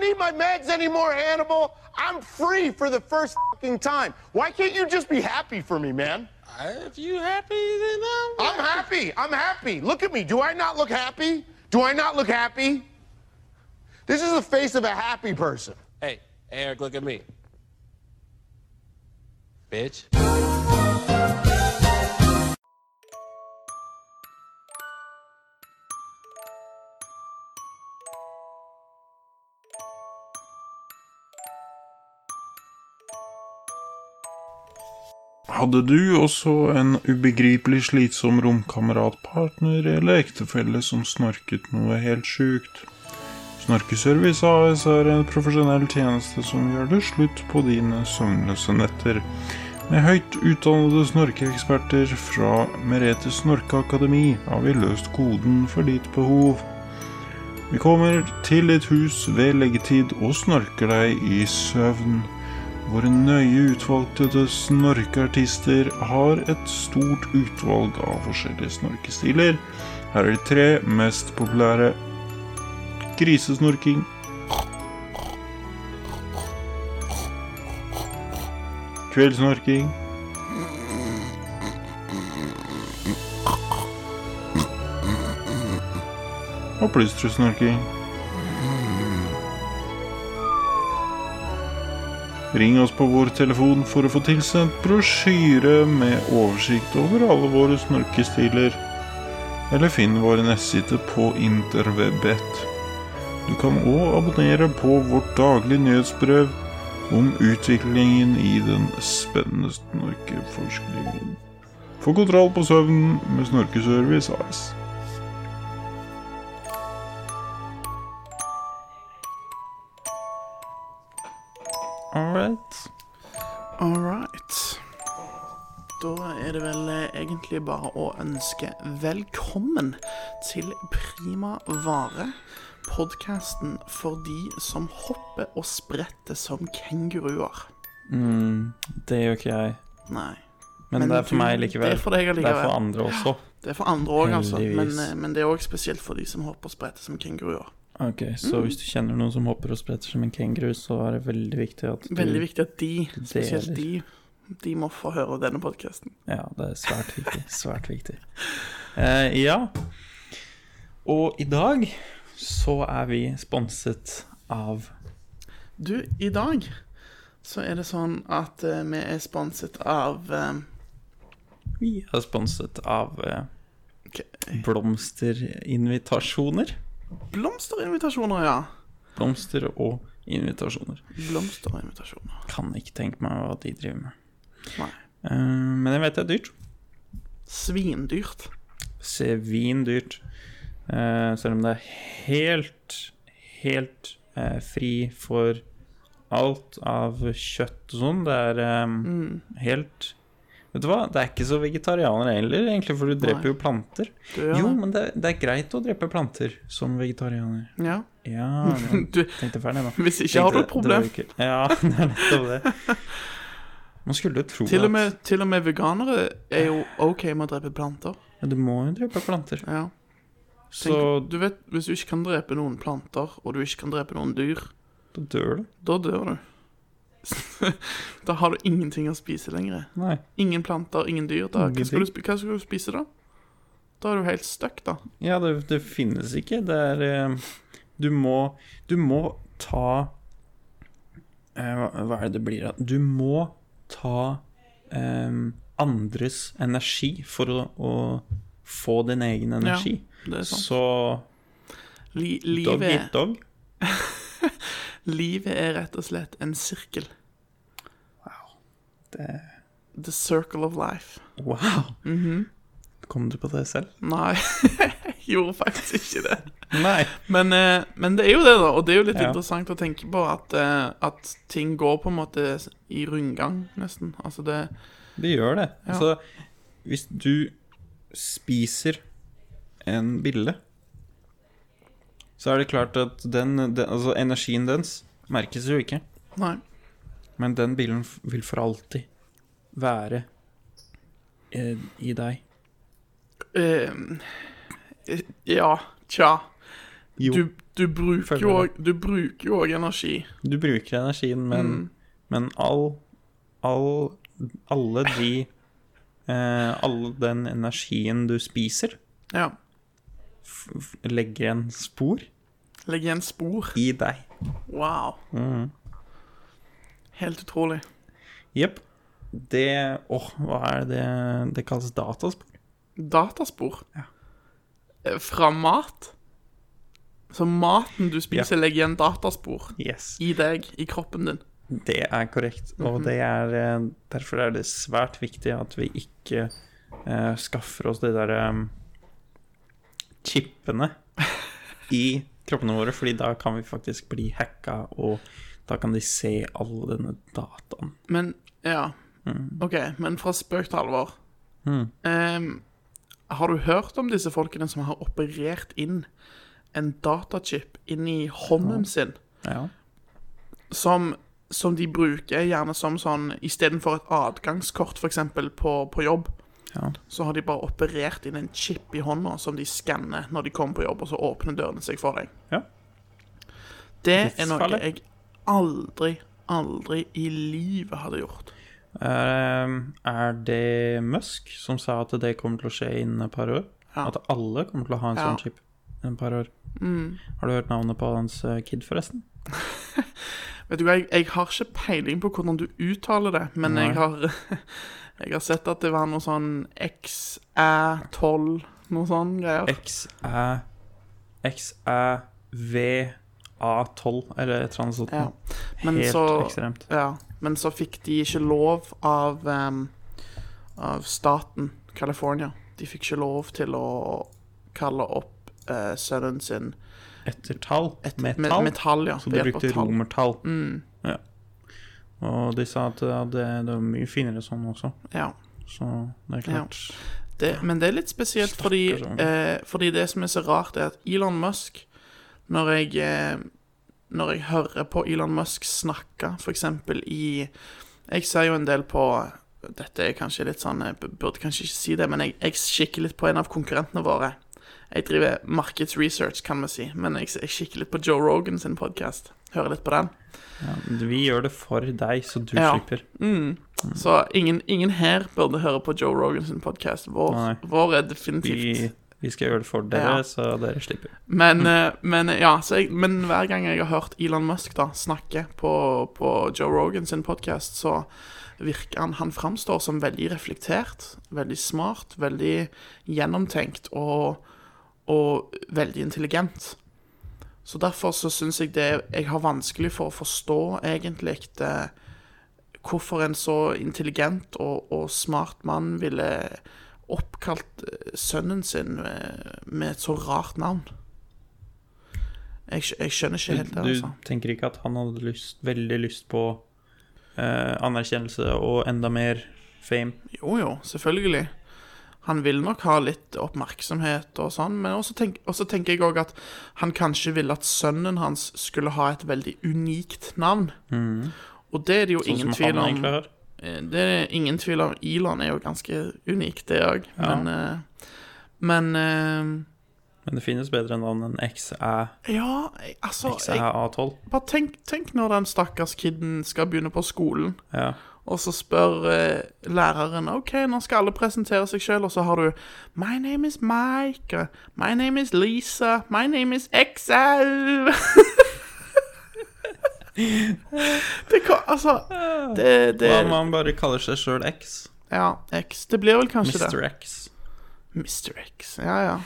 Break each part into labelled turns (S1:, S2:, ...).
S1: need my meds anymore, Hannibal. I'm free for the first fucking time. Why can't you just be happy for me, man?
S2: If you happy, then I'm.
S1: I'm happy. I'm happy. Look at me. Do I not look happy? Do I not look happy? This is the face of a happy person.
S2: Hey, Eric, look at me. Bitch.
S3: Hadde du også en ubegripelig slitsom romkameratpartner eller ektefelle som snorket noe helt sjukt? Snorkeservice AS er en profesjonell tjeneste som gjør det slutt på dine søvnløse netter. Med høyt utdannede snorkeeksperter fra Merete Snorkeakademi har vi løst koden for ditt behov. Vi kommer til ditt hus ved leggetid og snorker deg i søvn. Våre nøye utvalgte snorkeartister har et stort utvalg av forskjellige snorkestiler. Her er de tre mest populære. Grisesnorking. Kveldssnorking. Og plystresnorking. Ring oss på vår telefon for å få tilsendt brosjyre med oversikt over alle våre snorkestiler. Eller finn vår nettside på interwebbet. Du kan òg abonnere på vårt daglige nyhetsbrev om utviklingen i den spennende snorkeforskningen. Få kontroll på søvnen med Snorkeservice AS. All right.
S4: All right. Da er det vel eh, egentlig bare å ønske velkommen til Prima Vare. Podkasten for de som hopper og spretter som kenguruer.
S5: Mm, det gjør ikke jeg.
S4: Nei.
S5: Men, det er for
S4: du-
S5: meg likevel.
S4: Det er for deg
S5: Det er
S4: allikevel.
S5: for andre også.
S4: Det er for andre òg, altså. Men,
S5: Heldigvis.
S4: eh, men det er òg spesielt for de som hopper og spretter som kenguruer.
S5: Ok,
S4: Mm.
S5: Så hvis du kjenner noen som hopper og spretter som en kenguru, så er det veldig viktig at du
S4: Veldig viktig at de, spesielt de,
S5: Deler.
S4: de må få høre denne podkasten.
S5: Ja, det er svært viktig. Svært viktig. Eh, ja. Og i dag så er vi sponset av
S4: Du, i dag så er det sånn at eh, vi er sponset av eh,
S5: Vi er sponset av eh,
S4: Ok.
S5: blomsterinvitasjoner.
S4: blomsterinvitasjoner, ja.
S5: Blomster og invitasjoner.
S4: Blomsterinvitasjoner.
S5: Kan ikke tenke meg hva de driver med.
S4: Nei.
S5: Eh, men jeg vet det er dyrt.
S4: Svindyrt.
S5: svindyrt. Eh, selv om det er helt, helt eh, fri for alt av kjøtt og sånn. Det er eh,
S4: Mm.
S5: helt Vet du hva, det er ikke så vegetarianer heller, egentlig, for du dreper
S4: Nei.
S5: jo planter.
S4: Du, gjør
S5: Jo,
S4: det.
S5: men det, det er greit å drepe planter som vegetarianer.
S4: ja.
S5: Ja, jeg
S4: Du,
S5: tenkte ferdig nå.
S4: hvis ikke har du et
S5: Tenkte- det var
S4: problem.
S5: jo ikke- Ja, det er nettopp det. Man skulle jo tro
S4: Til og,
S5: at-
S4: med, til og med veganere er jo OK med å drepe planter.
S5: Ja, Du må jo drepe planter.
S4: Ja.
S5: Så
S4: Tenk, du vet, Hvis du ikke kan drepe noen planter, og du ikke kan drepe noen dyr,
S5: da dør du.
S4: da dør du. da har du ingenting å spise lenger.
S5: Nei.
S4: Ingen planter, ingen dyr. Da. Hva,
S5: Ingenting.
S4: skal du, spi- hva skal du spise da? Da er du helt stuck, da.
S5: Ja, det, det finnes ikke. Det er eh, Du må Du må ta eh, hva, hva er det det blir av? Du må ta eh, andres energi for å, å få din egen energi.
S4: Det er sant.
S5: Så
S4: Li
S5: dog
S4: livet,
S5: eat
S4: er,
S5: dog.
S4: livet er rett og slett en sirkel.
S5: Det,
S4: The circle of life.
S5: wow!
S4: Mhm.
S5: Kom du på det selv?
S4: Nei, jeg gjorde faktisk ikke det.
S5: Nei.
S4: Men, eh, men det er jo det, da. Og det er jo litt
S5: Ja.
S4: interessant å tenke på at, eh, at ting går på en måte i rundgang, nesten. Altså det
S5: Det gjør det.
S4: Ja.
S5: Altså, hvis du spiser en bille, så er det klart at den, den Altså, energien dens merkes jo ikke,
S4: Nei.
S5: men den billen f- vil for alltid være eh, i deg.
S4: Eh, eh, ja, tja.
S5: Jo.
S4: Du, Du bruker jo òg- du bruker jo òg energi.
S5: Du bruker energien, men, men all, all Alle de eh, All den energien du spiser,
S4: Ja.
S5: f f- legger en spor
S4: Legg igjen spor.
S5: i deg.
S4: Wow.
S5: Mm.
S4: Helt utrolig.
S5: Jepp. Det Åh, hva er det det kalles? Dataspor?
S4: Dataspor. Eh, Fra mat. Så maten du spiser, legger igjen dataspor
S5: Yes.
S4: i deg, i kroppen din.
S5: Det er korrekt, og det er eh, derfor er det svært viktig at vi ikke eh, skaffer oss de der ehm, em, chipene i kroppene våre, fordi da kan vi faktisk bli hacka, og da kan de se all denne dataen.
S4: Men ja. OK, men fra spøk til alvor. Ehm, har du hørt om disse folkene som har operert inn en datachip inn i hånden sin,
S5: Ja.
S4: som, som de bruker gjerne som sånn Istedenfor et adgangskort, f.eks. På, på jobb,
S5: Ja.
S4: så har de bare operert inn en chip i hånda som de skanner når de kommer på jobb, og så åpner dørene seg for deg.
S5: Ja.
S4: Det er noe
S5: Livsfarlig.
S4: jeg aldri, aldri i livet hadde gjort.
S5: Em, Ehm, er det Musk som sa at det kommer til å skje innen et par år?
S4: Ja.
S5: At alle kommer til å ha en
S4: Ja. Mm.
S5: sånn chip innen et par år? Har du hørt navnet på hans eh, kid, forresten?
S4: Vet du hva, jeg, jeg har ikke peiling på hvordan du uttaler det, men jeg har, jeg har sett at det var noe sånn XE12, noe sånn greier.
S5: XE XEVA12, eller et eller annet sånt.
S4: Ja.
S5: noe.
S4: Men
S5: Helt
S4: så,
S5: ekstremt.
S4: ja, men så fikk de ikke lov av, em, av staten California. De fikk ikke lov til å kalle opp eh, sønnen sin
S5: Etter tall. med
S4: me-
S5: tall.
S4: metall, ja.
S5: så
S4: ved
S5: de
S4: hjelp av
S5: brukte
S4: tall. Mm.
S5: romertall. Ja. Og de sa at ja, det, det var mye finere sånn også.
S4: Ja.
S5: Så det er klart.
S4: Det, men det er litt spesielt, fordi,
S5: Stakkars
S4: eh, fordi det som er så rart, er at Elon Musk Når jeg, eh, når jeg hører på Elon Musk snakke, f.eks. i Jeg ser jo en del på Dette er kanskje litt sånn Jeg b- burde kanskje ikke si det, men jeg, jeg kikker litt på en av konkurrentene våre. Jeg driver markedsresearch, kan vi si, men jeg, jeg kikker litt på Joe Rogan sin podkast. Hører litt på den.
S5: Vi gjør det for deg, så du
S4: Ja.
S5: slipper. Mm.
S4: Så ingen, ingen her burde høre på Joe Rogan sin podkast. Vår,
S5: Nei.
S4: vår er definitivt
S5: Vi, vi skal gjøre det for dere,
S4: Ja.
S5: så dere slipper.
S4: Men, eh, men, ja, så jeg, men hver gang jeg har hørt Elon Musk da snakke på, på Joe Rogan sin podkast, så virker han Han framstår som veldig reflektert, veldig smart, veldig gjennomtenkt og, og veldig intelligent. Så derfor så syns jeg det Jeg har vanskelig for å forstå egentlig eh, hvorfor en så intelligent og, og smart mann ville oppkalt eh, sønnen sin eh, med et så rart navn. Jeg, skj- jeg skjønner ikke helt det,
S5: Du
S4: altså.
S5: tenker ikke at han hadde lyst, veldig lyst på eh, anerkjennelse og enda mer fame? sånn
S4: Jo, jo, selvfølgelig. Han vil nok ha litt oppmerksomhet og sånn, men også, tenk, også tenker jeg òg at han kanskje ville at sønnen hans skulle ha et veldig unikt navn. Og det er det jo ingen
S5: Mm. Sånn som
S4: tvil
S5: han
S4: om.
S5: egentlig har?
S4: Eh, Det er ingen tvil om Elon er jo ganske unik, det òg, men eh, Men eh,
S5: Men det finnes bedre navn enn XA12.
S4: Ja, jeg- altså jeg, Bare tenk, tenk når den stakkars kiden skal begynne på skolen.
S5: Ja.
S4: Og så spør eh, læreren OK, nå skal alle presentere seg sjøl, og så har du My name is Mike. og My name is Lisa. My name is XL. det kan Altså Det, det
S5: Hva om han bare kaller seg sjøl X?
S4: Ja, X. Det blir vel kanskje det.
S5: Mr. X.
S4: Mr. X. Ja, ja.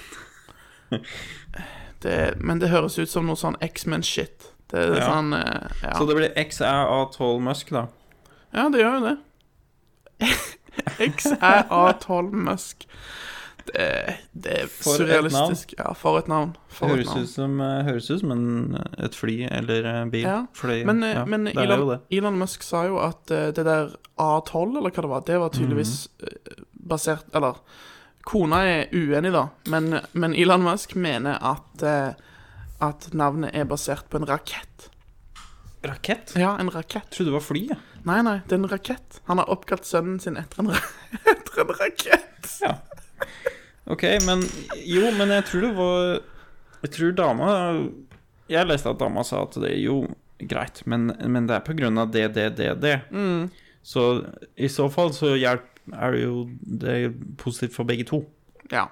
S4: Det, men det høres ut som noe sånn X-Men-shit. Det er
S5: Ja.
S4: sånn eh, ja.
S5: Så det blir XA12 Musk, da.
S4: Ja, det gjør jo det. XRA12 Musk. Det, det er
S5: For et
S4: surrealistisk. Ja, for et navn. For et
S5: Høres
S4: navn.
S5: ut som, eh, høres ut som en, et fly eller en bil.
S4: Ja.
S5: Fløy,
S4: Men, eh,
S5: ja,
S4: men
S5: det er jo
S4: Elon,
S5: det.
S4: Elon Musk sa jo at eh, det der A12, eller hva det var, det var tydeligvis eh, basert Eller kona er uenig, da, men, men Elon Musk mener at, eh, at navnet er basert på en rakett.
S5: Rakett? Jeg
S4: Ja, en rakett.
S5: trodde det var fly, jeg.
S4: Nei, nei, det er en rakett. Han har oppkalt sønnen sin etter en, ra etter en rakett.
S5: Ja. OK, men Jo, men jeg tror det var Jeg tror dama jeg leste at dama sa at det er jo greit, men, men det er på grunn av det, det, det, det.
S4: Mm.
S5: Så i så fall så hjelp, er det jo det er positivt for begge to.
S4: Ja.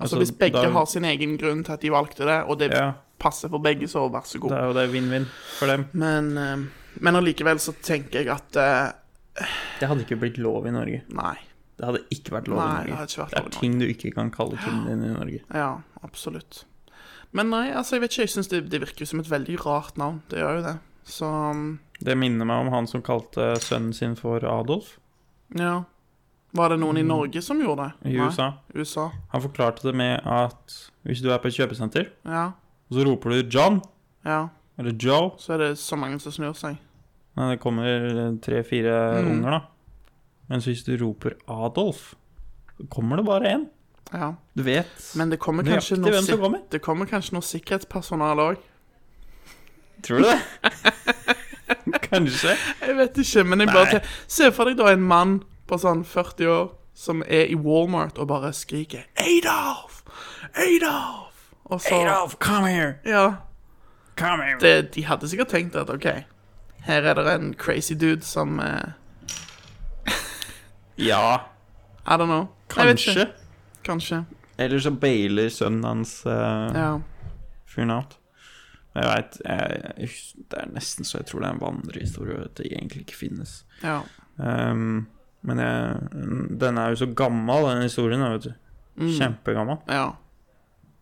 S4: Altså,
S5: Altså,
S4: Hvis begge
S5: da-
S4: har sin egen grunn til at de valgte det, og det
S5: Ja.
S4: passer for begge, så vær så god.
S5: Det er jo det er vinn-vinn for dem.
S4: Men, eh, men allikevel så tenker jeg at eh,
S5: Det hadde ikke blitt lov i Norge.
S4: Nei.
S5: Det hadde ikke vært lov
S4: Nei,
S5: i
S4: det
S5: Norge.
S4: hadde ikke vært lov
S5: det er
S4: i Norge.
S5: ting du ikke kan kalle kunden din i Norge.
S4: Ja, absolutt. Men nei, altså, jeg vet ikke. Jeg syns det, det virker jo som et veldig rart navn. Det gjør jo det. Så mm,
S5: Det minner meg om han som kalte sønnen sin for Adolf
S4: ja. Var det noen i Norge som gjorde det?
S5: Mm. i
S4: Nei.
S5: USA.
S4: USA.
S5: Han forklarte det med at hvis du er på et kjøpesenter,
S4: Ja.
S5: og så roper du 'John'
S4: Ja.
S5: eller 'Joe'
S4: Så er det så mange som snur seg.
S5: Nei, det kommer tre-fire
S4: Mm.
S5: unger, da. Mens hvis du roper 'Adolf', så kommer det bare én.
S4: Ja.
S5: Du vet
S4: Men det kommer kanskje
S5: nøyaktig
S4: noe
S5: hvem som
S4: sik-
S5: kommer.
S4: Det kommer kanskje noe sikkerhetspersonale òg.
S5: Tror du det? kanskje.
S4: Jeg vet ikke, men jeg bare te- Se for deg da en mann på sånn 40 år som er i Walmart og bare skriker 'Adolf! Adolf!' Og så
S5: come here!
S4: Ja.
S5: Come here!
S4: Det, de hadde sikkert tenkt at OK, her er det en crazy dude som eh,
S5: Ja,
S4: I don't know. Jeg vet ikke.
S5: kanskje.
S4: Kanskje.
S5: Eller så bailer sønnen hans uh,
S4: Ja.
S5: fyren out. Men jeg veit Det er nesten så jeg tror det er en vandrehistorie at det egentlig ikke finnes.
S4: ja.
S5: Ehm, men jeg, den er jo så gammel, den historien. da, Vet du. Kjempegammel.
S4: Ja.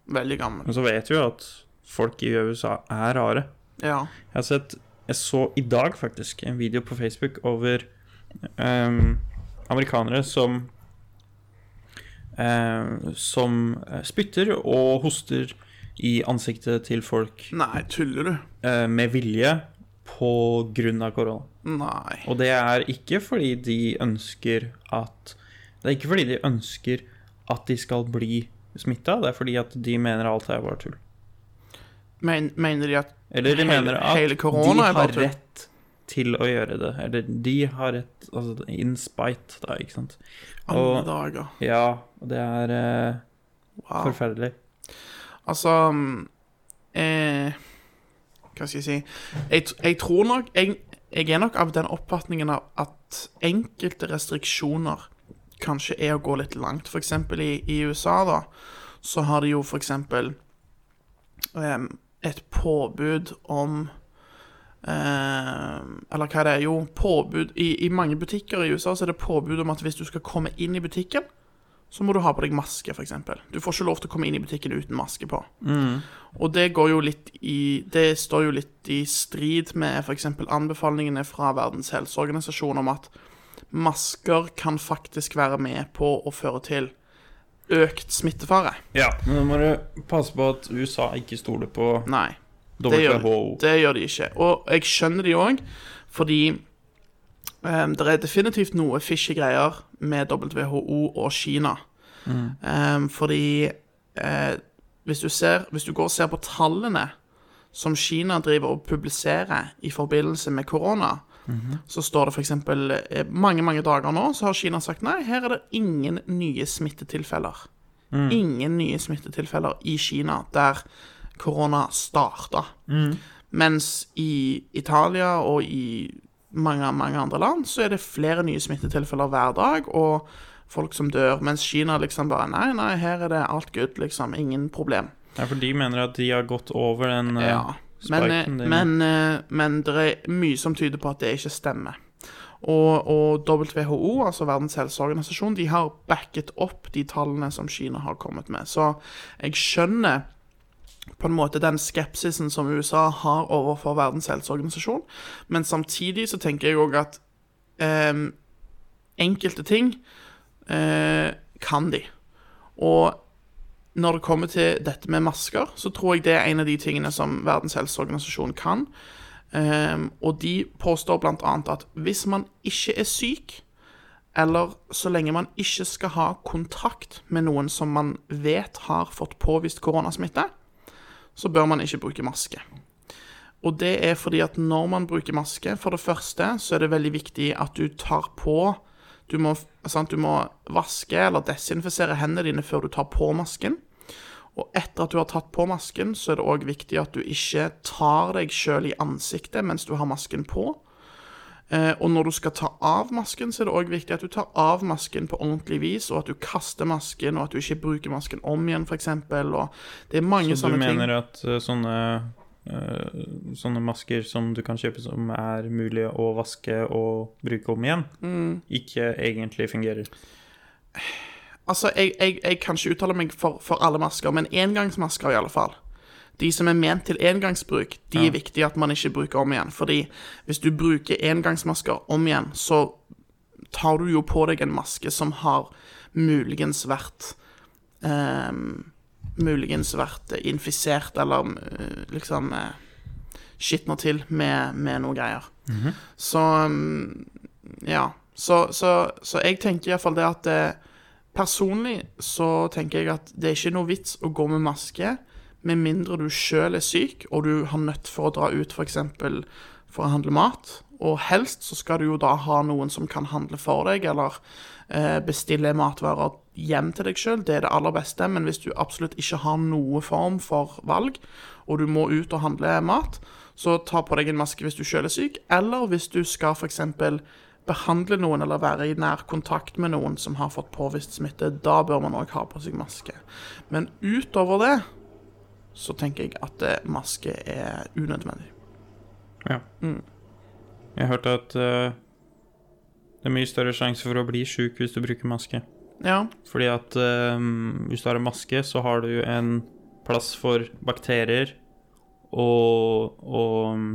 S4: Veldig gammel.
S5: Men så vet vi jo at folk i USA er rare.
S4: Ja.
S5: Jeg har sett Jeg så i dag faktisk en video på Facebook over ehm, amerikanere som ehm, Som eh, spytter og hoster i ansiktet til folk
S4: Nei, tuller du?
S5: eh, med vilje på grunn av korona.
S4: Nei.
S5: Og det er ikke fordi de ønsker at Det er ikke fordi de ønsker at de skal bli smitta, det er fordi at de mener alt er bare tull.
S4: Men, mener de at
S5: Eller de
S4: Hele-
S5: mener at
S4: hele
S5: de
S4: korona er bare
S5: har
S4: tull.
S5: rett til å gjøre det. Eller de har rett Altså in spite, da, ikke sant.
S4: Alle
S5: Og-
S4: dager.
S5: Ja, og det er eh,
S4: Wow.
S5: forferdelig.
S4: Altså mm, eh, Hva skal jeg si? Jeg, t- jeg tror nok jeg, jeg er nok av den oppfatningen av at enkelte restriksjoner kanskje er å gå litt langt. For eksempel i, i USA, da, så har de jo for eksempel em, et påbud om em, eller hva det er, jo, påbud i, I mange butikker i USA så er det påbud om at hvis du skal komme inn i butikken, så må du ha på deg maske, f.eks. Du får ikke lov til å komme inn i butikken uten maske på. Og det går jo litt i Det står jo litt i strid med f.eks. anbefalingene fra Verdens helseorganisasjon om at masker kan faktisk være med på å føre til økt smittefare.
S5: Ja. Men nå må du passe på at USA ikke stoler på
S4: Nei. Det gjør,
S5: WHO.
S4: det gjør de ikke. Og jeg skjønner de òg, fordi ehm, det er definitivt noe fishy greier med WHO og Kina. Em, fordi eh, hvis, du ser, hvis du går og ser på tallene som Kina driver og publiserer i forbindelse med korona, så står det f.eks. mange mange dager nå så har Kina sagt nei, her er det ingen nye smittetilfeller. Ingen nye smittetilfeller i Kina der korona starta. Mens i Italia og i mange, mange andre land så er det flere nye smittetilfeller hver dag, og folk som dør. Mens Kina liksom bare Nei, nei, her er det alt good, liksom. Ingen problem.
S5: Ja, for de mener at de har gått over den eh,
S4: Ja. Men, eh,
S5: spiken. de-
S4: men, eh, men det er mye som tyder på at det ikke stemmer. Og, og WHO, altså Verdens helseorganisasjon, de har backet opp de tallene som Kina har kommet med. Så jeg skjønner på en måte den skepsisen som USA har overfor Verdens helseorganisasjon, men samtidig så tenker jeg òg at eh, enkelte ting eh, kan de. Og når det kommer til dette med masker, så tror jeg det er en av de tingene som Verdens helseorganisasjon kan. Ehm, og de påstår bl.a. at hvis man ikke er syk, eller så lenge man ikke skal ha kontakt med noen som man vet har fått påvist koronasmitte, så bør man ikke bruke maske. Og det er fordi at når man bruker maske, for det første, så er det veldig viktig at du tar på Du må, sant, du må vaske eller desinfisere hendene dine før du tar på masken. Og etter at du har tatt på masken, så er det òg viktig at du ikke tar deg sjøl i ansiktet mens du har masken på. Eh, Og når du skal ta av masken, så er det òg viktig at du tar av masken på ordentlig vis, og at du kaster masken, og at du ikke bruker masken om igjen, f.eks. Og det er mange
S5: Så du
S4: sånne ting.
S5: mener at eh, sånne eh, Sånne masker som du kan kjøpe som er mulig å vaske og bruke om igjen,
S4: Mm.
S5: ikke egentlig fungerer.
S4: Altså, jeg, jeg, jeg kan ikke uttale meg for, for alle masker, men engangsmasker i alle fall. De som er ment til engangsbruk, de er viktig at man ikke bruker om igjen. Fordi hvis du bruker engangsmasker om igjen, så tar du jo på deg en maske som har muligens vært ehm, Muligens vært infisert eller eh, liksom uh, skitner til med, med noe greier. Så mm, ja. Så, så, så jeg tenker iallfall det at eh, Personlig så tenker jeg at det er ikke noe vits å gå med maske med mindre du sjøl er syk og du har nødt for å dra ut f.eks. For, eksempel for å handle mat. Og helst så skal du jo da ha noen som kan handle for deg, eller eh, bestille matvarer hjem til deg sjøl. Det er det aller beste. Men hvis du absolutt ikke har noe form for valg, og du må ut og handle mat, så ta på deg en maske hvis du sjøl er syk, eller hvis du skal f.eks. behandle noen eller være i nær kontakt med noen som har fått påvist smitte. Da bør man òg ha på seg maske. Men utover det så tenker jeg at eh, maske er unødvendig.
S5: Ja.
S4: Mm.
S5: Jeg hørte at eh, det er mye større sjanse for å bli sjuk hvis du bruker maske.
S4: Ja,
S5: Fordi at ehm, hvis du har en maske, så har du en plass for bakterier å- å mm,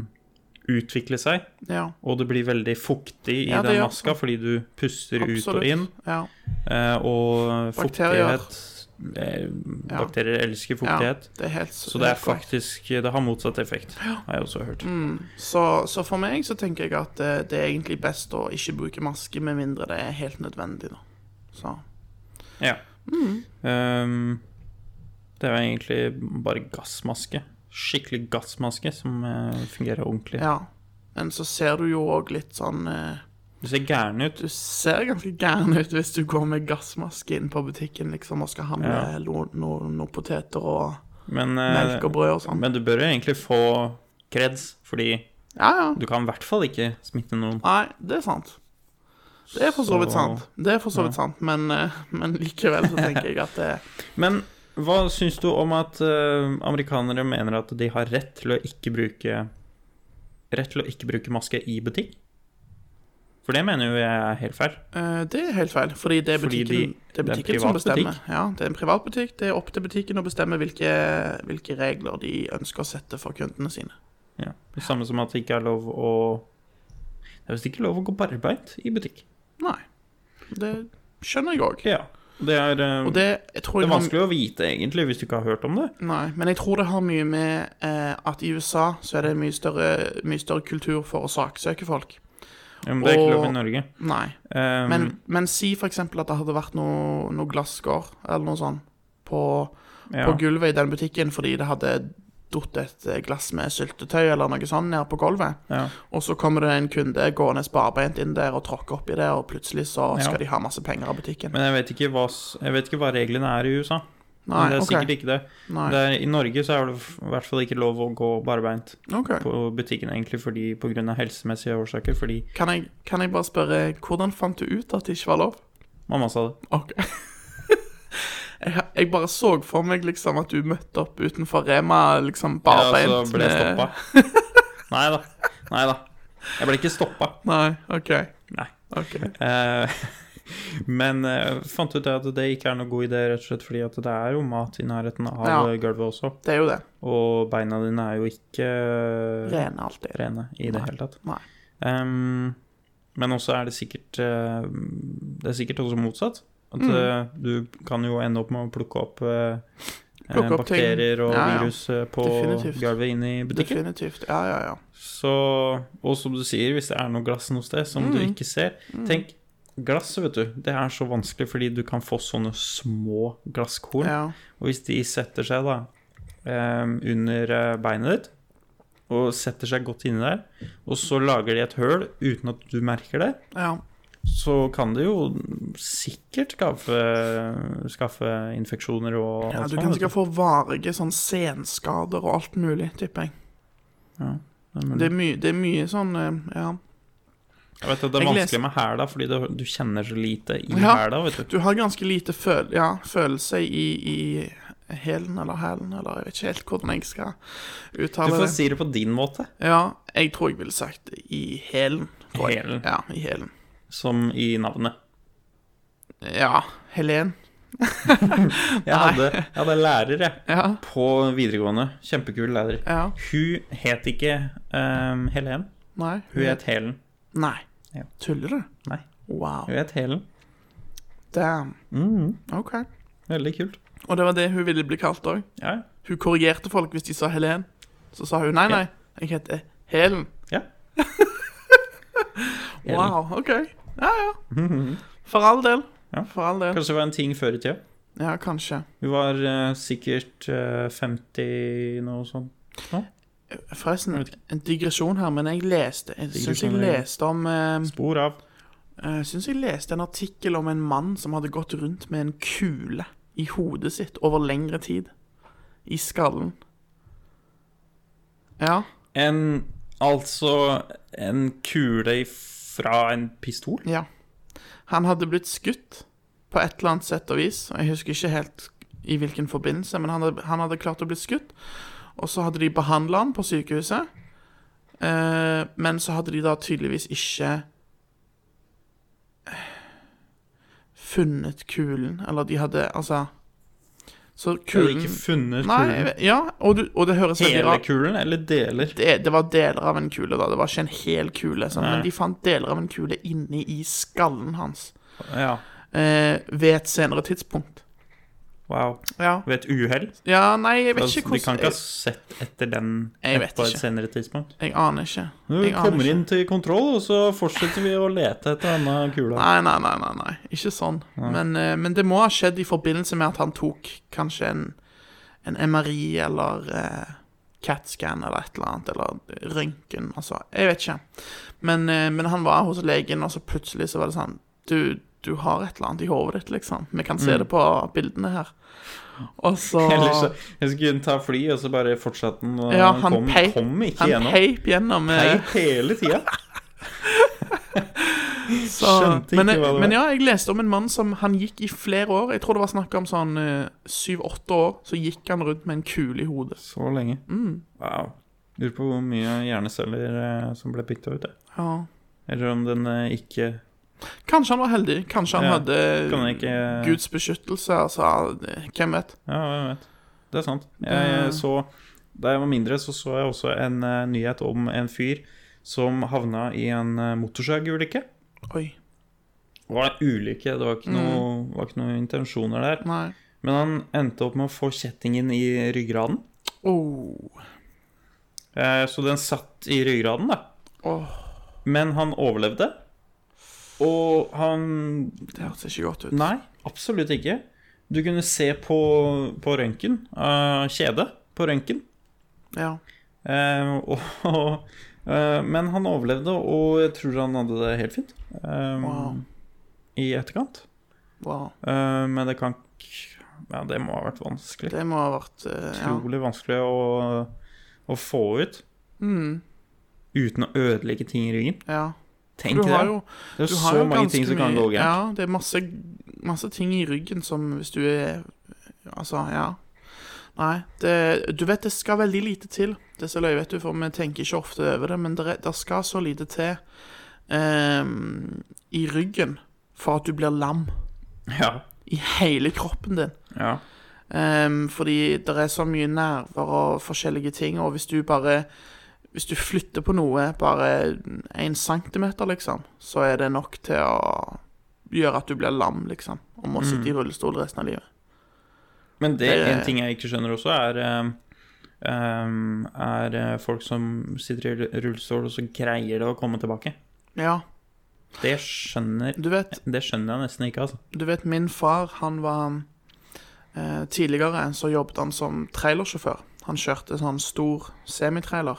S5: utvikle seg.
S4: ja.
S5: Og det blir veldig fuktig i
S4: Ja, det
S5: den
S4: gjør-
S5: maska fordi du puster ut
S4: Absolutt.
S5: og inn.
S4: Ja.
S5: Eh, og
S4: Bakterier.
S5: fuktighet eh,
S4: Ja.
S5: Bakterier elsker
S4: ja.
S5: fuktighet.
S4: Det er helt
S5: Så det er
S4: helt korrekt.
S5: faktisk Det har motsatt effekt, har jeg også hørt.
S4: Mm. Så, så for meg så tenker jeg at eh, det er egentlig best å ikke bruke maske med mindre det er helt nødvendig, da. Så
S5: Ja.
S4: Mm.
S5: Ehm, det er jo egentlig bare gassmaske. Skikkelig gassmaske som eh, fungerer ordentlig.
S4: ja. Men så ser du jo òg litt sånn eh,
S5: Du ser gæren ut.
S4: Du ser ganske gæren ut hvis du går med gassmaske inn på butikken liksom, og skal handle
S5: Ja.
S4: noen no, no poteter og
S5: Men, eh,
S4: melk og brød og sånn.
S5: men du bør jo egentlig få kreds, fordi
S4: Ja, ja.
S5: du kan i hvert fall ikke smitte noen.
S4: Nei, det er sant. Det er for så vidt sant. Det er for så vidt sant, men, eh, men likevel så tenker jeg at eh, det
S5: Men hva syns du om at eh, amerikanere mener at de har rett til å ikke bruke Rett til å ikke bruke maske i butikk? For det mener jo jeg er helt feil.
S4: Eh, Det er helt feil, fordi det er
S5: Fordi de-
S4: butikken, det er
S5: det er en
S4: butikken som
S5: privat butikk.
S4: bestemmer. Ja, det er en privat butikk. Det er opp til butikken å bestemme hvilke, hvilke regler de ønsker å sette for kundene sine.
S5: Ja. Det samme som at det ikke er lov å Det er visst ikke lov å gå på arbeid i butikk.
S4: Nei. Det skjønner jeg òg.
S5: Ja. Det er, eh,
S4: Og
S5: det,
S4: det jeg tror
S5: er
S4: jeg har-
S5: vanskelig å vite, egentlig, hvis du ikke har hørt om det.
S4: Nei, men jeg tror det har mye med eh, at i USA så er det mye større, mye større kultur for å saksøke folk.
S5: Ja, Men det er ikke lov
S4: Og-
S5: i Norge.
S4: Nei.
S5: Eh,
S4: Men, men si for eksempel at det hadde vært noe, noe glasskår eller noe sånt på,
S5: ja.
S4: på gulvet i den butikken fordi det hadde datt et eh, glass med syltetøy eller noe sånt ned på gulvet.
S5: Ja.
S4: Og så kommer det en kunde gående barbeint inn der og tråkker oppi det, og plutselig så skal
S5: Ja.
S4: de ha masse penger av butikken.
S5: Men jeg vet, ikke hva, s- jeg vet ikke hva reglene er i USA.
S4: Nei,
S5: det er
S4: ok.
S5: sikkert ikke det.
S4: Nei.
S5: det er, I Norge så er det f- i hvert fall ikke lov å gå barbeint
S4: Ok.
S5: på butikken egentlig fordi pga. helsemessige årsaker, fordi
S4: Kan jeg, kan jeg bare spørre, hvordan fant du ut at det ikke var lov?
S5: mamma sa det.
S4: Ok. jeg, jeg bare så for meg liksom at du møtte opp utenfor Rema liksom barbeint.
S5: Ja, så ble jeg
S4: med-
S5: stoppa. Nei da. Nei da. Jeg ble ikke stoppa.
S4: Nei, ok.
S5: Nei.
S4: ok.
S5: Eh, men eh, fant ut det at det ikke er noe god idé, rett og slett fordi at det er jo mat i nærheten av
S4: Ja.
S5: eh, gulvet også.
S4: Det er jo
S5: Eh,
S4: det.
S5: Og beina dine er jo ikke eh,
S4: Rene alltid.
S5: rene i det
S4: Nei.
S5: hele tatt.
S4: Nei.
S5: Ehm, men også er det sikkert eh, Det er sikkert også motsatt. At
S4: Mm.
S5: eh, du kan jo ende opp med å plukke opp eh, eh,
S4: Plukke opp ting.
S5: bakterier og
S4: Ja, ja.
S5: virus eh, på
S4: Definitivt.
S5: gulvet inn i butikken.
S4: Definitivt. Ja, ja, ja.
S5: Så, og som du sier, hvis det er noe glass noe sted som du
S4: Mm.
S5: ikke ser Tenk, glass, vet du, det er så vanskelig fordi du kan få sånne små glasskorn.
S4: ja.
S5: Og hvis de setter seg da eh, under eh, beinet ditt, og setter seg godt inni der, og så lager de et høl uten at du merker det,
S4: ja.
S5: så kan det jo sikkert skaffe, skaffe infeksjoner og
S4: Ja,
S5: alt
S4: du
S5: sånt,
S4: kan
S5: vet
S4: sikkert få varige sånn senskader og alt mulig, tipper jeg.
S5: Nei, men-
S4: Det er, my, det er mye sånn eh, Ja.
S5: Jeg vet at Det er
S4: Jeg leser-
S5: vanskelig med hæla, fordi det, du kjenner så lite i
S4: Ja.
S5: hæla. vet du
S4: Du har ganske lite føl, ja, følelse i, i hælen eller hælen, eller jeg vet ikke helt hvordan jeg skal
S5: Du
S4: uttale
S5: får
S4: det.
S5: si det på din måte,
S4: Ja, jeg tror jeg ville sagt i hælen. tror jeg.
S5: Hælen.
S4: Ja, i hælen.
S5: som i navnet.
S4: Ja, Helen.
S5: Jeg hadde, jeg hadde en lærer jeg,
S4: Ja,
S5: på videregående. Kjempekul lærer.
S4: ja,
S5: Hun het ikke um, Helen.
S4: nei.
S5: Hun het Helen.
S4: Nei.
S5: Ja.
S4: Tuller du?
S5: Nei,
S4: Wow.
S5: hun het Helen.
S4: Damn.
S5: Mm.
S4: OK.
S5: Veldig kult.
S4: Og det var det hun ville bli kalt òg.
S5: Ja,
S4: Hun korrigerte folk hvis de sa Helen. Så sa hun nei, nei, jeg heter Helen.
S5: ja. Helen. Mhm.
S4: Wow, OK. Ja, ja. For all del.
S5: Ja.
S4: For all del.
S5: Kanskje det var en ting før i tida.
S4: Ja, kanskje.
S5: Hun var eh, sikkert eh, 50 noe sånt.
S4: Forresten,
S5: Jeg vet
S4: en digresjon her, men jeg leste Jeg syns jeg
S5: Digresjon, ja.
S4: leste om eh,
S5: Spor av.
S4: Jeg syns Eh, jeg leste en artikkel om en mann som hadde gått rundt med en kule i hodet sitt over lengre tid. I skallen. Ja.
S5: En Altså en kule fra en pistol?
S4: Ja. Han hadde blitt skutt på et eller annet sett og vis. og Jeg husker ikke helt i hvilken forbindelse, men han hadde, han hadde klart å bli skutt. Og så hadde de behandla han på sykehuset. Eh, men så hadde de da tydeligvis ikke eh, funnet kulen. Eller de hadde Altså Så
S5: Kulen.
S4: kulen
S5: ikke funnet
S4: Nei, jeg
S5: kulen.
S4: vet- ja, og, du, og det høres veldig
S5: Hele
S4: rart
S5: kulen, eller deler?
S4: det, det var deler av en kule, da. Det var ikke en hel kule. Sånn,
S5: Nei.
S4: men de fant deler av en kule inni i skallen hans
S5: Ja.
S4: eh, ved et senere tidspunkt.
S5: Wow.
S4: Ja.
S5: Ved et uhell?
S4: ja, nei, jeg vet
S5: Altså,
S4: ikke
S5: de
S4: hvordan
S5: kan ikke ha
S4: Jeg,
S5: sett etter den
S4: Jeg vet
S5: på et
S4: ikke.
S5: senere tidspunkt?
S4: jeg aner ikke.
S5: Du
S4: Jeg aner
S5: kommer
S4: ikke.
S5: inn til kontroll, og så fortsetter vi å lete etter denne kula.
S4: Nei, nei, nei, nei, nei. ikke sånn. Men, eh, men det må ha skjedd i forbindelse med at han tok kanskje en, en MRI eller eh, CAT-scan eller et eller annet, eller røntgen, altså. Jeg vet ikke. Men, eh, men han var hos legen, og så plutselig så var det sånn Du, du har et eller annet i hodet ditt, liksom. Vi kan se det på bildene her. Og så
S5: Eller Mm. så jeg skulle ta fly, og så bare fortsatte den. Og
S4: Ja,
S5: han
S4: han
S5: kom,
S4: peip,
S5: kom ikke
S4: han
S5: gjennom.
S4: peip gjennom eh,
S5: Peip hele tida.
S4: Så,
S5: Skjønte
S4: men,
S5: ikke hva det var.
S4: men ja, jeg leste om en mann som han gikk i flere år. Jeg tror det var snakk om sånn syv-åtte år. Så gikk han rundt med en kule i hodet.
S5: Så lenge. Wow. Lurer på hvor mye hjerneceller eh, som ble bytta ut. jeg.
S4: Ja.
S5: Eller om den eh, ikke
S4: Kanskje han var heldig. Kanskje han
S5: Ja, kan
S4: hadde
S5: jeg ikke-
S4: Guds beskyttelse. Altså, det- hvem vet?
S5: Ja, jeg vet. Det er sant. Jeg, så, da jeg var mindre, så så jeg også en eh, nyhet om en fyr som havna i en uh, motorsagulykke.
S4: Oi.
S5: Det var en ulykke, det var ikke, noe, var ikke noen intensjoner der.
S4: Nei.
S5: Men han endte opp med å få kjettingen i ryggraden.
S4: Oh.
S5: Eh, så den satt i ryggraden, da.
S4: Åh,
S5: Men han overlevde. Og han
S4: det hørtes ikke godt ut.
S5: Nei, absolutt ikke. Du kunne se på, på røntgen, eh, kjedet på røntgen.
S4: Ja.
S5: Eh, og, eh, men han overlevde, og jeg tror han hadde det helt fint eh,
S4: Wow.
S5: i etterkant.
S4: wow.
S5: Eh, men det kan k- Ja, det må ha vært vanskelig.
S4: Det må ha vært eh, ja.
S5: Utrolig vanskelig å, å få ut
S4: Mm.
S5: uten å ødelegge ting i ryggen.
S4: ja.
S5: Tenk
S4: Du
S5: det!
S4: har jo
S5: det er
S4: du
S5: jo
S4: har
S5: så
S4: jo
S5: mange
S4: ganske
S5: ting som kan
S4: mye-
S5: gå gærent.
S4: Ja, det er masse, masse ting i ryggen som hvis du er Altså, ja. Nei, det, du vet det skal veldig lite til. Det er så løye, vet du, for vi tenker ikke ofte over det, men det, er- det skal så lite til ehm, i ryggen for at du blir lam
S5: Ja.
S4: i hele kroppen din.
S5: ja.
S4: Ehm, fordi det er så mye nerver og forskjellige ting, og hvis du bare Hvis du flytter på noe bare en centimeter, liksom, så er det nok til å gjøre at du blir lam, liksom, og må sitte i rullestol resten av livet.
S5: Men det,
S4: Det-
S5: en ting jeg ikke skjønner også, er eh, eh, Er eh, folk som sitter i rull- rullestol, og så greier det å komme tilbake.
S4: Ja,
S5: Det skjønner
S4: du vet,
S5: Det skjønner jeg nesten ikke, altså.
S4: du vet min far, han var eh, Tidligere så jobbet han som trailersjåfør. Han kjørte sånn stor semitrailer.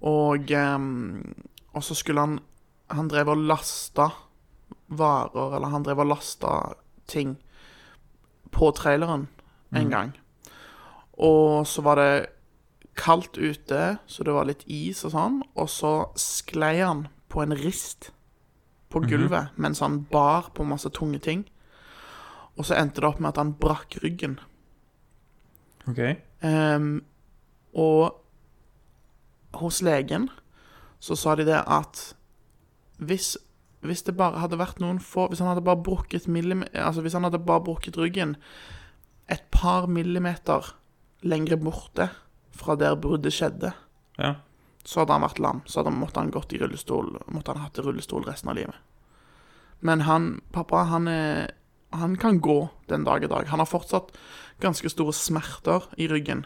S4: Og, eh, og så skulle han Han drev og lasta varer, eller han drev og lasta ting på traileren en gang. Og så var det kaldt ute, så det var litt is og sånn, og så sklei han på en rist på gulvet mens han bar på masse tunge ting. Og så endte det opp med at han brakk ryggen.
S5: OK.
S4: Ehm, og hos legen så sa de det at hvis, hvis det bare hadde vært noen få Hvis han hadde bare brukket, millim, altså hvis han hadde bare brukket ryggen et par millimeter lengre borte fra der bruddet skjedde,
S5: Ja.
S4: så hadde han vært lam. Så hadde, måtte han gått i rullestol, måtte han hatt i rullestol resten av livet. Men han, pappa, han er han kan gå den dag i dag. Han har fortsatt ganske store smerter i ryggen.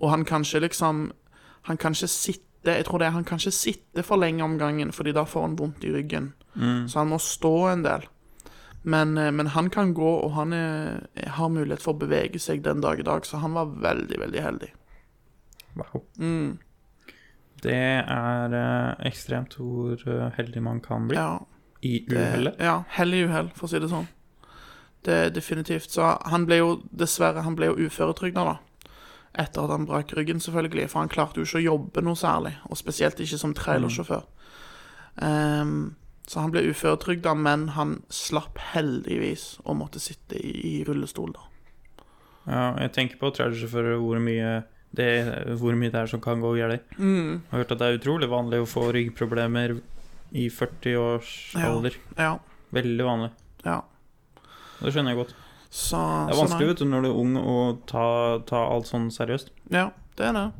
S4: Og han kan ikke liksom Han kan ikke sitte Jeg tror det er han kan ikke sitte for lenge om gangen, fordi da får han vondt i ryggen. Så han må stå en del. Men, eh, men han kan gå, og han er, har mulighet for å bevege seg den dag i dag, så han var veldig, veldig heldig.
S5: Wow.
S4: Mm.
S5: Det er eh, ekstremt hvor eh, heldig man kan bli
S4: Ja.
S5: i
S4: Eh,
S5: uhellet.
S4: Ja, hell i uhell, for å si det sånn. Det er definitivt. Så han ble jo dessverre han ble jo uføretrygda, da. Etter at han brakk ryggen, selvfølgelig. For han klarte jo ikke å jobbe noe særlig. Og spesielt ikke som trailersjåfør. Ehm, så han ble uføretrygda, men han slapp heldigvis å måtte sitte i, i rullestol, da.
S5: Ja, jeg tenker på trailersjåfører hvor mye det, hvor mye det er som kan gå galt.
S4: Mm.
S5: Jeg har hørt at det er utrolig vanlig å få ryggproblemer i 40 års
S4: Ja.
S5: alder.
S4: Ja.
S5: Veldig vanlig.
S4: ja.
S5: Det skjønner jeg godt.
S4: Så
S5: Det er
S4: så
S5: vanskelig
S4: nei.
S5: vet du, når du er ung å ta, ta alt sånn seriøst.
S4: Ja, det er det.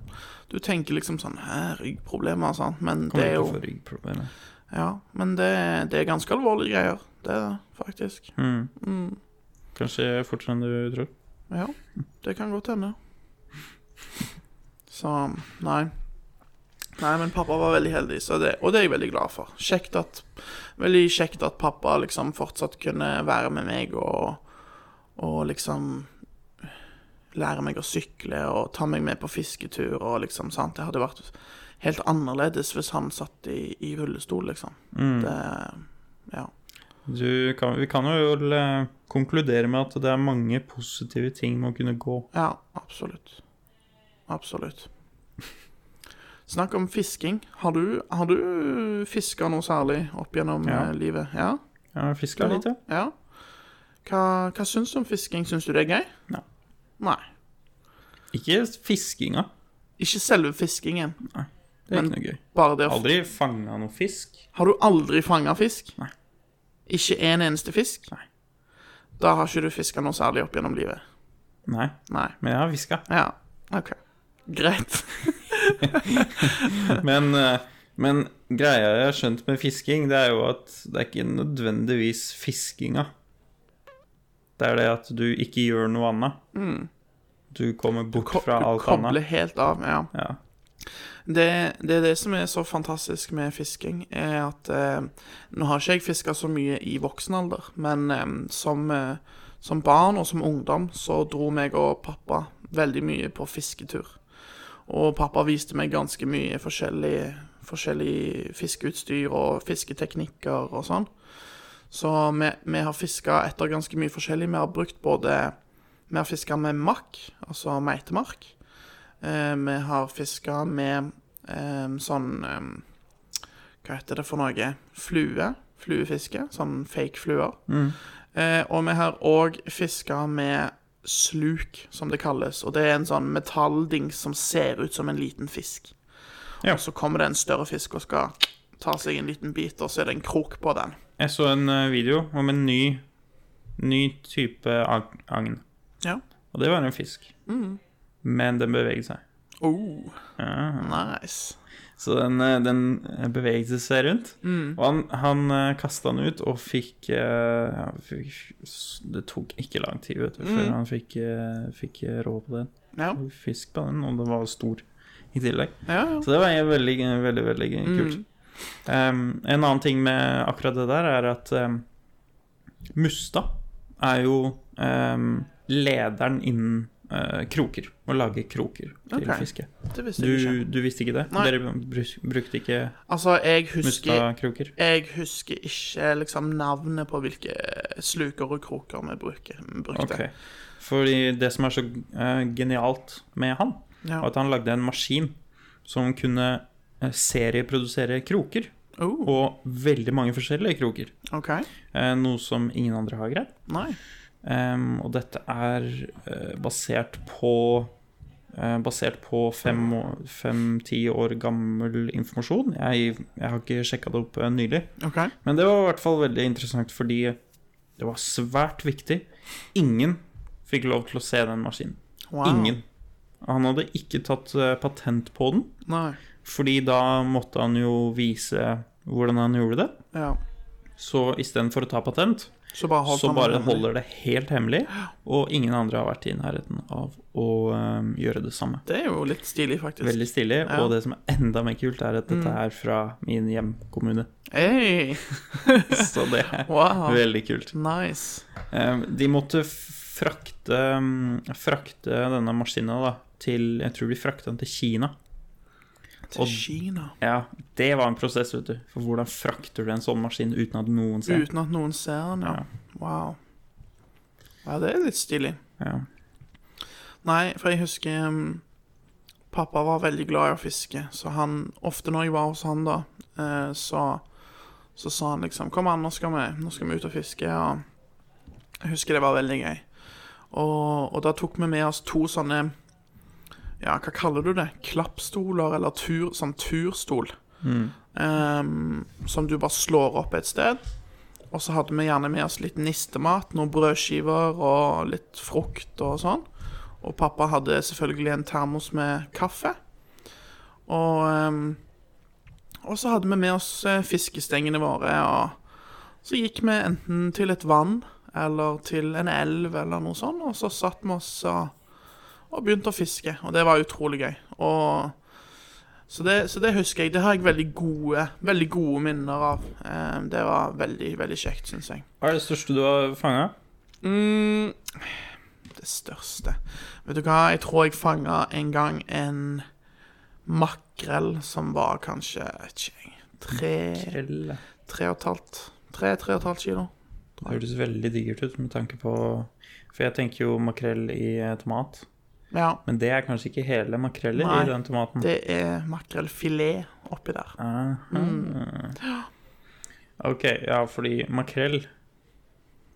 S4: Du tenker liksom sånn Hæ, ryggproblemer og sånn, men
S5: Kommer
S4: det er
S5: til
S4: jo
S5: å få ryggproblemer.
S4: Ja, men det, det er ganske alvorlige greier. Det er det faktisk.
S5: Mm. Kanskje fortere enn du tror.
S4: Ja, det kan godt hende. Så nei. Nei, men pappa var veldig heldig, så det, og det er jeg veldig glad for. Kjekt at, veldig kjekt at pappa liksom fortsatt kunne være med meg og, og liksom lære meg å sykle og ta meg med på fisketur og liksom, sant. Det hadde vært helt annerledes hvis han satt i, i rullestol, liksom. Det, ja.
S5: Du kan, vi kan jo eh, konkludere med at det er mange positive ting med å kunne gå.
S4: Ja, absolutt. Absolutt. Snakk om fisking. Har du, har du fiska noe særlig opp gjennom
S5: Ja.
S4: eh, livet? Ja?
S5: Ja, jeg fiska litt, ja.
S4: ja. Hva, hva syns du om fisking? Syns du det er gøy?
S5: Nei.
S4: Nei.
S5: Ikke fiskinga.
S4: Ikke selve fiskingen,
S5: Det er
S4: Men-
S5: ikke noe gøy.
S4: bare det å
S5: Aldri fanga noe fisk.
S4: Har du aldri fanga fisk?
S5: Nei.
S4: Ikke en eneste fisk?
S5: Nei.
S4: Da har ikke du fiska noe særlig opp gjennom livet?
S5: Nei,
S4: Nei.
S5: men jeg har fiska.
S4: Ja, OK. Greit.
S5: Men, eh, men greia jeg har skjønt med fisking, det er jo at det er ikke nødvendigvis fiskinga. Det er det at du ikke gjør noe annet. Du kommer bort fra
S4: Mm. du
S5: alt
S4: kobler
S5: annet.
S4: helt av. Ja.
S5: Ja.
S4: Det, det er det som er så fantastisk med fisking, er at eh, Nå har ikke jeg fiska så mye i voksen alder, men eh, som, eh, som barn og som ungdom så dro meg og pappa veldig mye på fisketur. Og pappa viste meg ganske mye forskjellig, forskjellig fiskeutstyr og fisketeknikker og sånn. Så vi, vi har fiska etter ganske mye forskjellig. Vi har brukt både Vi har fiska med makk, altså meitemark. Eh, vi har fiska med eh, sånn eh, Hva heter det for noe? Flue. Fluefiske. Sånn fake fluer.
S5: Mm.
S4: Eh, og vi har òg fiska med sluk, som det kalles. Og det er en sånn metalldings som ser ut som en liten fisk.
S5: Ja.
S4: Og så kommer det en større fisk og skal ta seg en liten bit, og så er det en krok på den.
S5: Jeg så en eh, video om en ny, ny type ag- agn.
S4: Ja. Mm.
S5: Og det var en fisk. Men den beveget seg.
S4: Oh,
S5: Ja.
S4: nice.
S5: Så den, eh, den eh, beveget seg rundt.
S4: Mm.
S5: Og han, han eh, kastet den ut og fikk, eh, ja, fikk s- Det tok ikke lang tid vet du, før
S4: Mm.
S5: han fikk, eh, fikk eh, råd på den.
S4: Ja,
S5: Og Fisk på den, og den var stor i tillegg.
S4: ja, ja. Mm.
S5: Så det var veldig, veldig, veldig kult. Um, en annen ting med akkurat det der er at um, Musta er jo um, lederen innen eh, kroker. Å lage kroker til
S4: Ok.
S5: fiske.
S4: Det visste jeg
S5: Du,
S4: ikke.
S5: du visste ikke det?
S4: Nei.
S5: Dere bru- brukte ikke
S4: Altså, jeg husker
S5: mustakroker?
S4: Jeg husker ikke liksom navnet på hvilke eh, sluker og kroker vi bruker, brukte.
S5: Ok. Fordi det som er så eh, genialt med han,
S4: Ja.
S5: var at han lagde en maskin som kunne eh, serieprodusere kroker.
S4: Oh,
S5: Og veldig mange forskjellige kroker.
S4: OK.
S5: Eh, noe som ingen andre har greid.
S4: Nei.
S5: Em, og dette er eh, basert på eh, Basert på fem-ti år gammel informasjon. Jeg, jeg har ikke sjekka det opp eh, nylig.
S4: OK.
S5: Men det var i hvert fall veldig interessant fordi det var svært viktig. Ingen fikk lov til å se den maskinen.
S4: Wow.
S5: Ingen. Han hadde ikke tatt eh, patent på den,
S4: Nei.
S5: fordi da måtte han jo vise hvordan han gjorde det.
S4: Ja.
S5: Så istedenfor å ta patent,
S4: Så bare holdt
S5: så
S4: han
S5: bare
S4: hemmelig.
S5: holder det helt hemmelig, og ingen andre har vært i nærheten av å eh, gjøre det samme.
S4: Det er jo litt stilig, faktisk.
S5: Veldig stilig.
S4: Ja. Mm.
S5: Og det som er enda mer kult, er at dette er fra min hjemkommune.
S4: Hey.
S5: Så det er
S4: Wow.
S5: veldig kult.
S4: Nice.
S5: Eh, De måtte f- frakte, mm, frakte denne maskina da, til Jeg tror de frakta den til Kina.
S4: Til
S5: Og-
S4: Kina.
S5: Ja, Det var en prosess, vet du. For hvordan frakter du en sånn maskin uten at noen ser?
S4: Uten at noen ser den, ja.
S5: Ja.
S4: Wow. Ja, det er litt stilig.
S5: Ja.
S4: Nei, for jeg husker um, Pappa var veldig glad i å fiske, så han Ofte når jeg var hos han, da, eh, så, så sa han liksom Kom an, nå skal vi, nå skal vi ut og fiske. Og jeg husker det var veldig gøy. Og, og da tok vi med oss to sånne Ja, hva kaller du det? Klappstoler, eller tur, sånn turstol.
S5: Mm.
S4: Eh, som du bare slår opp et sted. Og så hadde vi gjerne med oss litt nistemat, noen brødskiver og litt frukt og sånn. Og pappa hadde selvfølgelig en termos med kaffe. Og, ehm, og så hadde vi med oss eh, fiskestengene våre, og så gikk vi enten til et vann eller til en elv eller noe sånt, og så satt vi oss og, og begynte å fiske, og det var utrolig gøy. Og, så, det, så det husker jeg. Det har jeg veldig gode, veldig gode minner av. Ehm, det var veldig, veldig kjekt, syns jeg.
S5: Hva er det største du har fanga?
S4: Mm, det største Vet du hva, jeg tror jeg fanga en gang en makrell som var kanskje ikke jeg, tre,
S5: Det
S4: tre og et halvt Tre, tre og et halvt kilo.
S5: høres veldig digert ut med tanke på For jeg tenker jo makrell i eh, tomat.
S4: Ja.
S5: Men det er kanskje ikke hele makreller
S4: Nei,
S5: i den tomaten.
S4: Det er makrellfilet oppi der.
S5: Aha. Ok, ja, fordi makrell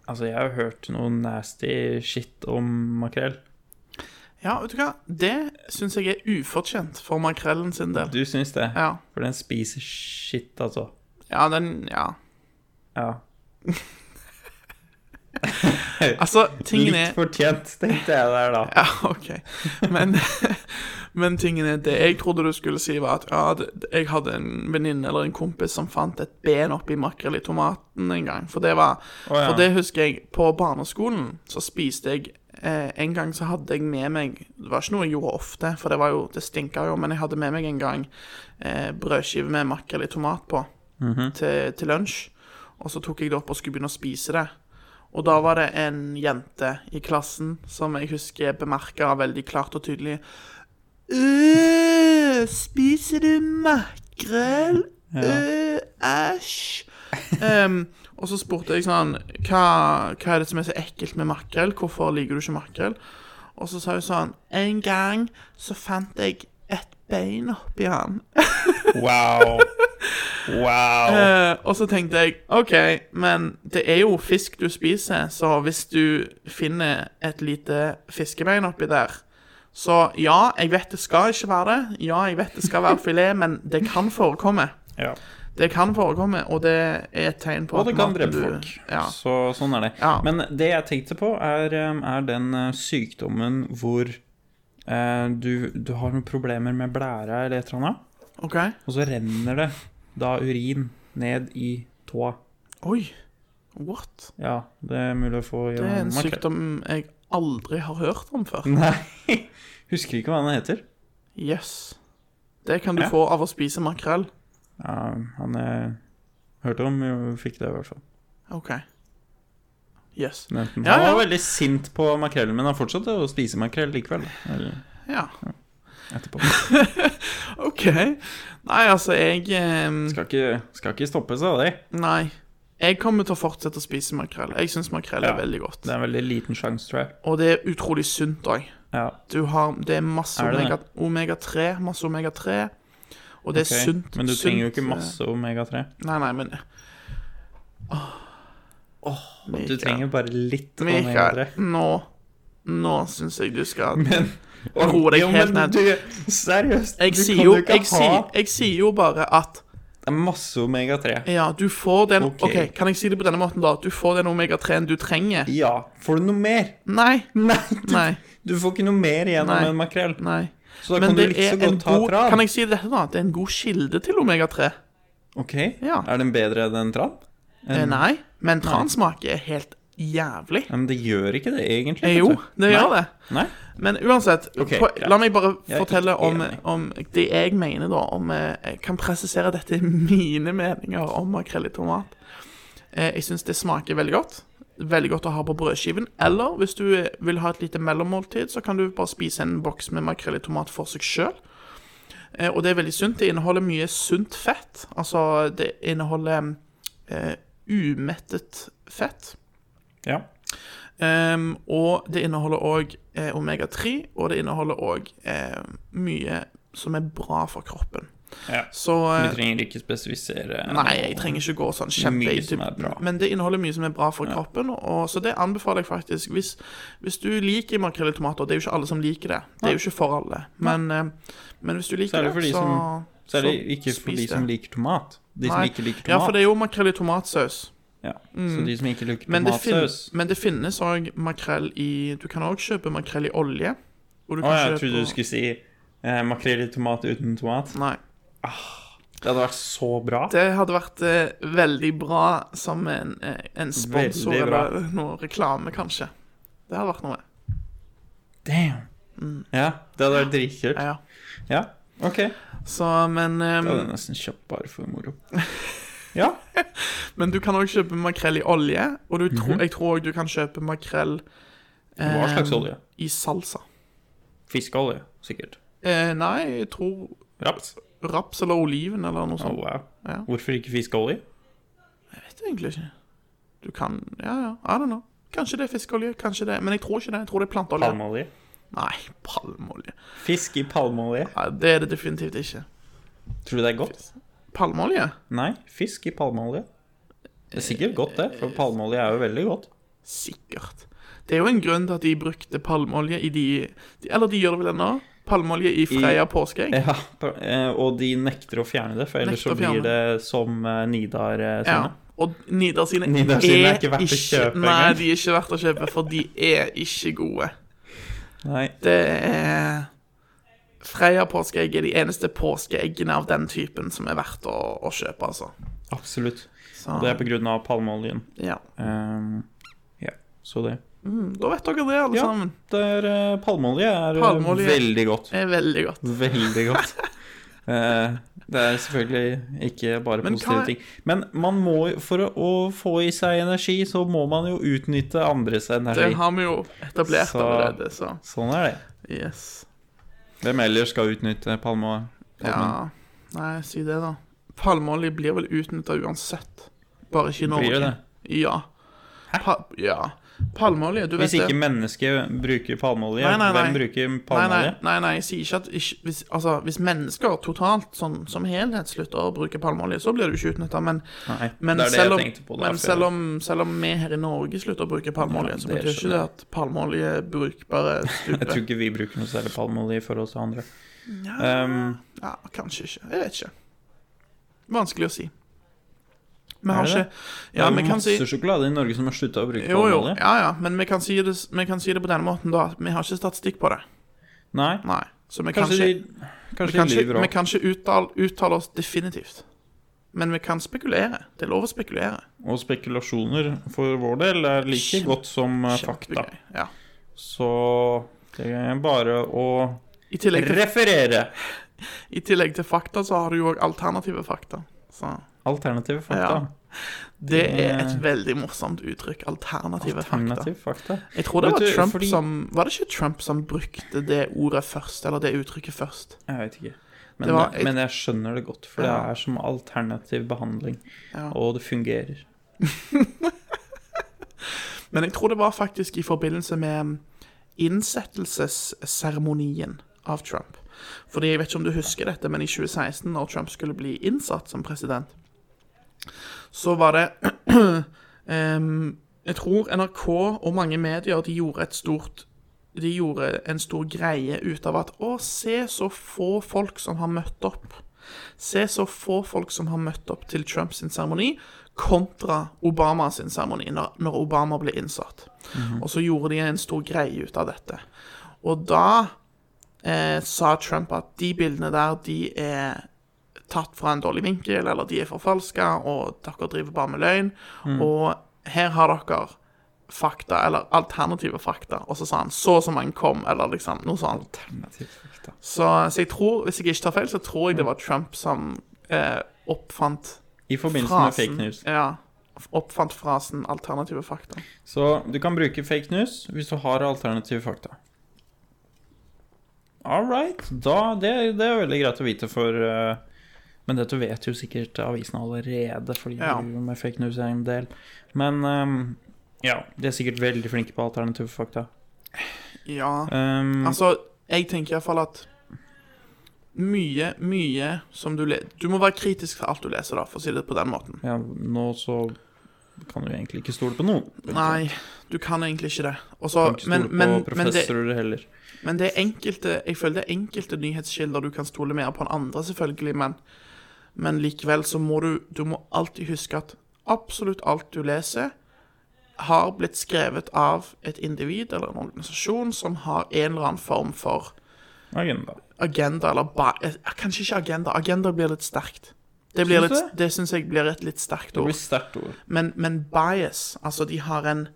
S5: Altså, jeg har hørt noe nasty shit om makrell.
S4: Ja, vet du hva, det syns jeg er ufortjent for makrellen sin del.
S5: Du syns det?
S4: Ja.
S5: For den spiser shit, altså.
S4: Ja, den Ja.
S5: Ja.
S4: Altså, tingen er
S5: Litt fortjent, tenkte jeg der da.
S4: Ja, OK. Men, men tingen er, det jeg trodde du skulle si, var at ja, det, jeg hadde en venninne eller en kompis som fant et ben oppi makrell i tomaten en gang. For det var
S5: Å, ja.
S4: For det husker jeg. På barneskolen så spiste jeg eh, En gang så hadde jeg med meg Det var ikke noe jeg gjorde ofte, for det var jo Det stinka jo, men jeg hadde med meg en gang eh, brødskive med makrell i tomat på
S5: Mhm.
S4: til, til lunsj. Og så tok jeg det opp og skulle begynne å spise det. Og da var det en jente i klassen som jeg husker bemerka veldig klart og tydelig Øh, spiser du makrell? Øh, æsj. Em, og så spurte jeg sånn hva, hva er det som er så ekkelt med makrell? Hvorfor liker du ikke makrell? Og så sa hun sånn En gang så fant jeg et bein oppi han.
S5: Wow. Wow.
S4: Eh, og så tenkte jeg OK, men det er jo fisk du spiser, så hvis du finner et lite fiskebein oppi der Så ja, jeg vet det skal ikke være det. Ja, jeg vet det skal være filet, men det kan forekomme.
S5: Ja.
S4: Det kan forekomme, og det er et tegn på
S5: Og det kan
S4: maten
S5: drepe
S4: du-
S5: folk.
S4: Ja.
S5: Så sånn er det.
S4: Ja.
S5: Men det jeg tenkte på, er, um, er den uh, sykdommen hvor eh, du, du har noen problemer med blæra eller et eller annet,
S4: OK.
S5: og så renner det da urin ned i tåa.
S4: Oi. What?
S5: Ja, det er mulig å få
S4: Det er en
S5: gjennom makrell.
S4: sykdom jeg aldri har hørt om før.
S5: Mm. Nei, husker ikke hva den heter.
S4: Jøss. Yes. Det kan du
S5: Ja.
S4: få av å spise makrell.
S5: Ja, uh, han eh, hørte om, jo, fikk det i hvert fall.
S4: OK. Yes.
S5: Men han
S4: Ja, ja.
S5: var veldig sint på makrellen, men han fortsatte å spise makrell likevel. Eller
S4: Ja.
S5: etterpå.
S4: OK. Nei, altså, jeg ehm,
S5: Skal ikke, skal ikke stoppes av det.
S4: Nei. Jeg kommer til å fortsette å spise makrell. Jeg syns makrell er
S5: Ja.
S4: veldig godt.
S5: Det er en veldig liten sjanse, tror jeg.
S4: Og det er utrolig sunt òg.
S5: Ja.
S4: Du har Det er masse
S5: Er det det?
S4: omega- omega-3, masse omega-3, og det er
S5: ok.
S4: sunt.
S5: Men du trenger jo
S4: sunt,
S5: ikke
S4: eh,
S5: masse omega-3.
S4: Nei, nei, men Åh,
S5: Du trenger bare litt
S4: Mikael,
S5: omega-3.
S4: nå Nå syns jeg du skal
S5: Men
S4: Ro deg
S5: Jo,
S4: helt ned.
S5: men Du, seriøst,
S4: Jeg
S5: du
S4: sier
S5: kan
S4: jo,
S5: jo ikke
S4: jeg
S5: ha
S4: sier, jeg sier jo bare at
S5: Det er masse omega-3.
S4: Ja, du får den
S5: Ok.
S4: OK, kan jeg si det på denne måten, da? Du får den omega-3-en du trenger.
S5: Ja. Får du noe mer?
S4: Nei.
S5: Nei, du,
S4: Nei.
S5: du får ikke noe mer igjen
S4: Nei.
S5: av en makrell.
S4: Nei.
S5: Så da
S4: Men
S5: kan du
S4: det
S5: like så
S4: er en
S5: godt ta
S4: god
S5: tran.
S4: Kan jeg si dette, da? Det er en god kilde til omega-3.
S5: Ok,
S4: Ja.
S5: Er den bedre enn tran?
S4: Eh, Nei, men transmake er helt jævlig.
S5: Ja, Men det gjør ikke det, egentlig.
S4: Eh,
S5: vet
S4: Jo,
S5: du.
S4: det gjør det.
S5: Nei?
S4: Men uansett,
S5: Ok,
S4: på,
S5: greit.
S4: la meg bare
S5: Jeg er
S4: fortelle
S5: ikke
S4: om,
S5: enig.
S4: om det jeg mener, da. Om, eh, jeg kan presisere at dette er mine meninger om makrell i tomat. Eh, jeg syns det smaker veldig godt. Veldig godt å ha på brødskiven. Eller hvis du eh, vil ha et lite mellommåltid, så kan du bare spise en boks med makrell i tomat for seg sjøl. Eh, og det er veldig sunt. Det inneholder mye sunt fett. Altså, det inneholder eh, umettet fett.
S5: Ja.
S4: Ehm, og det inneholder òg eh, omega-3, og det inneholder òg eh, mye som er bra for kroppen.
S5: ja.
S4: Så
S5: Du
S4: eh,
S5: trenger ikke spesifisere
S4: Nei, jeg trenger ikke gå sånn kjempe
S5: Mye
S4: i
S5: som er
S4: dybden,
S5: bra.
S4: Men det inneholder mye som er bra for kroppen, og, så det anbefaler jeg faktisk. Hvis, hvis du liker makrell i tomater Det er jo ikke alle som liker det. Det er jo ikke for alle. Men, eh, men hvis du liker
S5: Særlig for de
S4: det, så
S5: som- Særlig ikke
S4: så
S5: for de
S4: spis
S5: som
S4: det.
S5: liker tomat. De som
S4: Nei.
S5: ikke liker
S4: Ja, for
S5: tomat.
S4: det er jo makrell i tomatsaus.
S5: Ja, Så de som ikke liker
S4: Men det, fin
S5: tomatsaus
S4: men det finnes òg makrell i Du kan òg kjøpe makrell i olje. Og du
S5: Å,
S4: kan
S5: jeg
S4: kjøpe-
S5: trodde du skulle si eh, makrell i tomat uten tomat.
S4: Nei.
S5: Det hadde vært så bra.
S4: Det hadde vært eh, veldig bra som en, eh, en sponsor
S5: Veldig bra.
S4: eller noe reklame, kanskje. Det hadde vært noe.
S5: Damn. Ja, det hadde vært dritkult.
S4: Mm. Ja, Mm. ja.
S5: Ja, OK.
S4: Så, men, eh,
S5: Det hadde jeg nesten kjøpt bare for moro. Ja.
S4: men du kan òg kjøpe makrell i olje, og du
S5: Mhm.
S4: tror- jeg tror òg du kan kjøpe makrell
S5: Hva slags
S4: eh,
S5: olje?
S4: i salsa.
S5: Fiskeolje, sikkert.
S4: Eh, nei, jeg tror
S5: Raps.
S4: raps eller oliven eller noe
S5: Å,
S4: sånt.
S5: wow.
S4: Ja.
S5: Hvorfor ikke fiskeolje?
S4: Jeg vet egentlig ikke. Du kan Ja, ja. I don't know. Kanskje det er fiskeolje, kanskje det Men jeg tror ikke det. Jeg tror det er planteolje.
S5: Palmeolje.
S4: Nei, palmeolje.
S5: Fisk i palmeolje.
S4: Nei, det er det definitivt ikke.
S5: Tror du det er godt?
S4: Palmeolje?
S5: Nei, fisk i palmeolje. Det er sikkert godt, det, for palmeolje er jo veldig godt.
S4: Sikkert. Det er jo en grunn til at de brukte palmeolje i de, de Eller de gjør det vel ennå? Palmeolje i Freia påskeegg.
S5: Ja, pa- eh, Og de nekter å fjerne det, for ellers
S4: Nekter
S5: så
S4: å
S5: blir
S4: fjerne.
S5: det som eh, Nidar eh,
S4: Ja.
S5: sine.
S4: Og Nidar sine,
S5: Nidar sine er ikke verdt å kjøpe
S4: Nei,
S5: engang.
S4: de er ikke verdt å kjøpe, for de er ikke gode.
S5: Nei.
S4: Det er Freia påskeegg er de eneste påskeeggene av den typen som er verdt å, å kjøpe, altså.
S5: Absolutt.
S4: Så,
S5: Og det er på grunn av palmeoljen.
S4: ja.
S5: Um, ja, så det.
S4: Da vet dere det, alle
S5: Ja.
S4: sammen.
S5: det er, eh, palmeolje er eh,
S4: Palmeolje.
S5: veldig godt.
S4: Det er veldig godt.
S5: Veldig godt. Eh, det er selvfølgelig ikke bare
S4: Men
S5: positive
S4: hva er-
S5: ting. Men man må, jo- for å, å få i seg energi, så må man jo utnytte andres
S4: Det
S5: energi.
S4: har vi jo etablert
S5: Så-
S4: allerede, så
S5: Sånn er det.
S4: yes.
S5: Hvem ellers skal utnytte palmeolje?
S4: Ja, nei, si det da. Palmeolje blir vel utnytta uansett. Bare ikke i Norge.
S5: Blir det det?
S4: Ja. Pa ja. Palmeolje, du vet
S5: Hvis ikke
S4: det.
S5: mennesker bruker palmeolje,
S4: Nei, nei, nei.
S5: hvem bruker
S4: Nei, nei,
S5: palmeolje?
S4: nei, nei, jeg sier ikke at ikke, hvis, altså, hvis mennesker totalt sånn, som helhet slutter å bruke palmeolje, så blir det jo ikke utnytta. Men,
S5: Nei,
S4: men,
S5: det er det
S4: selv,
S5: jeg
S4: om,
S5: tenkte på.
S4: men selv, om, selv om vi her i Norge slutter å bruke palmeolje,
S5: Ja,
S4: så
S5: det
S4: betyr ikke
S5: skjønner
S4: det at palmeolje bruk bare
S5: Jeg tror
S4: stuper.
S5: ikke vi bruker noe særlig palmeolje i forhold til andre.
S4: Ja,
S5: Um,
S4: ja, kanskje ikke. Jeg vet ikke. Vanskelig å si. Vi
S5: Er
S4: har
S5: det
S4: ikke
S5: det?
S4: Ja,
S5: det
S4: vi
S5: er
S4: kan si
S5: masse sjokolade i Norge som har slutta å bruke
S4: Jo, jo,
S5: palmeolje.
S4: ja, ja, men vi kan, si det, vi kan si det på denne måten, da. at Vi har ikke statistikk på det.
S5: Nei,
S4: Nei. Så vi kan
S5: kanskje de,
S4: ikke, vi
S5: kanskje
S4: kan
S5: de
S4: ikke,
S5: lyver
S4: vi
S5: òg.
S4: kan ikke uttale, uttale oss definitivt. Men vi kan spekulere. Det er lov å spekulere.
S5: Og spekulasjoner for vår del er like
S4: Kjempe-
S5: godt som eh, fakta.
S4: Kjempegøy, Ja.
S5: Så det er bare å
S4: I, tillegg til,
S5: referere.
S4: I tillegg til fakta så har du jo òg alternative fakta. Så
S5: Alternative fakta.
S4: Det er et veldig morsomt uttrykk. Alternative fakta.
S5: Alternativ fakta.
S4: Jeg tror det
S5: Vet
S4: var
S5: du,
S4: Trump
S5: fordi-
S4: som Var det ikke Trump som brukte det ordet først, eller det uttrykket først?
S5: Jeg vet ikke. Men,
S4: Det var et-
S5: men jeg skjønner det godt, for det er som alternativ behandling.
S4: Ja.
S5: Og det fungerer.
S4: Men jeg tror det var faktisk i forbindelse med um, innsettelsesseremonien av Trump. Fordi jeg vet ikke om du husker dette, men i 2016, når Trump skulle bli innsatt som president, så var det em, Jeg tror NRK og mange medier de gjorde et stort de gjorde en stor greie ut av at Å, se så få folk som har møtt opp. Se så få folk som har møtt opp til Trumps seremoni, kontra Obamas seremoni, når, når Obama ble innsatt. Og så gjorde de en stor greie ut av dette. Og da eh, sa Trump at de bildene der, de er tatt fra en dårlig vinkel, eller de er forfalska, og dere driver bare med løgn. Og her har dere fakta, eller alternative fakta. Og så sa han 'så og så mange kom', eller liksom noe sånt.
S5: Alternativ fakta.
S4: Så, så jeg tror, hvis jeg ikke tar feil, så tror jeg det var Trump som eh, oppfant
S5: I forbindelse med
S4: frasen.
S5: fake news.
S4: Ja. Oppfant frasen 'alternative fakta'.
S5: Så du kan bruke fake news hvis du har alternative fakta. All right. Da, det, det er veldig greit å vite for eh, Men dette vet jo sikkert avisen allerede, fordi de
S4: Ja.
S5: driver med fake news en del. Men ehm, ja, de er sikkert veldig flinke på alternative fakta.
S4: Ja.
S5: Ehm,
S4: Altså, jeg tenker iallfall at mye, mye som du leser Du må være kritisk til alt du leser, da, for å si det på den måten.
S5: ja, nå så kan du egentlig ikke stole på noen.
S4: Nei, du kan egentlig ikke det. Og så-
S5: Du kan ikke
S4: men,
S5: stole på
S4: men, men, det,
S5: professorer heller.
S4: men det er enkelte Jeg føler det er enkelte nyhetskilder du kan stole mer på enn andre, selvfølgelig, men, men likevel så må du Du må alltid huske at absolutt alt du leser, har blitt skrevet av et individ eller en organisasjon som har en eller annen form for
S5: Agenda.
S4: agenda, eller ba eh, Kanskje ikke agenda. Agenda blir litt sterkt. Det, blir
S5: Syns
S4: litt,
S5: du
S4: det? syns jeg blir et litt sterkt
S5: Det
S4: ord.
S5: blir sterkt ord.
S4: Men, men bias Altså, de har en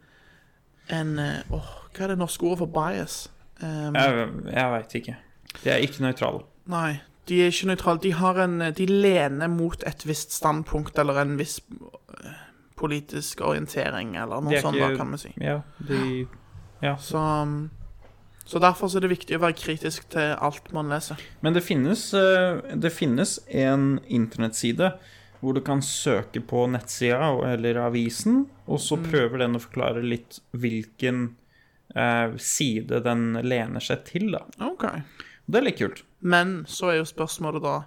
S4: en eh, Åh, hva er det norske ordet for bias? Um,
S5: Jeg, jeg veit ikke. De er ikke nøytrale.
S4: Nei, de er ikke nøytrale. De, har en, eh, de lener mot et visst standpunkt eller en viss eh, politisk orientering eller
S5: De
S4: noe
S5: er
S4: sånt,
S5: ikke-
S4: da, kan vi si.
S5: Ja, de
S4: Så, um, så derfor så er det viktig å være kritisk til alt man leser.
S5: Men det finnes, eh, det finnes en internettside hvor du kan søke på nettsida og- eller avisen, og så
S4: Mm.
S5: prøver den å forklare litt hvilken eh, side den lener seg til. Da.
S4: OK.
S5: Det er litt kult.
S4: Men så er jo spørsmålet da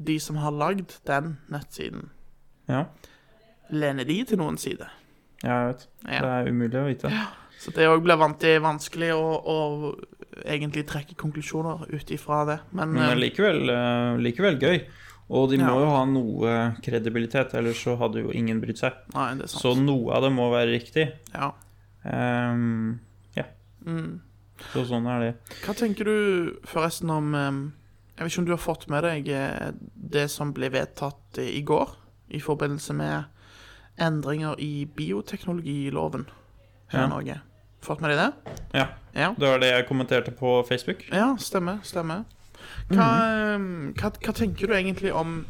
S4: De som har lagd den nettsiden,
S5: Ja,
S4: lener de til noen side?
S5: jeg vet.
S4: Ja.
S5: Det er umulig å vite.
S4: Så det òg blir vant til vanskelig å, å egentlig trekke konklusjoner ut ifra det. Men,
S5: Men det er
S4: eh,
S5: likevel, eh, likevel gøy. Og de må
S4: Ja.
S5: jo ha noe kredibilitet, ellers så hadde jo ingen brydd seg.
S4: nei, det er sant.
S5: Så noe av det må være riktig.
S4: Ja.
S5: Ehm, ja. Så sånn er det.
S4: Hva tenker du forresten om eh, Jeg vet ikke om du har fått med deg eh, det som ble vedtatt i går i forbindelse med endringer i bioteknologiloven her
S5: Ja.
S4: i Norge. Fått med deg det?
S5: Ja.
S4: Ja.
S5: Det var det jeg kommenterte på Facebook.
S4: Ja, stemmer. Stemmer. Hva,
S5: Mhm.
S4: eh, hva, hva tenker du egentlig om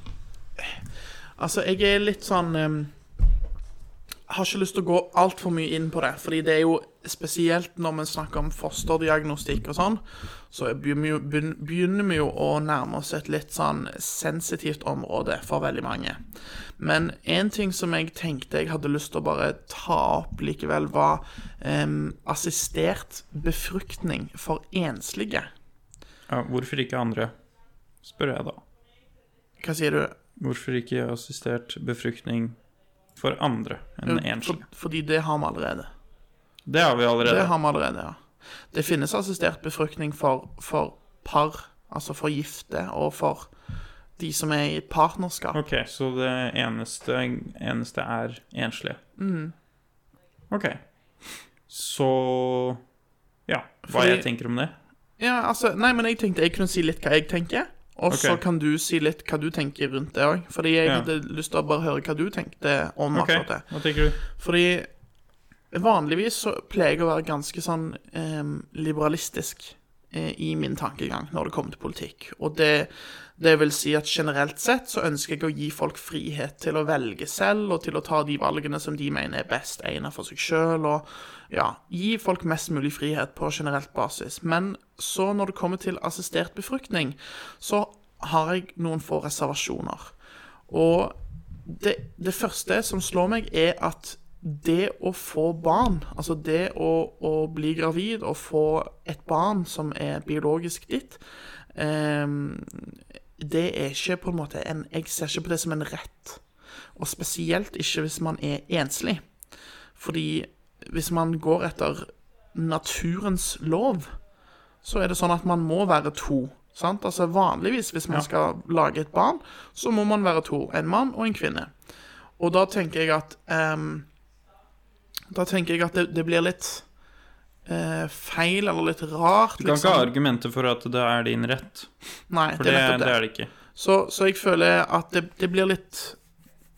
S4: Altså, jeg er litt sånn eh, Har ikke lyst til å gå altfor mye inn på det. Fordi det er jo spesielt når vi snakker om fosterdiagnostikk og sånn, så begynner vi jo- begyn- begynner vi jo å nærme oss et litt sånn sensitivt område for veldig mange. Men en ting som jeg tenkte jeg hadde lyst til å bare ta opp likevel, var em, assistert befruktning for enslige.
S5: Ja, hvorfor ikke andre? Spør jeg da.
S4: Hva sier du?
S5: Hvorfor ikke assistert befruktning for andre enn
S4: For,
S5: enslige?
S4: fordi det har vi allerede.
S5: Det har vi allerede.
S4: Det har vi allerede, ja. Det finnes assistert befruktning for, for par, altså for gifte, og for de som er i et partnerskap.
S5: Ok, så det eneste, eneste er enslige.
S4: Mm.
S5: Ok. Så Ja, hva
S4: Fordi-
S5: jeg tenker om det?
S4: Ja, altså, nei, men jeg tenkte jeg kunne si litt hva jeg tenker, og så
S5: Ok.
S4: kan du si litt hva du tenker rundt det òg. Fordi jeg
S5: Ja.
S4: hadde lyst til å bare høre hva du tenkte om
S5: Ok,
S4: akkurat det.
S5: hva tenker du?
S4: Fordi vanligvis så pleier jeg å være ganske sånn eh, ehm, liberalistisk eh, i min tankegang når det kommer til politikk. Og det, det vil si at generelt sett så ønsker jeg å gi folk frihet til å velge selv, og til å ta de valgene som de mener er best egnet for seg sjøl, og ja, gi folk mest mulig frihet på generelt basis. Men så når det kommer til assistert befruktning, så har jeg noen få reservasjoner. Og det, det første som slår meg, er at det å få barn, altså det å, å bli gravid og få et barn som er biologisk ditt, ehm, det er ikke på en måte en Jeg ser ikke på det som en rett. Og spesielt ikke hvis man er enslig. Fordi hvis man går etter naturens lov, så er det sånn at man må være to. Sant? Altså Vanligvis hvis man skal lage et barn, så må man være to. En mann og en kvinne. Og da tenker jeg at ehm, Da tenker jeg at det, det blir litt eh, feil eller litt rart. liksom.
S5: Du kan ikke ha argumenter for at det er din rett,
S4: Nei,
S5: for det,
S4: er nettopp
S5: det er det ikke.
S4: så, så jeg føler at det, det blir litt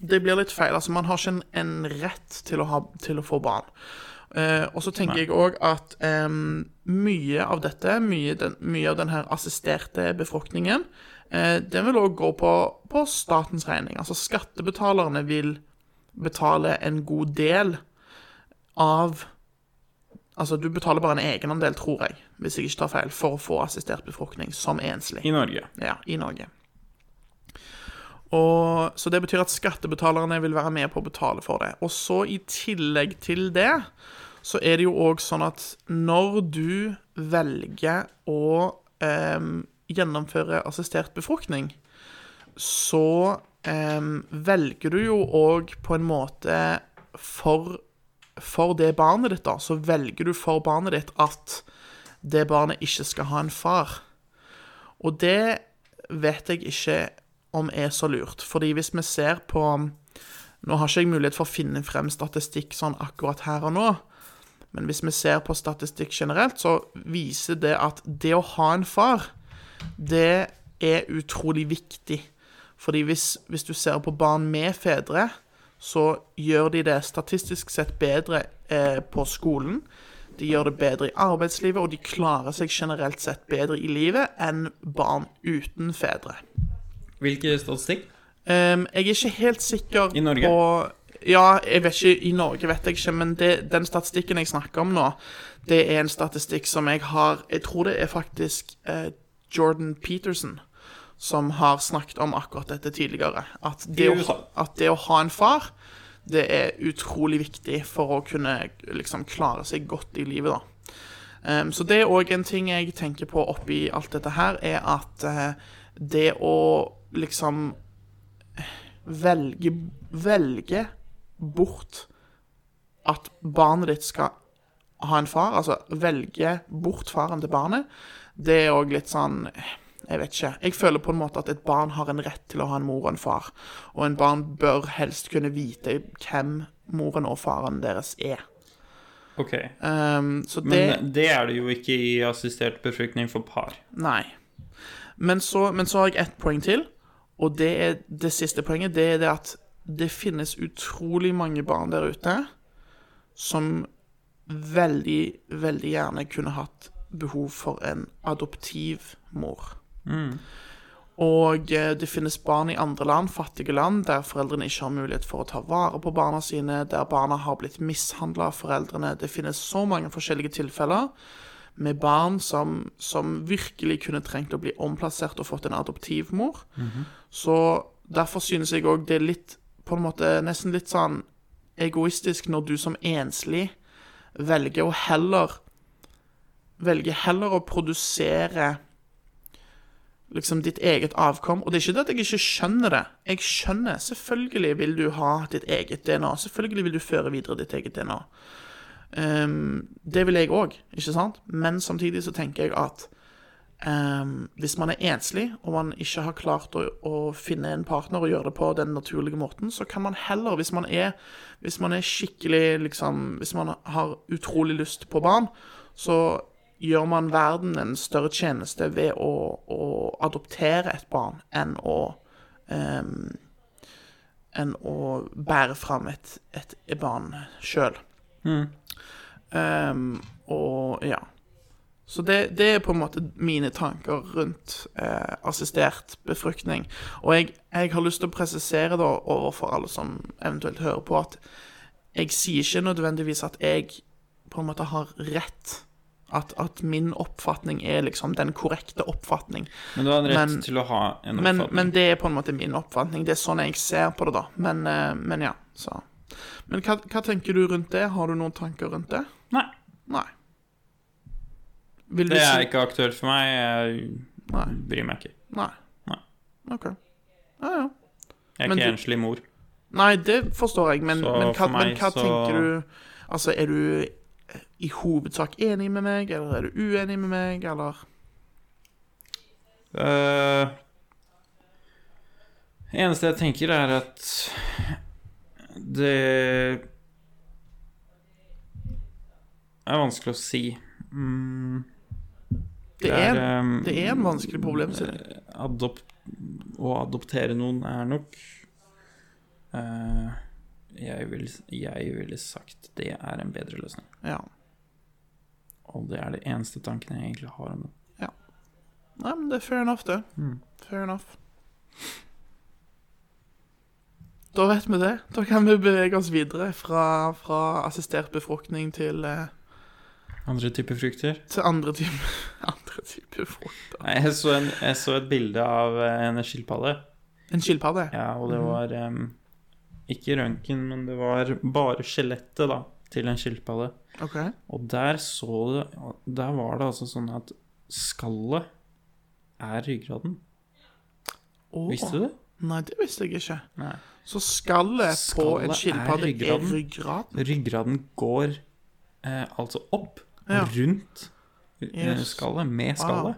S4: Det blir litt feil. Altså, man har ikke en, en rett til å, ha, til å få barn. Eh, og så tenker jeg òg at em, mye av dette, mye, den, mye av den her assisterte befruktningen, eh, den vil òg gå på, på statens regning. Altså skattebetalerne vil betale en god del av Altså, du betaler bare en egenandel, tror jeg, hvis jeg ikke tar feil, for å få assistert befruktning som enslig.
S5: I Norge.
S4: Ja, i Norge. Og, så det betyr at skattebetalerne vil være med på å betale for det. Og så i tillegg til det, så er det jo òg sånn at når du velger å em, gjennomføre assistert befruktning, så em, velger du jo òg på en måte for, for det barnet ditt, da, så velger du for barnet ditt at det barnet ikke skal ha en far. Og det vet jeg ikke om er så lurt. Fordi hvis vi ser på Nå har ikke jeg mulighet for å finne frem statistikk sånn akkurat her og nå. Men hvis vi ser på statistikk generelt, så viser det at det å ha en far, det er utrolig viktig. Fordi hvis, hvis du ser på barn med fedre, så gjør de det statistisk sett bedre eh, på skolen. De gjør det bedre i arbeidslivet, og de klarer seg generelt sett bedre i livet enn barn uten fedre.
S5: Hvilken statistikk?
S4: Ehm, jeg er ikke helt sikker
S5: I Norge?
S4: på Ja, jeg vet ikke, i Norge vet jeg ikke, men det, den statistikken jeg snakker om nå, det er en statistikk som jeg har Jeg tror det er faktisk eh, Jordan Peterson som har snakket om akkurat dette tidligere. At det,
S5: I
S4: å,
S5: USA.
S4: ha- at det å ha en far, det er utrolig viktig for å kunne liksom klare seg godt i livet, da. Ehm, så det er òg en ting jeg tenker på oppi alt dette her, er at eh, det å liksom velge, velge bort at barnet ditt skal ha en far, altså velge bort faren til barnet, det er òg litt sånn jeg vet ikke. Jeg føler på en måte at et barn har en rett til å ha en mor og en far. Og en barn bør helst kunne vite hvem moren og faren deres er.
S5: Ok.
S4: Ehm, så det
S5: Men det er det jo ikke i assistert befruktning for par.
S4: Nei. Men så, men så har jeg ett poeng til, og det er det siste poenget. Det er det at det finnes utrolig mange barn der ute som veldig, veldig gjerne kunne hatt behov for en adoptivmor. Og eh, det finnes barn i andre land, fattige land, der foreldrene ikke har mulighet for å ta vare på barna sine, der barna har blitt mishandla av foreldrene. Det finnes så mange forskjellige tilfeller med barn som, som virkelig kunne trengt å bli omplassert og fått en adoptivmor. Så derfor synes jeg òg det er litt, på en måte nesten litt sånn egoistisk når du som enslig velger å heller Velger heller å produsere liksom ditt eget avkom. Og det er ikke det at jeg ikke skjønner det. Jeg skjønner. Selvfølgelig vil du ha ditt eget DNA. Selvfølgelig vil du føre videre ditt eget DNA. Ehm, det vil jeg òg, ikke sant? Men samtidig så tenker jeg at ehm, hvis man er enslig, og man ikke har klart å, å finne en partner og gjøre det på den naturlige måten, så kan man heller, hvis man er, hvis man er skikkelig liksom, Hvis man har utrolig lyst på barn, så gjør man verden en større tjeneste ved å, å adoptere et barn enn å ehm, enn å bære fram et, et barn sjøl. Ehm, og ja. Så det, det er på en måte mine tanker rundt eh, assistert befruktning. Og jeg, jeg har lyst til å presisere da overfor alle som eventuelt hører på, at jeg sier ikke nødvendigvis at jeg på en måte har rett. At, at min oppfatning er liksom den korrekte oppfatning.
S5: Men du har en rett
S4: Men-
S5: til å ha en
S4: Men,
S5: oppfatning.
S4: men det er på en måte min oppfatning. Det er sånn jeg ser på det, da. Men, eh, men ja, så Men hva, hva tenker du rundt det? Har du noen tanker rundt det?
S5: Nei.
S4: Nei. Vil du
S5: Det
S4: si-
S5: er ikke aktuelt for meg. Jeg
S4: Nei.
S5: bryr meg ikke.
S4: Nei.
S5: Nei.
S4: OK. Ja, ja.
S5: Jeg er
S4: Men
S5: ikke
S4: du-
S5: enslig mor.
S4: Nei, det forstår jeg, men,
S5: Så
S4: men hva,
S5: for meg
S4: men hva
S5: så-
S4: tenker du Altså, er du i hovedsak enig med meg, eller er du uenig med meg, eller
S5: Eh, eneste jeg tenker, er at det er vanskelig å si. Mm,
S4: Det er,
S5: em,
S4: det er en vanskelig problemstilling.
S5: adop Å adoptere noen er nok eh, jeg, vil, jeg ville sagt det er en bedre løsning.
S4: Ja.
S5: Og det er det eneste tanken jeg egentlig har om det.
S4: Nei, men det er fair enough, det.
S5: Mm.
S4: Fair enough. Da vet vi det. Da kan vi bevege oss videre fra, fra assistert befruktning til, eh,
S5: Andre typer frukter?
S4: til andre typer andre type frukter.
S5: Nei, jeg så, en, jeg så et bilde av eh, en skilpadde.
S4: En skilpadde?
S5: Ja, og
S4: Mhm.
S5: det var em, ikke røntgen, men det var bare skjelettet da, til en skilpadde.
S4: OK.
S5: Og der så det Der var det altså sånn at skallet er ryggraden.
S4: Å,
S5: Visste du det?
S4: Nei, det visste jeg ikke.
S5: Nei.
S4: Så skallet, på
S5: Skallet
S4: en
S5: er
S4: skilpadde er
S5: ryggraden.
S4: ryggraden?
S5: Ryggraden går eh, altså opp og
S4: Ja.
S5: rundt eh,
S4: Yes.
S5: skallet, med skallet.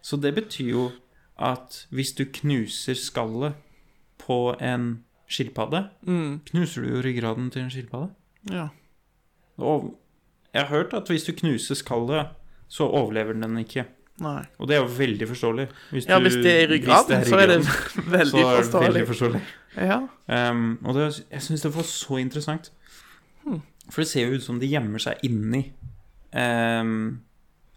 S5: Så det betyr jo at hvis du knuser skallet på en skilpadde,
S4: Mm.
S5: knuser du jo ryggraden til en skilpadde.
S4: Ja.
S5: Og jeg har hørt at hvis du knuser skallet, så overlever den ikke.
S4: Nei.
S5: Og det er jo veldig forståelig. Hvis,
S4: Ja,
S5: du-
S4: hvis det er ryggraden, så er det
S5: ryggraden, så
S4: veldig
S5: er det
S4: forståelig.
S5: veldig forståelig.
S4: Ja.
S5: Um, og det, jeg syns det var så interessant.
S4: Hmm.
S5: For det ser jo ut som de gjemmer seg inni um,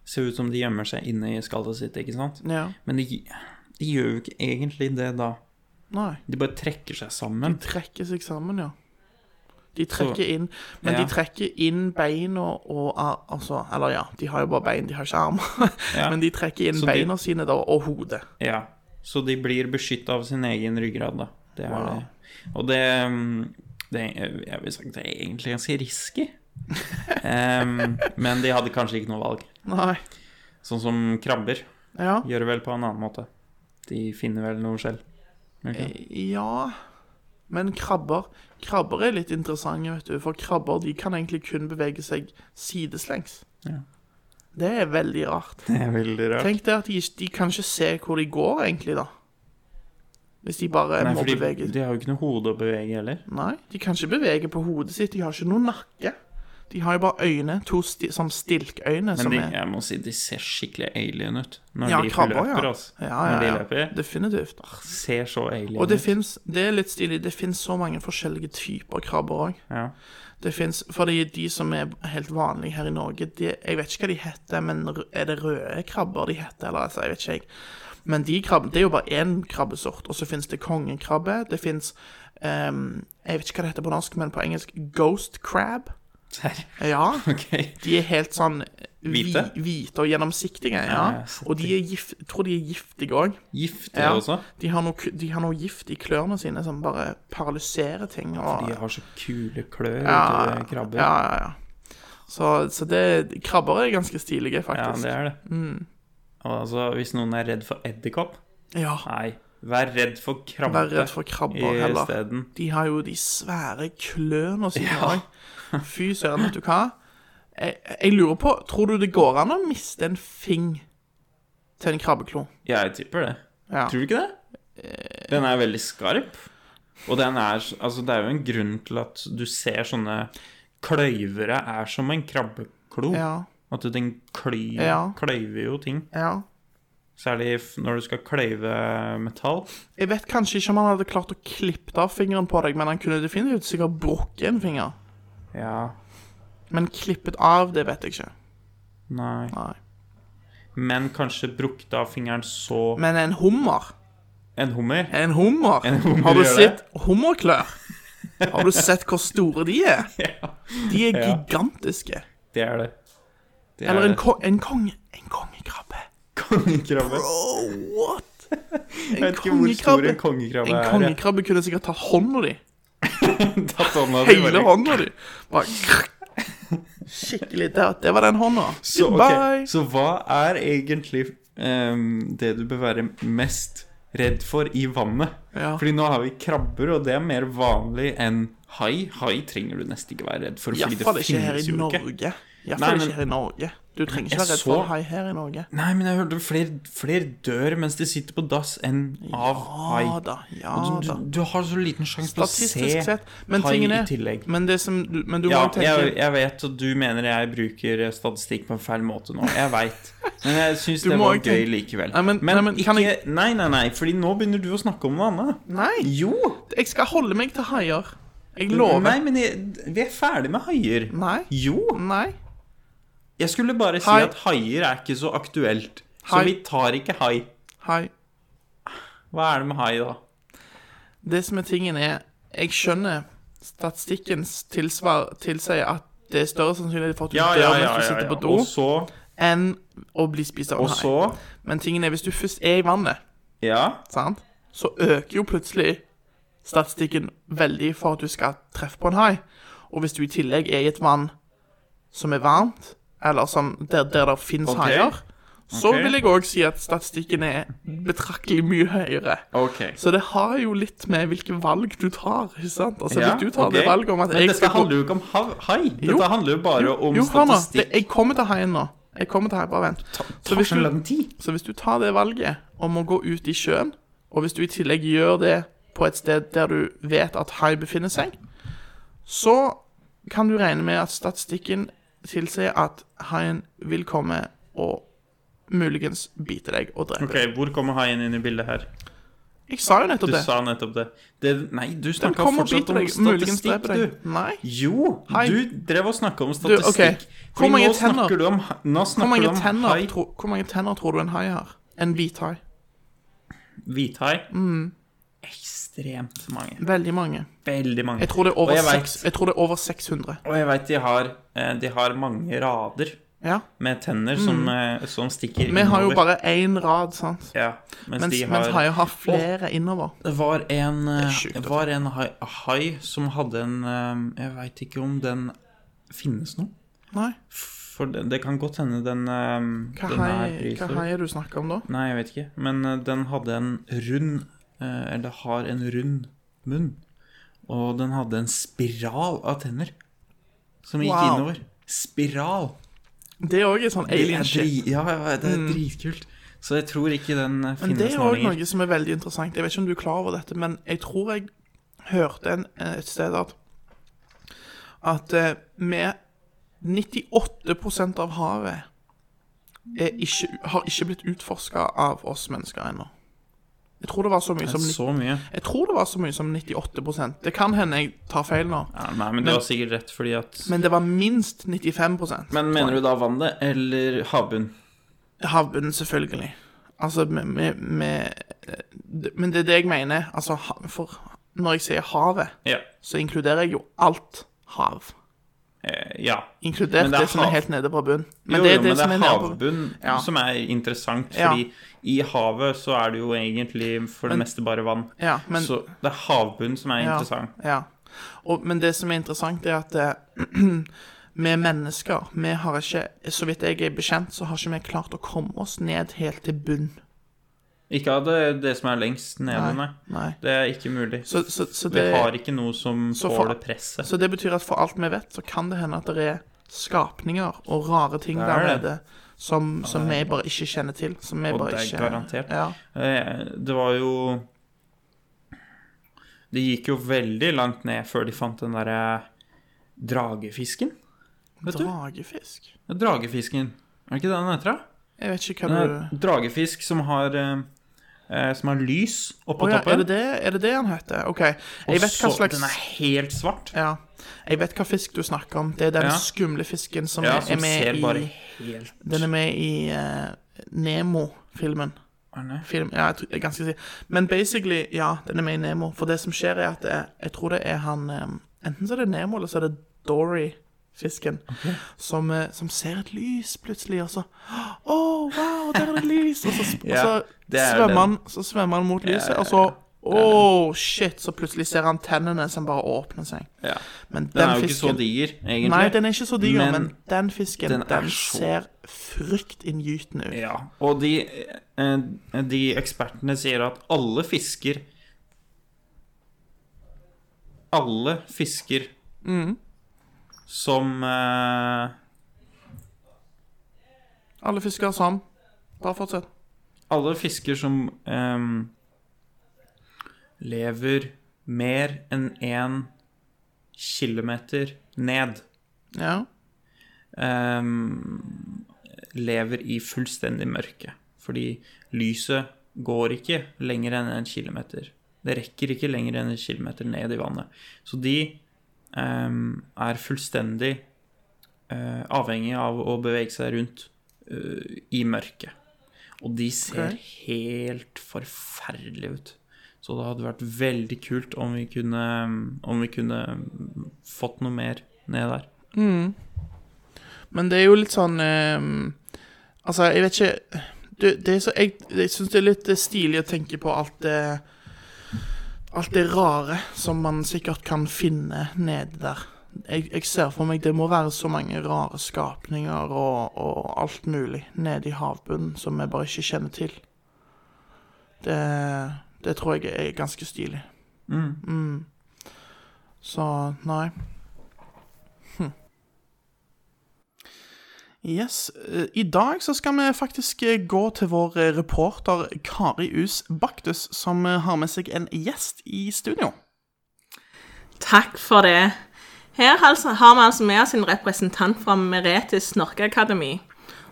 S5: Ser ut som de gjemmer seg inni skallet sitt, ikke sant?
S4: ja.
S5: Men de, de gjør jo ikke egentlig det da.
S4: Nei.
S5: De bare trekker seg sammen.
S4: De trekker seg sammen, ja. De trekker
S5: Så-
S4: inn Men
S5: Ja.
S4: de trekker inn beina og ar- altså, Eller ja, de har jo bare bein, de har ikke armer.
S5: Ja.
S4: Men de trekker inn
S5: Så de-
S4: beina sine da, og hodet.
S5: Ja, så de blir beskytta av sin egen ryggrad, da. Det er
S4: Wow.
S5: det. Og det, um, det Jeg vil sagt det er egentlig ganske risky. um, men de hadde kanskje ikke noe valg.
S4: Nei.
S5: Sånn som krabber
S4: Ja.
S5: gjør det vel på en annen måte. De finner vel noe selv. Gjør de ikke det?
S4: Ja Men krabber Krabber er litt interessante, vet du. For krabber de kan egentlig kun bevege seg sideslengs.
S5: Ja.
S4: Det er veldig rart.
S5: Det er veldig rart.
S4: Tenk det at de, ikke- de kan ikke se hvor de går, egentlig, da. Hvis de bare
S5: Nei,
S4: må
S5: for de,
S4: bevege
S5: de har jo ikke noe hode å bevege heller.
S4: Nei, de kan ikke bevege på hodet sitt. De har ikke noen nakke. De har jo bare øyne, to sti som stilkøyne.
S5: Men
S4: som
S5: de,
S4: er...
S5: jeg må si de ser skikkelig alien ut når
S4: Ja,
S5: de
S4: krabber,
S5: løper.
S4: ja.
S5: Altså.
S4: Ja, ja,
S5: Når de
S4: ja.
S5: løper.
S4: Definitivt.
S5: Ser så alien
S4: Og det
S5: ut.
S4: fins Det er litt stilig. Det fins så mange forskjellige typer krabber òg.
S5: Ja.
S4: Det fins Fordi de som er helt vanlige her i Norge de, Jeg vet ikke hva de heter, men r- er det røde krabber de heter? Eller altså, jeg vet ikke, jeg. Men de krabbe, det er jo bare én krabbesort. Og så fins det kongekrabbe. Det fins Jeg vet ikke hva det heter på norsk, men på engelsk ghost crab.
S5: Ser.
S4: Ja.
S5: Ok.
S4: De er helt sånn hvite,
S5: Hvite?
S4: hvite og gjennomsiktige. Ja.
S5: ja, sett
S4: og de er gift, jeg tror de er giftige òg.
S5: Gifte
S4: Ja.
S5: også.
S4: De, har noe k- de har noe gift i klørne sine som bare paralyserer ting. Og,
S5: De har så kule klør,
S4: Ja,
S5: vet du, krabber.
S4: ja,
S5: Ja,
S4: ja, ja. Så, så det, krabber er ganske stilige, faktisk. Mm.
S5: det er det. Og altså, hvis noen er redd for edderkopp
S4: Ja,
S5: Nei, vær redd for krabbe.
S4: Vær redd for krabber heller.
S5: Isteden.
S4: De har jo de svære klørne sine òg. Fy søren, vet du hva? Jeg, jeg lurer på Tror du det går an å miste en fing til en krabbeklo?
S5: Ja, jeg tipper det.
S4: Ja. Eh.
S5: Tror du ikke det? Den er veldig skarp. Og den er Altså, det er jo en grunn til at du ser sånne kløyvere er som en krabbeklo.
S4: Ja.
S5: At den klyver,
S4: Ja.
S5: kløyver jo ting.
S4: ja.
S5: Særlig f- når du skal kløyve metall.
S4: Jeg vet kanskje ikke om han hadde klart å klippe av fingeren på deg, men han kunne definitivt sikkert brukket en finger.
S5: Ja.
S4: Men klippet av, det vet jeg ikke.
S5: Nei.
S4: Nei.
S5: men kanskje brukte av fingeren så
S4: Men en hummer
S5: En hummer?
S4: En hummer?
S5: En hummer
S4: Har du
S5: gjør
S4: sett hummerklør? Har du sett hvor store de er? De er
S5: Ja.
S4: gigantiske.
S5: Det er det. det
S4: Eller
S5: er
S4: en,
S5: det.
S4: ko en konge... En kongekrabbe.
S5: kongekrabbe.
S4: Oh, what? En
S5: Jeg vet ikke hvor stor en
S4: En
S5: kongekrabbe er. jeg.
S4: kongekrabbe kunne sikkert tatt hånda di.
S5: Tatt hånda di
S4: Hele
S5: bare-
S4: hånda di. Bare krr. Skikkelig. Det, det var den hånda.
S5: Så, ok,
S4: Goodbye.
S5: så hva er egentlig ehm, det du bør være mest redd for i vannet?
S4: Ja.
S5: Fordi nå har vi krabber, og det er mer vanlig enn hai. Hai trenger du nesten ikke være redd for, fordi det
S4: Iallfall ikke her i
S5: finnes jo ikke.
S4: Norge.
S5: Nei,
S4: Iallfall
S5: men-
S4: ikke her i Norge. Du trenger
S5: Jeg
S4: ikke være redd
S5: så-
S4: for hai her i Norge.
S5: Nei, men jeg hørte flere, flere dør mens de sitter på dass enn av hai.
S4: Ja Ah da. Ja
S5: Og Du,
S4: da.
S5: du, du har så liten sjanse på å se
S4: Statistisk sett. Men
S5: hai
S4: tingen
S5: i
S4: er
S5: tillegg.
S4: Men det som du, men du
S5: Ja,
S4: må jo
S5: jeg,
S4: tenke
S5: jeg vet, og du mener jeg bruker eh, statistikk på en feil måte nå. Jeg veit. Men jeg syns
S4: Du
S5: det
S4: må
S5: var
S4: ikke-
S5: gøy likevel.
S4: Nei, men- nei, men
S5: ikke
S4: kan jeg-
S5: Nei, nei, nei, fordi nå begynner du å snakke om noe annet.
S4: Nei,
S5: Jo!
S4: jeg skal holde meg til haier. Jeg lover.
S5: Nei, men jeg, vi er ferdig med haier.
S4: Nei.
S5: Jo!
S4: Nei.
S5: Jeg skulle bare si
S4: Hai.
S5: at haier er ikke så aktuelt. Så
S4: Hai.
S5: vi tar ikke hai.
S4: Hai.
S5: Hva er det med hai, da?
S4: Det som er tingen, er Jeg skjønner statistikken tilsvar, tilsier at det er større sannsynlighet for at du dør mens du sitter på do,
S5: Og så,
S4: enn å bli spist av en
S5: og så
S4: hai. Men tingen er, hvis du først er i vannet,
S5: Ja.
S4: sant, så øker jo plutselig statistikken veldig for at du skal treffe på en hai. Og hvis du i tillegg er i et vann som er varmt, eller som der, der det fins
S5: Ok.
S4: haier, så
S5: Ok.
S4: vil jeg òg si at statistikken er betraktelig mye høyere.
S5: OK.
S4: Så det har jo litt med hvilke valg du tar, ikke sant? Altså,
S5: Ja,
S4: hvis du tar
S5: ok.
S4: det valget om at
S5: Men
S4: jeg
S5: dette
S4: skal gå-
S5: handler jo ikke om hav- hai. Dette
S4: Jo.
S5: handler jo bare om
S4: jo, hør nå, det,
S5: statistikk.
S4: jeg kommer til haien nå. Jeg kommer til haien, bare vent.
S5: Ta
S4: hvis
S5: seg
S4: du-
S5: en tid.
S4: Så hvis du tar det valget om å gå ut i sjøen, og hvis du i tillegg gjør det på et sted der du vet at hai befinner seg, så kan du regne med at statistikken tilsier at haien vil komme og muligens bite deg og drepe
S5: Ok,
S4: deg.
S5: Hvor kommer haien inn i bildet her?
S4: Jeg sa jo
S5: Du
S4: nettopp det.
S5: sa nettopp det. det nei, du
S4: Den
S5: snakka
S4: kommer og
S5: fortsatt
S4: biter
S5: om
S4: deg, muligens
S5: statistikk,
S4: dreper deg.
S5: du.
S4: Nei.
S5: Jo,
S4: Hai.
S5: du drev og snakka om
S4: ok.
S5: statistikk.
S4: Hvor
S5: Fordi
S4: mange
S5: nå
S4: tenner-
S5: snakker du om, ha- nå
S4: Hvor
S5: snakker du
S4: mange,
S5: om hai.
S4: tenner, tro, hvor mange tenner tror du en hai har? En hvit hai.
S5: Hvithai.
S4: Mm.
S5: Ekstremt mange.
S4: Veldig mange.
S5: Veldig mange.
S4: Jeg tror det er over,
S5: og jeg vet-
S4: seks, jeg tror det er over 600.
S5: Og jeg veit de, har, eh, de har mange rader
S4: Ja.
S5: med tenner som, eh, som stikker
S4: Mm. Vi har jo bare én rad, sant.
S5: ja, mens,
S4: Mens,
S5: de har,
S4: mens haier har flere innover.
S5: Det var en, eh,
S4: sjukt
S5: det
S4: å
S5: var en hai, hai som hadde en eh, Jeg veit ikke om den finnes nå.
S4: Nei.
S5: For det, det kan godt hende den, eh,
S4: Hva
S5: den
S4: hai,
S5: er
S4: hva
S5: prisgitt.
S4: hai er du snakker om da?
S5: Nei, jeg vet ikke. Men eh, den hadde en rund eh, Eller har en rund munn. Og den hadde en spiral av tenner som gikk
S4: Wow.
S5: innover. Spiral!
S4: Det er òg en sånn
S5: Det
S4: alien
S5: er,
S4: shit.
S5: dri, ja, ja, det er dritkult. Så jeg tror ikke den eh,
S4: Mm. Men
S5: finnes
S4: det er
S5: nå
S4: òg
S5: lenger.
S4: noe som er veldig interessant. Jeg vet ikke om du er klar over dette, men jeg tror jeg hørte en, eh, et sted at at eh, med 98 av havet er ikke, har ikke blitt utforska av oss mennesker ennå. Jeg tror det var så mye som,
S5: Det er
S4: ni-
S5: Så mye.
S4: jeg tror det var så mye som 98 Det kan hende jeg tar feil nå,
S5: Ja, nei, men du
S4: Men-
S5: har sikkert rett, fordi at
S4: men det var minst 95
S5: Men mener du da vannet eller havbunnen?
S4: Havbunnen, selvfølgelig. Altså, med, med, med det- Men det er det jeg mener. Altså, ha- for når jeg sier havet,
S5: Ja.
S4: så inkluderer jeg jo alt hav.
S5: Eh, ja.
S4: Inkludert det,
S5: Men det er
S4: som er
S5: hav.
S4: helt nede på bunnen. Men
S5: jo,
S4: det er
S5: jo,
S4: det
S5: men
S4: som
S5: det
S4: er
S5: er
S4: nede på
S5: havbunn
S4: Ja.
S5: som er interessant,
S4: Ja.
S5: fordi i havet så er det jo egentlig for det meste bare vann.
S4: Ja, men
S5: så det er havbunnen som er
S4: ja,
S5: interessant.
S4: Ja. Og, men det som er interessant, er at eh, vi mennesker, vi har ikke Så vidt jeg er bekjent, så har ikke vi klart å komme oss ned helt til bunn.
S5: Ikke av det, det som er lengst nede, nei.
S4: Nei.
S5: Det er ikke mulig.
S4: Så, så, så
S5: Vi
S4: det
S5: har ikke noe som
S4: Så for-
S5: tåler presset.
S4: Så det betyr at for alt vi vet, så kan det hende at det er skapninger og rare ting
S5: Det er
S4: der
S5: det.
S4: nede som, som vi bare ikke kjenner til. Som vi
S5: Og
S4: bare
S5: det er
S4: ikke
S5: garantert.
S4: Ja.
S5: Eh, Det var jo Det gikk jo veldig langt ned før de fant den derre dragefisken. Vet du?
S4: Dragefisk?
S5: Dragefisken. Er det ikke det den heter, da?
S4: Jeg vet ikke hva
S5: Den
S4: du
S5: er dragefisk som har eh, eh, Som har lys oppå
S4: Å ja, er
S5: toppen.
S4: det det, er det det han heter? OK.
S5: Og
S4: Jeg vet hva
S5: så-
S4: slags
S5: Den er helt svart.
S4: ja. Jeg vet hva fisk du snakker om. Det er den
S5: Ja.
S4: skumle fisken som,
S5: Ja,
S4: er
S5: som
S4: med
S5: ser
S4: i
S5: bare helt
S4: Den er med i eh, Nemo-filmen.
S5: Arne?
S4: Film, ja, jeg, tror- jeg er ganske sikker. Men basically, ja, den er med i Nemo. For det som skjer, er at jeg, jeg tror det er han em, Enten så er det Nemo, eller så er det Dory. Fisken som, eh, som ser et lys plutselig, og så Å, wow, der er det lys! Og så, sp-
S5: Ja,
S4: så,
S5: det er
S4: svømmer
S5: den.
S4: han, så svømmer han mot lyset, og så Oh, shit! Så plutselig ser han tennene som bare åpner seg.
S5: Ja.
S4: Men den,
S5: Den, er jo ikke så
S4: fisken
S5: diger, egentlig.
S4: Nei, den er ikke så diger, men,
S5: Men
S4: den fisken
S5: den
S4: den,
S5: er så-
S4: ser fryktinngytende ut.
S5: Ja, og de, eh, de ekspertene sier at alle fisker Alle fisker som eh,
S4: Alle fisker sånn. Bare fortsett.
S5: Alle fisker som ehm, lever mer enn én kilometer ned,
S4: Ja.
S5: ehm, lever i fullstendig mørke. Fordi lyset går ikke lenger enn en kilometer. Det rekker ikke lenger enn en kilometer ned i vannet. Så de ehm, er fullstendig eh, avhengig av å bevege seg rundt eh, i mørket. Og de ser
S4: Ok.
S5: helt forferdelige ut. Så det hadde vært veldig kult om vi kunne, om vi kunne fått noe mer ned der.
S4: Men det er jo litt sånn ehm, Altså, jeg vet ikke det, det er så, Jeg, jeg syns det er litt eh, stilig å tenke på alt det Alt det rare som man sikkert kan finne nede der. Jeg, jeg ser for meg det må være så mange rare skapninger og, og alt mulig nede i havbunnen som vi bare ikke kjenner til. Det, det tror jeg er ganske stilig. Mm. Så nei. Yes. eh, I dag så skal vi faktisk eh, gå til vår eh, reporter Kari Us Baktus, som eh, har med seg en gjest i studio.
S6: Takk for det. Her altså, har vi altså med oss en representant fra Meretis snorkeakademi.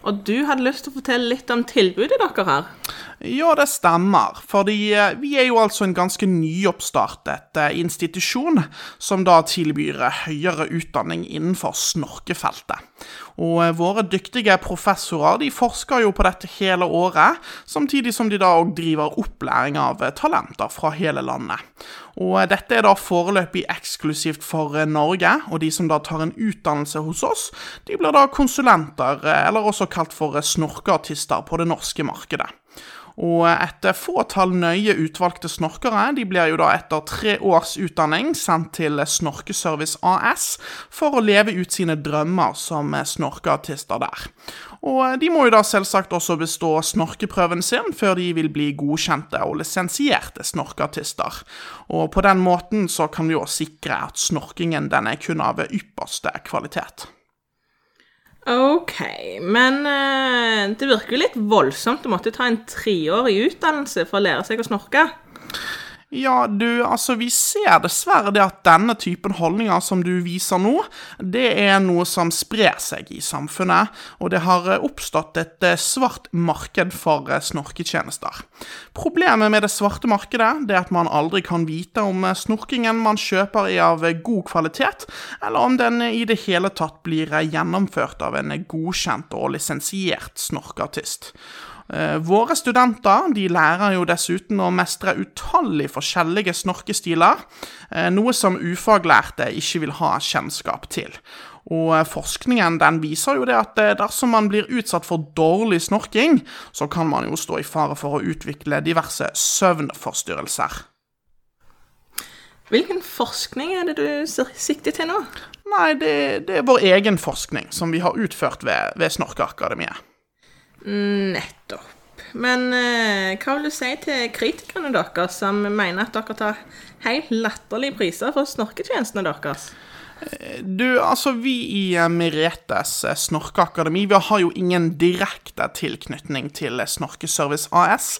S6: Og du hadde lyst til å fortelle litt om tilbudet dere har.
S4: Ja, det stemmer, fordi eh, vi er jo altså en ganske nyoppstartet eh, institusjon som da tilbyr eh, høyere utdanning innenfor snorkefeltet. Og eh, våre dyktige professorer de forsker jo på dette hele året, samtidig som de da òg driver opplæring av eh, talenter fra hele landet. Og eh, dette er da foreløpig eksklusivt for eh, Norge, og de som da tar en utdannelse hos oss, de blir da konsulenter, eh, eller også kalt for eh, snorkeartister på det norske markedet. Og et fåtall nøye utvalgte snorkere de blir jo da etter tre års utdanning sendt til Snorkeservice AS for å leve ut sine drømmer som snorkeartister der. Og de må jo da selvsagt også bestå snorkeprøven sin før de vil bli godkjente og lisensierte snorkeartister. Og på den måten så kan vi jo sikre at snorkingen den er kun av ypperste kvalitet.
S6: OK, men eh, det virker jo litt voldsomt å måtte ta en treårig utdannelse for å lære seg å snorke.
S4: Ja, du, altså vi ser dessverre det at denne typen holdninger som du viser nå, det er noe som sprer seg i samfunnet, og det har eh, oppstått et eh, svart marked for eh, snorketjenester. Problemet med det svarte markedet det er at man aldri kan vite om eh, snorkingen man kjøper er av eh, god kvalitet, eller om den eh, i det hele tatt blir eh, gjennomført av en eh, godkjent og lisensiert snorkeartist. Eh, Våre studenter de lærer jo dessuten å mestre utallige forskjellige snorkestiler, eh, noe som ufaglærte ikke vil ha kjennskap til. Og eh, forskningen den viser jo det at eh, dersom man blir utsatt for dårlig snorking, så kan man jo stå i fare for å utvikle diverse søvnforstyrrelser.
S6: Hvilken forskning er det du s- sikter til nå?
S4: Nei, det, det er vår egen forskning som vi har utført ved, ved Snorkeakademiet.
S6: Nettopp. Men eh, hva vil du si til kritikerne deres, som mener at dere tar helt latterlige priser for snorketjenestene deres?
S4: Du, altså, vi i eh, Meretes eh, snorkeakademi vi har jo ingen direkte tilknytning til eh, Snorkeservice AS,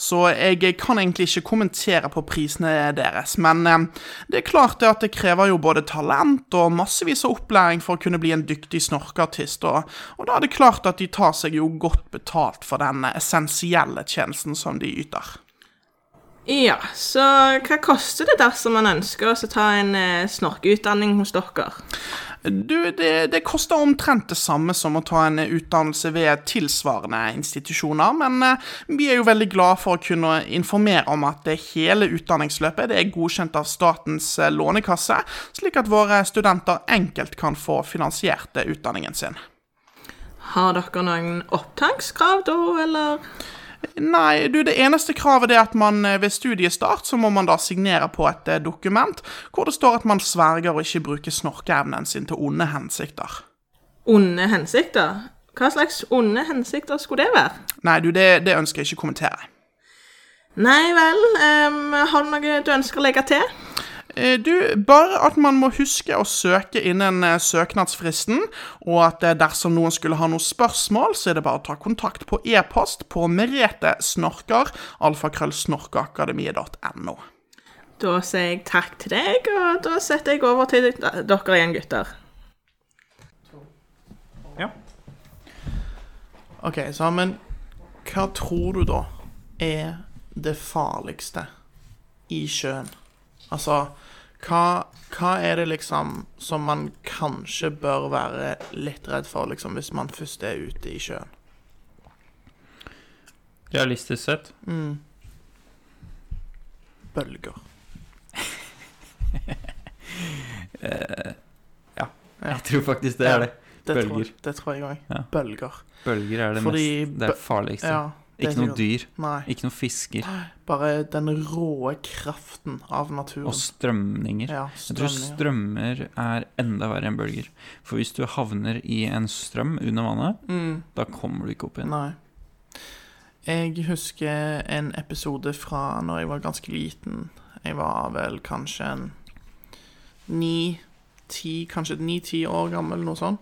S4: så jeg eh, kan egentlig ikke kommentere på prisene deres. Men eh, det er klart det at det krever jo både talent og massevis av opplæring for å kunne bli en dyktig snorkeartist, og, og da er det klart at de tar seg jo godt betalt for den eh, essensielle tjenesten som de yter.
S6: Ja, så hva koster det dersom man ønsker å ta en eh, snorkeutdanning hos dere?
S4: Du, det, det koster omtrent det samme som å ta en utdannelse ved tilsvarende institusjoner, men eh, vi er jo veldig glad for å kunne informere om at det hele utdanningsløpet det er godkjent av Statens eh, lånekasse, slik at våre studenter enkelt kan få finansiert eh, utdanningen sin.
S6: Har dere noen opptakskrav da, eller?
S4: Nei, du, det eneste kravet er at man eh, ved studiestart så må man da signere på et eh, dokument hvor det står at man sverger å ikke bruke snorkeevnen sin til onde hensikter.
S6: Onde hensikter? Hva slags onde hensikter skulle det være?
S4: Nei, du, det, det ønsker jeg ikke kommentere.
S6: Nei vel, ehm, har du noe du ønsker å legge til?
S4: Eh, Du, bare at man må huske å søke innen eh, søknadsfristen, og at eh, dersom noen skulle ha noen spørsmål, så er det bare å ta kontakt på e-post på meretesnorker, alfakrøllsnorkeakademiet.no.
S6: Da sier jeg takk til deg, og da setter jeg over til d- dere igjen, gutter.
S4: Ok, så men hva tror du da er det farligste i sjøen? Altså, hva, hva er det liksom som man kanskje bør være litt redd for, liksom, hvis man først er ute i sjøen?
S7: Realistisk sett.
S4: Bølger.
S7: Jeg tror faktisk det
S4: Ja,
S7: er det.
S4: Det
S7: Bølger.
S4: Tror, det tror jeg òg.
S7: Ja.
S4: Bølger.
S7: Bølger er det
S4: Fordi
S7: mest Det er
S4: bø-
S7: farligste.
S4: Ja, det er
S7: ikke noe
S4: sikkert-
S7: dyr.
S4: Nei.
S7: Ikke noe fisker.
S4: Bare den råe kraften av naturen.
S7: Og strømninger.
S4: ja,
S7: Jeg tror
S4: strømninger.
S7: strømmer er enda verre enn bølger. For hvis du havner i en strøm under vannet,
S4: Mm,
S7: da kommer du ikke opp igjen.
S4: nei. Jeg husker en episode fra når jeg var ganske liten. Jeg var vel kanskje en ni, ti, kanskje ni-ti år gammel, noe sånt.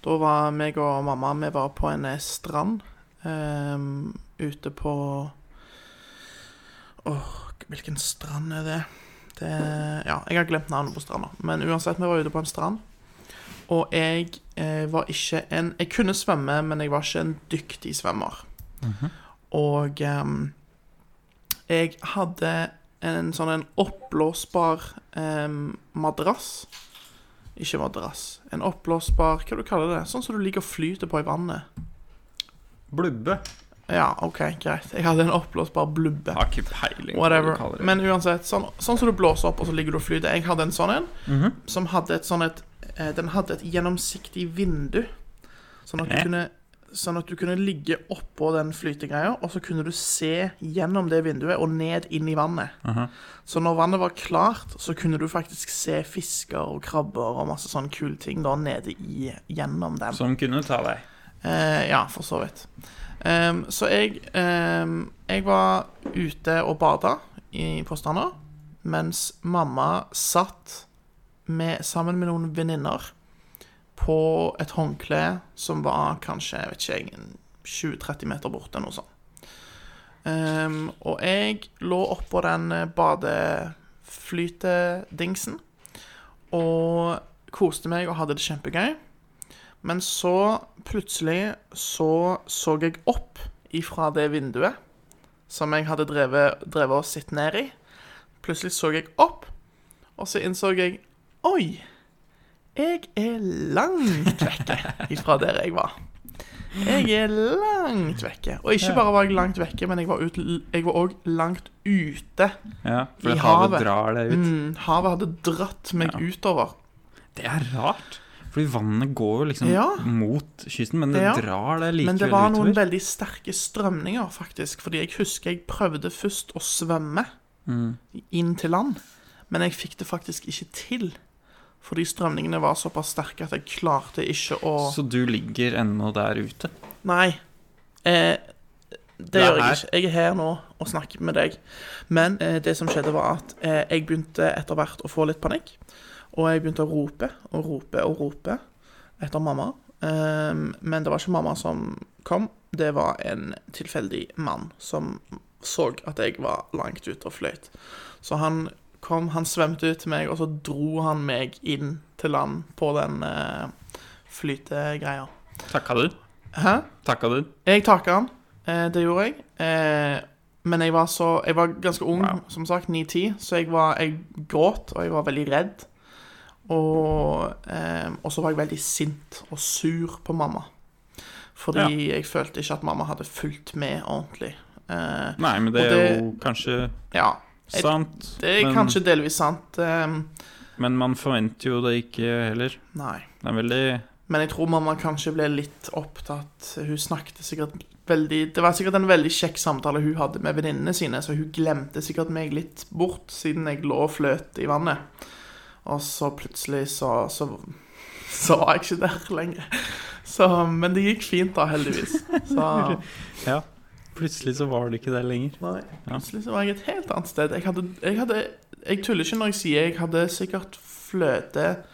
S4: Da var meg og mamma vi var på en eh, strand ehm, ute på Åh, hvilken strand er det? det Ja, jeg har glemt navnet på stranda. Men uansett, vi var ute på en strand. Og jeg eh, var ikke en Jeg kunne svømme, men jeg var ikke en dyktig svømmer. Og ehm, jeg hadde en sånn en oppblåsbar ehm, madrass. Ikke madrass. En oppblåsbar Hva du kaller du det? Sånn som du ligger og flyter på i vannet.
S5: Blubbe.
S4: Ja, OK, greit. Jeg hadde en oppblåsbar blubbe.
S7: Har ikke peiling på hva du
S4: Whatever.
S7: kaller det.
S4: Men uansett, sånn, sånn som du blåser opp, og så ligger du og flyter. Jeg hadde en sånn en, som hadde et sånn et eh, Den hadde et gjennomsiktig vindu, sånn at du
S7: Hæ?
S4: kunne Sånn at du kunne ligge oppå den flytegreia, og så kunne du se gjennom det vinduet og ned inn i vannet. Så når vannet var klart, så kunne du faktisk se fisker og krabber og masse sånne kule ting da nede i gjennom den.
S5: Som kunne ta deg.
S4: Eh, ja, for så vidt. Ehm, så jeg, ehm, jeg var ute og bada i- på stranda, mens mamma satt med, sammen med noen venninner på et håndkle som var kanskje jeg vet ikke, jeg, en 20-30 meter borte, noe sånt. Ehm, og jeg lå oppå den eh, badeflytedingsen og koste meg og hadde det kjempegøy. Men så plutselig så så jeg opp ifra det vinduet som jeg hadde drevet, drevet og sittet ned i. Plutselig så jeg opp, og så innså jeg Oi! Jeg er langt vekke ifra der jeg var. Jeg er langt vekke. Og ikke bare var jeg langt vekke, men jeg var ut- jeg var òg langt ute.
S7: Ja,
S4: I
S7: for havet
S4: havet.
S7: drar deg ut.
S4: Mm, havet hadde dratt meg utover.
S7: Det er rart. Fordi vannet går jo liksom
S4: Ja.
S7: mot kysten, men det
S4: Ja.
S7: drar deg
S4: Men
S7: likevel
S4: det var noen
S7: utover.
S4: veldig sterke strømninger, faktisk. Fordi jeg husker jeg prøvde først å svømme inn til land, men jeg fikk det faktisk ikke til. Fordi strømningene var såpass sterke at jeg klarte ikke å
S7: Så du ligger ennå der ute.
S4: Nei. Eh, det
S7: er
S4: gjør jeg
S7: her.
S4: ikke. Jeg er her nå og snakker med deg. Men eh, det som skjedde, var at eh, jeg begynte etter hvert å få litt panikk. Og jeg begynte å rope og rope og rope etter mamma. Eh, men det var ikke mamma som kom. Det var en tilfeldig mann som så at jeg var langt ute og fløyt. Så han kom, han svømte ut til meg, og så dro han meg inn til land på den eh, flytegreia.
S7: Takka du?
S4: Hæ?
S7: Takka du?
S4: Jeg takket han. Eh, det gjorde jeg. Eh, Men jeg var, så, jeg var ganske ung, som sagt, 9-10, så jeg, var, jeg gråt, og jeg var veldig redd. Og, eh, og så var jeg veldig sint og sur på mamma. Fordi jeg følte ikke at mamma hadde fulgt med ordentlig. Eh,
S5: Nei, men det
S4: Og
S5: er
S4: det-
S5: jo kanskje
S4: ja, Jeg-
S5: sant.
S4: det er
S5: men,
S4: kanskje delvis sant. Eh,
S5: men man forventer jo det ikke heller.
S4: nei.
S5: Det er veldig
S4: Men jeg tror mamma kanskje ble litt opptatt. Hun snakket sikkert veldig Det var sikkert en veldig kjekk samtale hun hadde med venninnene sine, så hun glemte sikkert meg litt bort, siden jeg lå og fløt i vannet. Og så plutselig så Så, så var jeg ikke der lenger. Så, men det gikk fint, da, heldigvis. Så
S5: Ja. Plutselig så var det ikke der lenger.
S4: Nei, plutselig så var jeg et helt annet sted. Jeg hadde, jeg hadde Jeg tuller ikke når jeg sier jeg hadde sikkert fløtet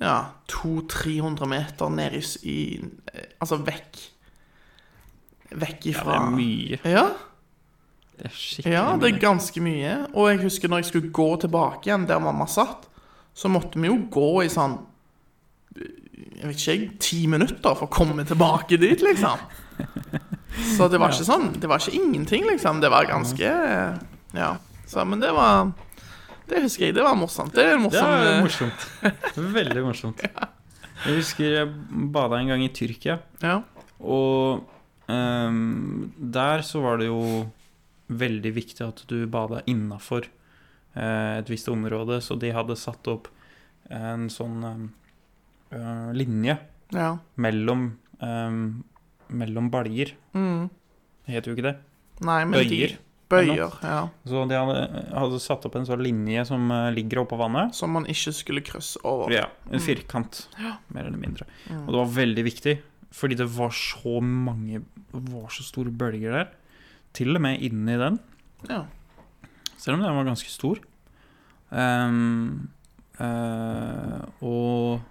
S4: ja, 200-300 meter ned i, s- i Altså vekk. Vekk
S5: Det
S4: ifra
S5: er mye.
S4: ja,
S7: Det er skikkelig
S4: ja, det er
S7: mye.
S4: ganske mye. Og jeg husker når jeg skulle gå tilbake igjen der mamma satt, så måtte vi jo gå i sånn Jeg vet ikke, jeg, ti minutter for å komme tilbake dit, liksom. Så det var ikke sånn. Det var ikke ingenting, liksom. Det var ganske Ja. Så, men det var Det husker jeg. Det var morsomt. Det er en
S5: Det
S4: morsom
S5: er morsomt. Veldig morsomt. Jeg husker jeg bada en gang i Tyrkia.
S4: Ja.
S5: Og ehm, der så var det jo veldig viktig at du bada innafor eh, et visst område, så de hadde satt opp en sånn ehm, eh, linje
S4: ja.
S5: mellom, ehm, mellom baljer.
S4: Mm.
S5: Det heter jo ikke det.
S4: Nei, men
S5: Bøyer.
S4: De, bøyer, ja.
S5: Så de hadde, hadde satt opp en sånn linje som eh, ligger oppå vannet.
S4: Som man ikke skulle krysse over.
S5: Ja, en firkant, mer eller mindre. Og det var veldig viktig, fordi det var så mange Det var så store bølger der. Til og med inni den,
S4: Ja.
S5: selv om den var ganske stor. Ehm, eh, og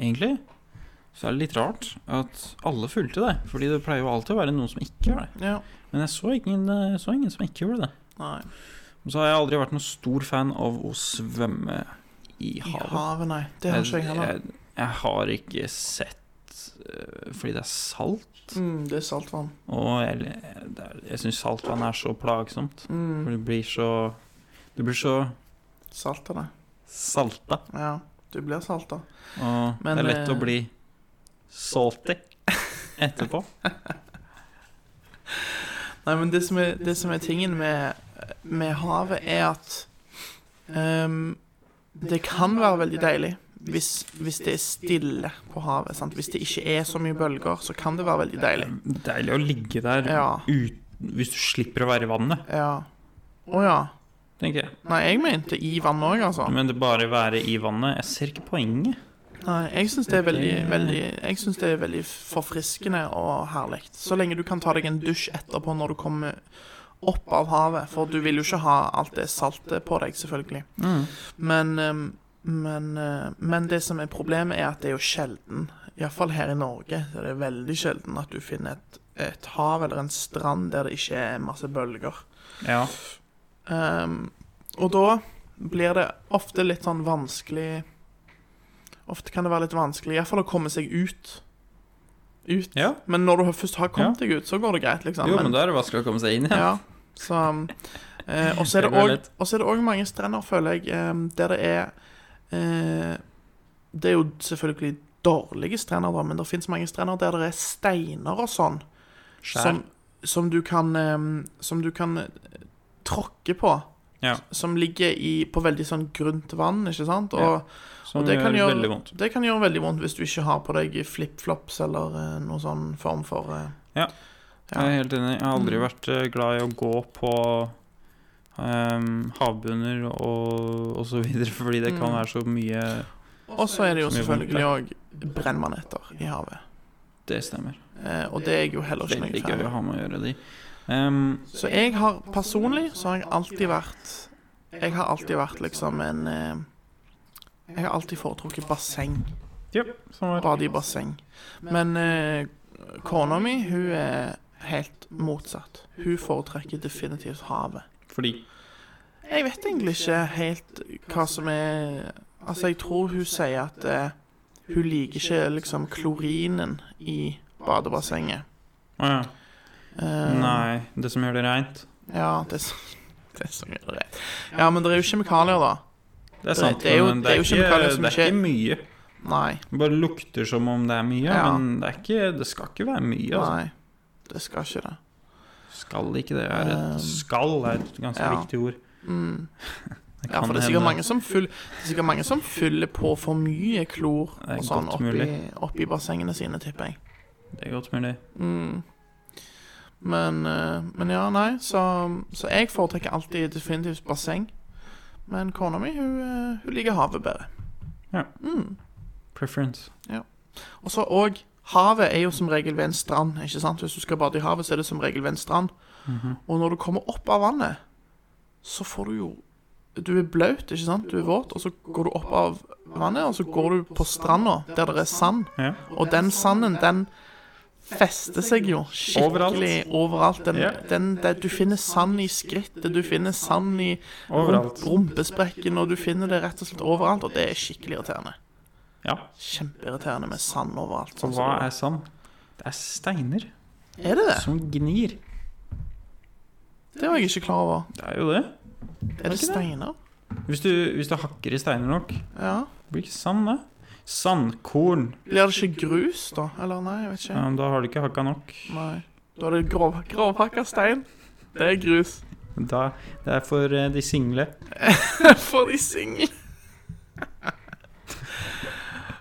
S5: egentlig så er det litt rart at alle fulgte det. Fordi det pleier jo alltid å være noen som ikke gjør det.
S4: ja.
S5: Men jeg så ingen, så ingen som ikke gjorde det.
S4: Nei.
S5: Og så har jeg aldri vært noen stor fan av å svømme i
S4: I
S5: havet.
S4: havet, nei. Det har ikke jeg heller.
S5: jeg, jeg har ikke sett øh, Fordi det er salt.
S4: Mm, det er saltvann.
S5: Og jeg, det er- jeg syns saltvann er så plagsomt.
S4: Mm.
S5: For det blir så Du blir så
S4: Salt av det.
S5: salta.
S4: Ja, du blir salta.
S5: Og
S4: Men,
S5: det er lett å
S4: eh,
S5: bli salty etterpå.
S4: Nei, men det som er, det som er tingen med, med havet, er at ehm, det kan være veldig deilig hvis, hvis det er stille på havet. Sant? Hvis det ikke er så mye bølger, så kan det være veldig deilig.
S5: Ehm. Deilig å ligge der
S4: Ja.
S5: ut, hvis du slipper å være i vannet,
S4: Ja. Å ja.
S5: tenker jeg.
S4: Nei, jeg mente i vannet òg, altså.
S5: Men det bare være i vannet Jeg ser ikke poenget.
S4: Nei, jeg syns det er veldig, veldig Jeg synes det er veldig forfriskende og herlig. Så lenge du kan ta deg en dusj etterpå når du kommer opp av havet, for du vil jo ikke ha alt det saltet på deg, selvfølgelig. Men, ehm, men, eh, men det som er problemet, er at det er jo sjelden, iallfall her i Norge, så er det veldig sjelden at du finner et, et hav eller en strand der det ikke er masse bølger.
S5: Ja.
S4: Ehm, og da blir det ofte litt sånn vanskelig Ofte kan det være litt vanskelig, iallfall å komme seg ut. Ut.
S5: Ja.
S4: Men når du har- først har kommet deg ut, så går det greit, liksom.
S7: Jo, men da er det vanskelig å komme seg inn igjen.
S4: ja, så, eh, og så er
S5: Det
S4: det
S5: går
S4: også-
S5: lett.
S4: og så er det òg mange strender, føler jeg, eh, der det er eh, Det er jo selvfølgelig dårlige strender, da, men det fins mange strender der det er steiner og sånn
S5: Skjær.
S4: som, som du kan eh, Som du kan eh, tråkke på.
S5: Ja.
S4: Som ligger i, på veldig sånn grunt vann, ikke sant? Og,
S5: Som
S4: og det, kan
S5: gjør
S4: gjøre,
S5: veldig vondt.
S4: det kan gjøre veldig vondt hvis du ikke har på deg flipflops eller eh, noen sånn form for eh, Ja.
S5: Jeg er helt enig. Jeg har aldri vært eh, glad i å gå på ehm, havbunner og, og så videre, fordi det kan
S4: Mm.
S5: være så mye
S4: Og så er det jo
S5: Så mye vondt,
S4: selvfølgelig òg brennmaneter i havet.
S5: Det stemmer.
S4: Eh, og det er jeg jo heller ikke
S5: Veldig
S4: noe
S5: gøy
S4: fan
S5: å
S4: av.
S5: ha med å gjøre de. Ehm,
S4: Så jeg har personlig så har jeg alltid vært Jeg har alltid vært liksom en eh, Jeg har alltid foretrukket basseng.
S5: ja, sånn var det.
S4: Radiobasseng. Men eh, kona mi, hun er helt motsatt. Hun foretrekker definitivt havet.
S5: Fordi
S4: Jeg vet egentlig ikke helt hva som er Altså, jeg tror hun sier at eh, hun liker ikke liksom klorinen i badebassenget.
S5: Å ja.
S4: Eh,
S5: Nei, det som gjør det reint.
S4: Ja, det er så, det er så greit. Ja, men det er jo kjemikalier, da.
S5: Det er sant,
S4: det er jo-
S5: men
S4: det er jo kjemikalier som
S5: det er ikke
S4: ikke-
S5: mye.
S4: Nei.
S5: Det bare lukter som om det er mye,
S4: Ja.
S5: men det, er ikke, det skal ikke være mye. Altså.
S4: Nei. Det skal ikke det.
S5: Skal ikke det er et Skal er et ganske
S4: Ehm. ja. Mm.
S5: viktig ord. Det
S4: Ja, for det er sikkert mange som, fyll, det er sikkert mange som fyller på for mye klor
S5: er
S4: og sånn
S5: godt
S4: oppi,
S5: mulig.
S4: oppi bassengene sine, tipper jeg.
S5: Det er godt mulig.
S4: Men, eh, men ja, nei, så, så jeg foretrekker alltid definitivt basseng. Men kona mi hun, eh, hun liker havet bedre.
S5: Ja. Preference.
S4: Og så òg Havet er jo som regel ved en strand. ikke sant? Hvis du skal bade i havet, så er det som regel ved en strand.
S5: Mhm.
S4: Og når du kommer opp av vannet, så får du jo Du er blaut, ikke sant? Du er våt, og så går du opp av vannet, og så går du på stranda der det er sand.
S5: Ja.
S4: Og den sanden, den fester seg jo skikkelig overalt. Den,
S5: Ja.
S4: den, der du finner sand i skrittet, du finner sand i
S5: Overalt.
S4: rump- rumpesprekken, og du finner det rett og slett overalt, og det er skikkelig irriterende.
S5: ja.
S4: Kjempeirriterende med sand overalt.
S5: Og
S4: sånn som
S5: hva
S4: det
S5: er sand? Det er steiner
S4: Er det det?
S5: som gnir.
S4: Det var jeg ikke klar over.
S5: Det er jo det.
S4: Er det steiner?
S5: Hvis du, hvis du hakker i steiner nok,
S4: Ja.
S5: blir ikke sand, det. Sandkorn.
S4: Blir det ikke grus, da? Eller nei, jeg vet
S5: Ja,
S4: ikke.
S5: men da har du ikke hakka nok.
S4: Nei. Da er det grov, grovhakka stein. Det er grus.
S5: Da, det er for eh, de single.
S4: For de single.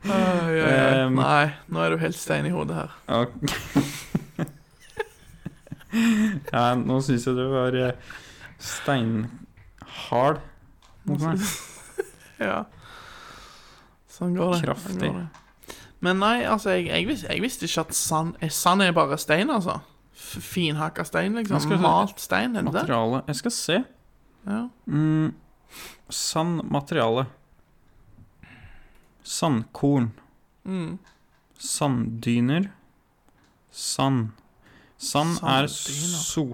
S4: Oi, oi, oi.
S5: Um.
S4: Nei, nå er du helt stein i hodet her.
S5: Ok. ja, nå syns jeg du var eh, steinhard mot meg.
S4: Ja. Sånn går det. Sånn
S5: Kraftig.
S4: går det. Men nei, altså, jeg, jeg, visste, jeg visste ikke at sand, eh, sand er bare stein, altså. F- Finhakka stein,
S5: Men skal
S4: liksom.
S5: du-
S4: Malt stein, er det det?
S5: Materiale Jeg skal se.
S4: Ja.
S5: Mm, sann materiale. Sandkorn.
S4: Mm.
S5: Sanddyner. Sand. Sand er
S4: Sanddyner.
S5: so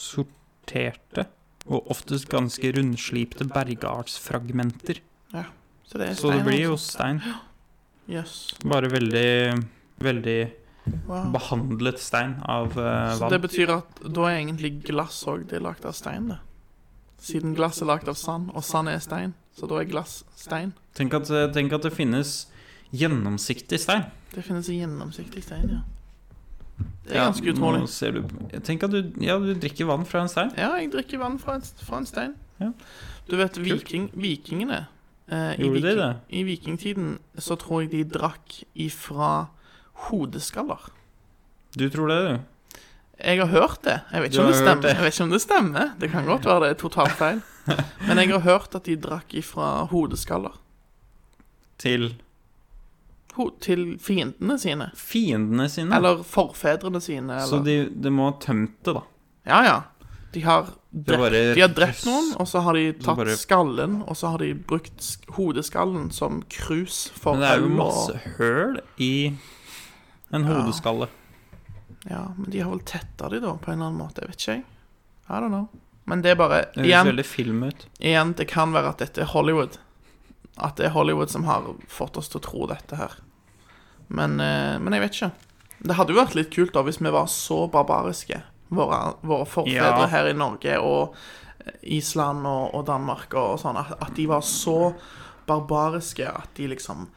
S5: sorterte og oftest ganske rundslipte bergartsfragmenter.
S4: Så det er
S5: Så
S4: stein.
S5: det blir jo
S4: altså.
S5: stein.
S4: Jøss.
S5: Bare veldig, veldig
S4: Wow.
S5: behandlet stein av eh,
S4: Så det
S5: vann.
S4: betyr at da er egentlig glass òg det er lagd av stein, det. Siden glass er lagd av sand, og sand er stein, så da er glass stein.
S5: Tenk at, eh, tenk at det finnes gjennomsiktig stein.
S4: Det finnes en gjennomsiktig stein, ja. Det er
S5: Ja,
S4: ganske
S5: nå
S4: utrolig.
S5: ser du, tenk at du, ja, du drikker vann fra en stein.
S4: Ja, jeg drikker vann fra en, fra en stein.
S5: Ja.
S4: Du vet, viking, vikingene eh, i,
S5: Gjorde de
S4: viking,
S5: det?
S4: I vikingtiden så tror jeg de drakk ifra hodeskaller.
S5: Du tror det, du?
S4: Jeg har hørt det. Jeg vet
S5: Du
S4: ikke, om det,
S5: har hørt
S4: stemmer.
S5: det.
S4: jeg vet ikke om det stemmer. Det kan godt være det er totalt feil. Men jeg har hørt at de drakk ifra hodeskaller.
S5: Til
S4: Ho til fiendene sine.
S5: fiendene sine?
S4: Eller forfedrene sine. Eller.
S5: Mm. Så de, de må ha tømt det, da.
S4: Ja, ja. De har,
S5: Det er
S4: drept,
S5: bare-
S4: de har drept noen, og så har de tatt
S5: bare-
S4: skallen, og så har de brukt sk- hodeskallen som krus for
S5: Men det er jo
S4: øl og-
S5: masse høl i en hodeskalle.
S4: Ja, men de har vel tetta de da, på en eller annen måte. Jeg vet ikke, jeg. I don't know. Men det er bare
S5: Det høres
S4: igjen,
S5: veldig film ut.
S4: igjen, det kan være at dette er Hollywood. At det er Hollywood som har fått oss til å tro dette her. Men, eh, men jeg vet ikke. Det hadde jo vært litt kult da hvis vi var så barbariske, våre, våre forfedre
S5: Ja.
S4: her i Norge og eh, Island og, og Danmark og, sånn, at, at de var så barbariske at de liksom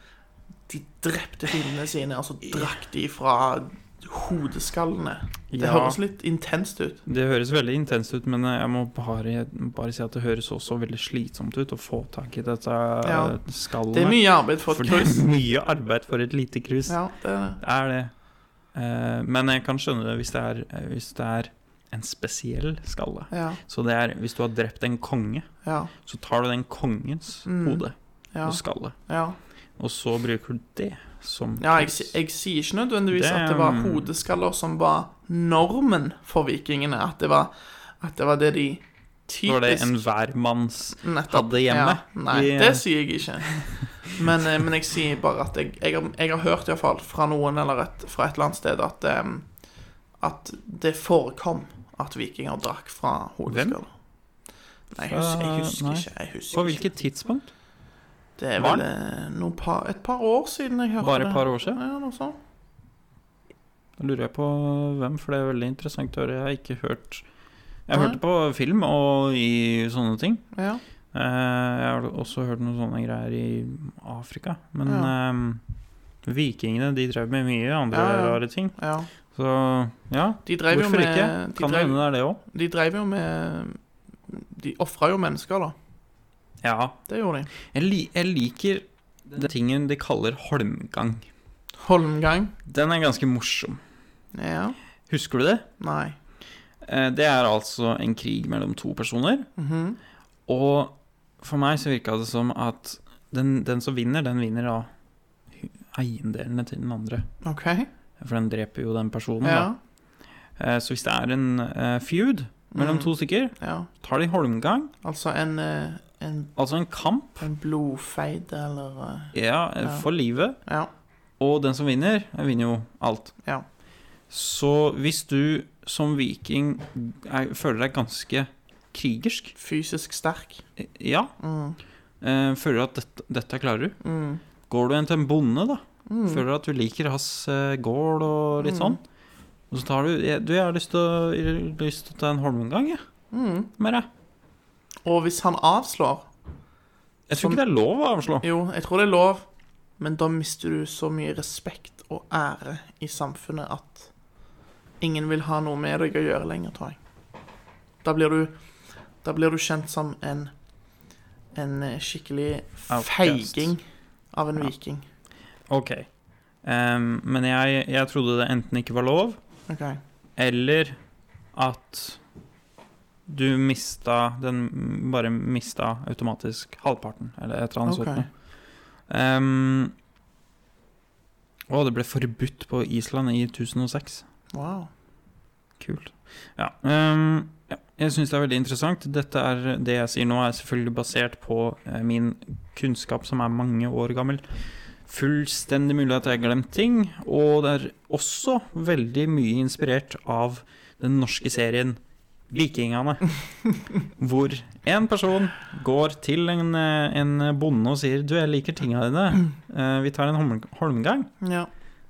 S4: De drepte fiendene sine, og så drakk de fra hodeskallene. Det
S5: Ja.
S4: høres litt intenst ut.
S5: Det høres veldig intenst ut, men eh, jeg må bare, bare si at det høres også veldig slitsomt ut å få tak i dette eh,
S4: Ja.
S5: skallet.
S4: Det er mye arbeid for
S5: for
S4: et
S5: det er
S4: kryss.
S5: mye arbeid for et lite krus.
S4: Ja, det er det.
S5: Det er det. Eh, men jeg kan skjønne det hvis det er, eh, hvis det er en spesiell skalle.
S4: Ja,
S5: Så det er hvis du har drept en konge,
S4: ja,
S5: så tar du den kongens
S4: Mm,
S5: hode
S4: ja.
S5: og skalle,
S4: ja.
S5: og så bruker du det som
S4: Ja, jeg, si- jeg sier ikke nødvendigvis
S5: Det er,
S4: at det var
S5: mm.
S4: hodeskaller som var normen for vikingene. At det var, at det, var det de typisk
S5: Det var det enhver manns
S4: nettopp-
S5: hadde hjemme. eh,
S4: Ja, nei,
S5: I-
S4: det sier jeg ikke. Men, eh, men jeg sier bare at jeg, jeg, har, jeg har hørt iallfall fra noen eller et, fra et eller annet sted at, em, at det forekom at vikinger drakk fra hodeskaller. Nei, jeg husker, jeg husker
S5: Fra- nei.
S4: ikke. Jeg husker
S5: På
S4: ikke.
S5: hvilket tidspunkt?
S4: Det er
S5: Var
S4: vel eh, noen par, et par år siden jeg hørte
S5: Bare
S4: det.
S5: et par år siden?
S4: Ja, noe sånt.
S5: Da lurer jeg på hvem, for det er veldig interessant å høre. Jeg har ikke hørt Jeg hørte på film og i sånne ting.
S4: Ja.
S5: Eh, Jeg har også hørt noen sånne greier i Afrika. Men
S4: Ja.
S5: ehm, vikingene de drev med mye andre
S4: Ja, ja.
S5: rare ting.
S4: ja.
S5: Så ja,
S4: De drev jo
S5: hvorfor
S4: med
S5: ikke?
S4: De
S5: Kan det
S4: drev,
S5: hende det er det òg.
S4: de drev jo med De ofra jo mennesker, da.
S5: Ja.
S4: Det gjorde de.
S5: Jeg, li jeg liker den tingen de kaller holmgang.
S4: Holmgang.
S5: Den er ganske morsom.
S4: Ja.
S5: Husker du det?
S4: Nei.
S5: Eh, Det er altså en krig mellom to personer.
S4: Mhm.
S5: Og for meg så virka det som at den, den som vinner, den vinner da eiendelene til den andre.
S4: OK.
S5: For den dreper jo den personen, da.
S4: Ja.
S5: Eh, Så hvis det er en eh, feud mellom
S4: Mhm.
S5: to stykker,
S4: ja.
S5: tar de holmgang,
S4: Altså en, eh, en,
S5: altså en kamp,
S4: en blodfeid eller eh,
S5: ja, eh,
S4: Ja.
S5: for livet,
S4: Ja.
S5: og den som vinner, eh, vinner jo alt.
S4: Ja.
S5: Så hvis du som viking er, føler deg ganske krigersk,
S4: Fysisk sterk.
S5: eh, ja,
S4: Mm.
S5: eh, føler at dette, dette klarer du,
S4: Mm.
S5: går du inn til en bonde da,
S4: Mm.
S5: føler at du liker hans eh, gård og litt
S4: Mhm.
S5: sånn, og så tar du, jeg- du, jeg har lyst til å, jeg har lyst til å ta en holmgang, jeg,
S4: Mm.
S5: med deg.
S4: Og hvis han avslår
S5: Jeg tror
S4: Som-
S5: ikke det er lov å avslå.
S4: Jo, jeg tror det er lov, men da mister du så mye respekt og ære i samfunnet at ingen vil ha noe med deg å gjøre lenger, tror jeg. Da blir du, da blir du kjent som en, en skikkelig
S5: Outcast.
S4: feiging av en viking.
S5: Ok. Ehm, men jeg, jeg trodde det enten ikke var lov,
S4: Ok,
S5: eller at du mista Den bare mista automatisk halvparten, eller et eller annet
S4: Ok.
S5: sånt noe. Ehm, og det ble forbudt på Island i 1006.
S4: wow.
S5: Kult. Ja. ehm, ja, jeg syns det er veldig interessant. Dette er, det jeg sier nå, er selvfølgelig basert på eh, min kunnskap som er mange år gammel. Fullstendig mulig at jeg har glemt ting. Og det er også veldig mye inspirert av den norske serien Vikingene. hvor en person går til en, eh, en bonde og sier Du, jeg liker tinga dine. Eh, Vi tar en holm- holmgang.
S4: Ja.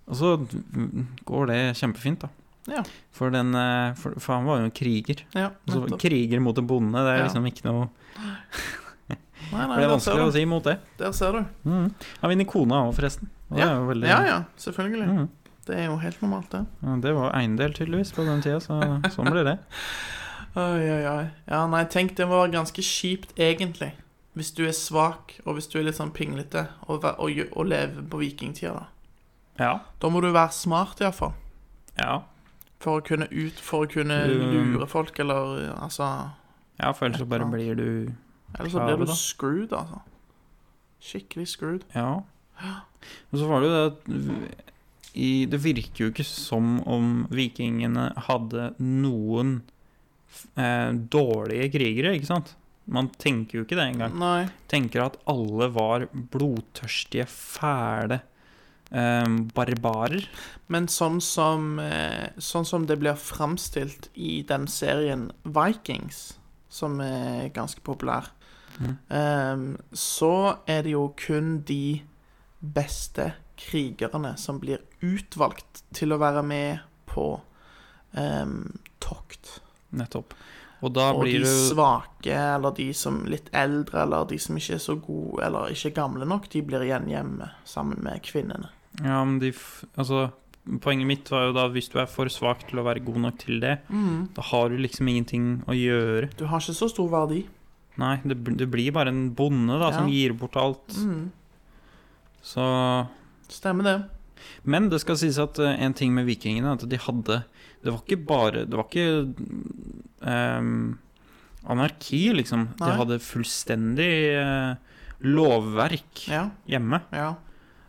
S5: Og så mm, går det kjempefint, da.
S4: Ja.
S5: For, den, eh, for, for han var jo en kriger.
S4: ja
S5: Altså,
S4: nettopp.
S5: kriger mot en bonde, det er
S4: Ja.
S5: liksom ikke noe
S4: Nei,
S5: Det
S4: nei,
S5: er
S4: der
S5: vanskelig
S4: ser du.
S5: å si imot det.
S4: Der ser du.
S5: Mm. Han vinner kona òg, forresten. Og Det er jo veldig
S4: Ja, ja, selvfølgelig.
S5: Mm.
S4: Det er jo helt normalt, det.
S5: Ja, Det var eiendel, tydeligvis, på den tida, så sånn ble det.
S4: Oi, oi, oi. Ja, nei, tenk, det var ganske kjipt, egentlig. Hvis du er svak, og hvis du er litt sånn pinglete, og, væ- og, gjø- og lever på vikingtida, da.
S5: Ja.
S4: Da må du være smart, iallfall.
S5: Ja,
S4: For å kunne ut, for å kunne
S5: Mm.
S4: lure folk, eller ja, altså
S5: ja for ellers så bare blir du
S4: Ellers så
S5: Ja,
S4: blir
S5: da.
S4: du screwed, altså. Skikkelig screwed.
S5: Ja. Og så var det jo det at v- i, Det virker jo ikke som om vikingene hadde noen f- eh, dårlige krigere, ikke sant? Man tenker jo ikke det engang.
S4: Nei.
S5: Tenker at alle var blodtørstige, fæle eh, barbarer.
S4: Men sånn som, eh, sånn som det blir framstilt i den serien Vikings, som er ganske populær,
S5: Mm.
S4: eh, så er det jo kun de beste krigerne som blir utvalgt til å være med på eh, tokt.
S5: Nettopp. Og da
S4: Og de
S5: blir du
S4: svake, eller de som er litt eldre, eller de som ikke er så gode, eller ikke er gamle nok, de blir igjen hjemme sammen med kvinnene.
S5: Ja, men de f Altså, poenget mitt var jo da at hvis du er for svak til å være god nok til det, da har du liksom ingenting å gjøre.
S4: Du har ikke så stor verdi.
S5: Nei, det, bl- det blir bare en bonde da, som
S4: Ja. Mm.
S5: gir bort alt. Så
S4: Stemmer det.
S5: Men det skal sies at eh, en ting med vikingene er at de hadde Det var ikke bare Det var ikke ehm, anarki, liksom.
S4: Nei.
S5: De hadde fullstendig eh, lovverk
S4: Ja,
S5: hjemme.
S4: ja.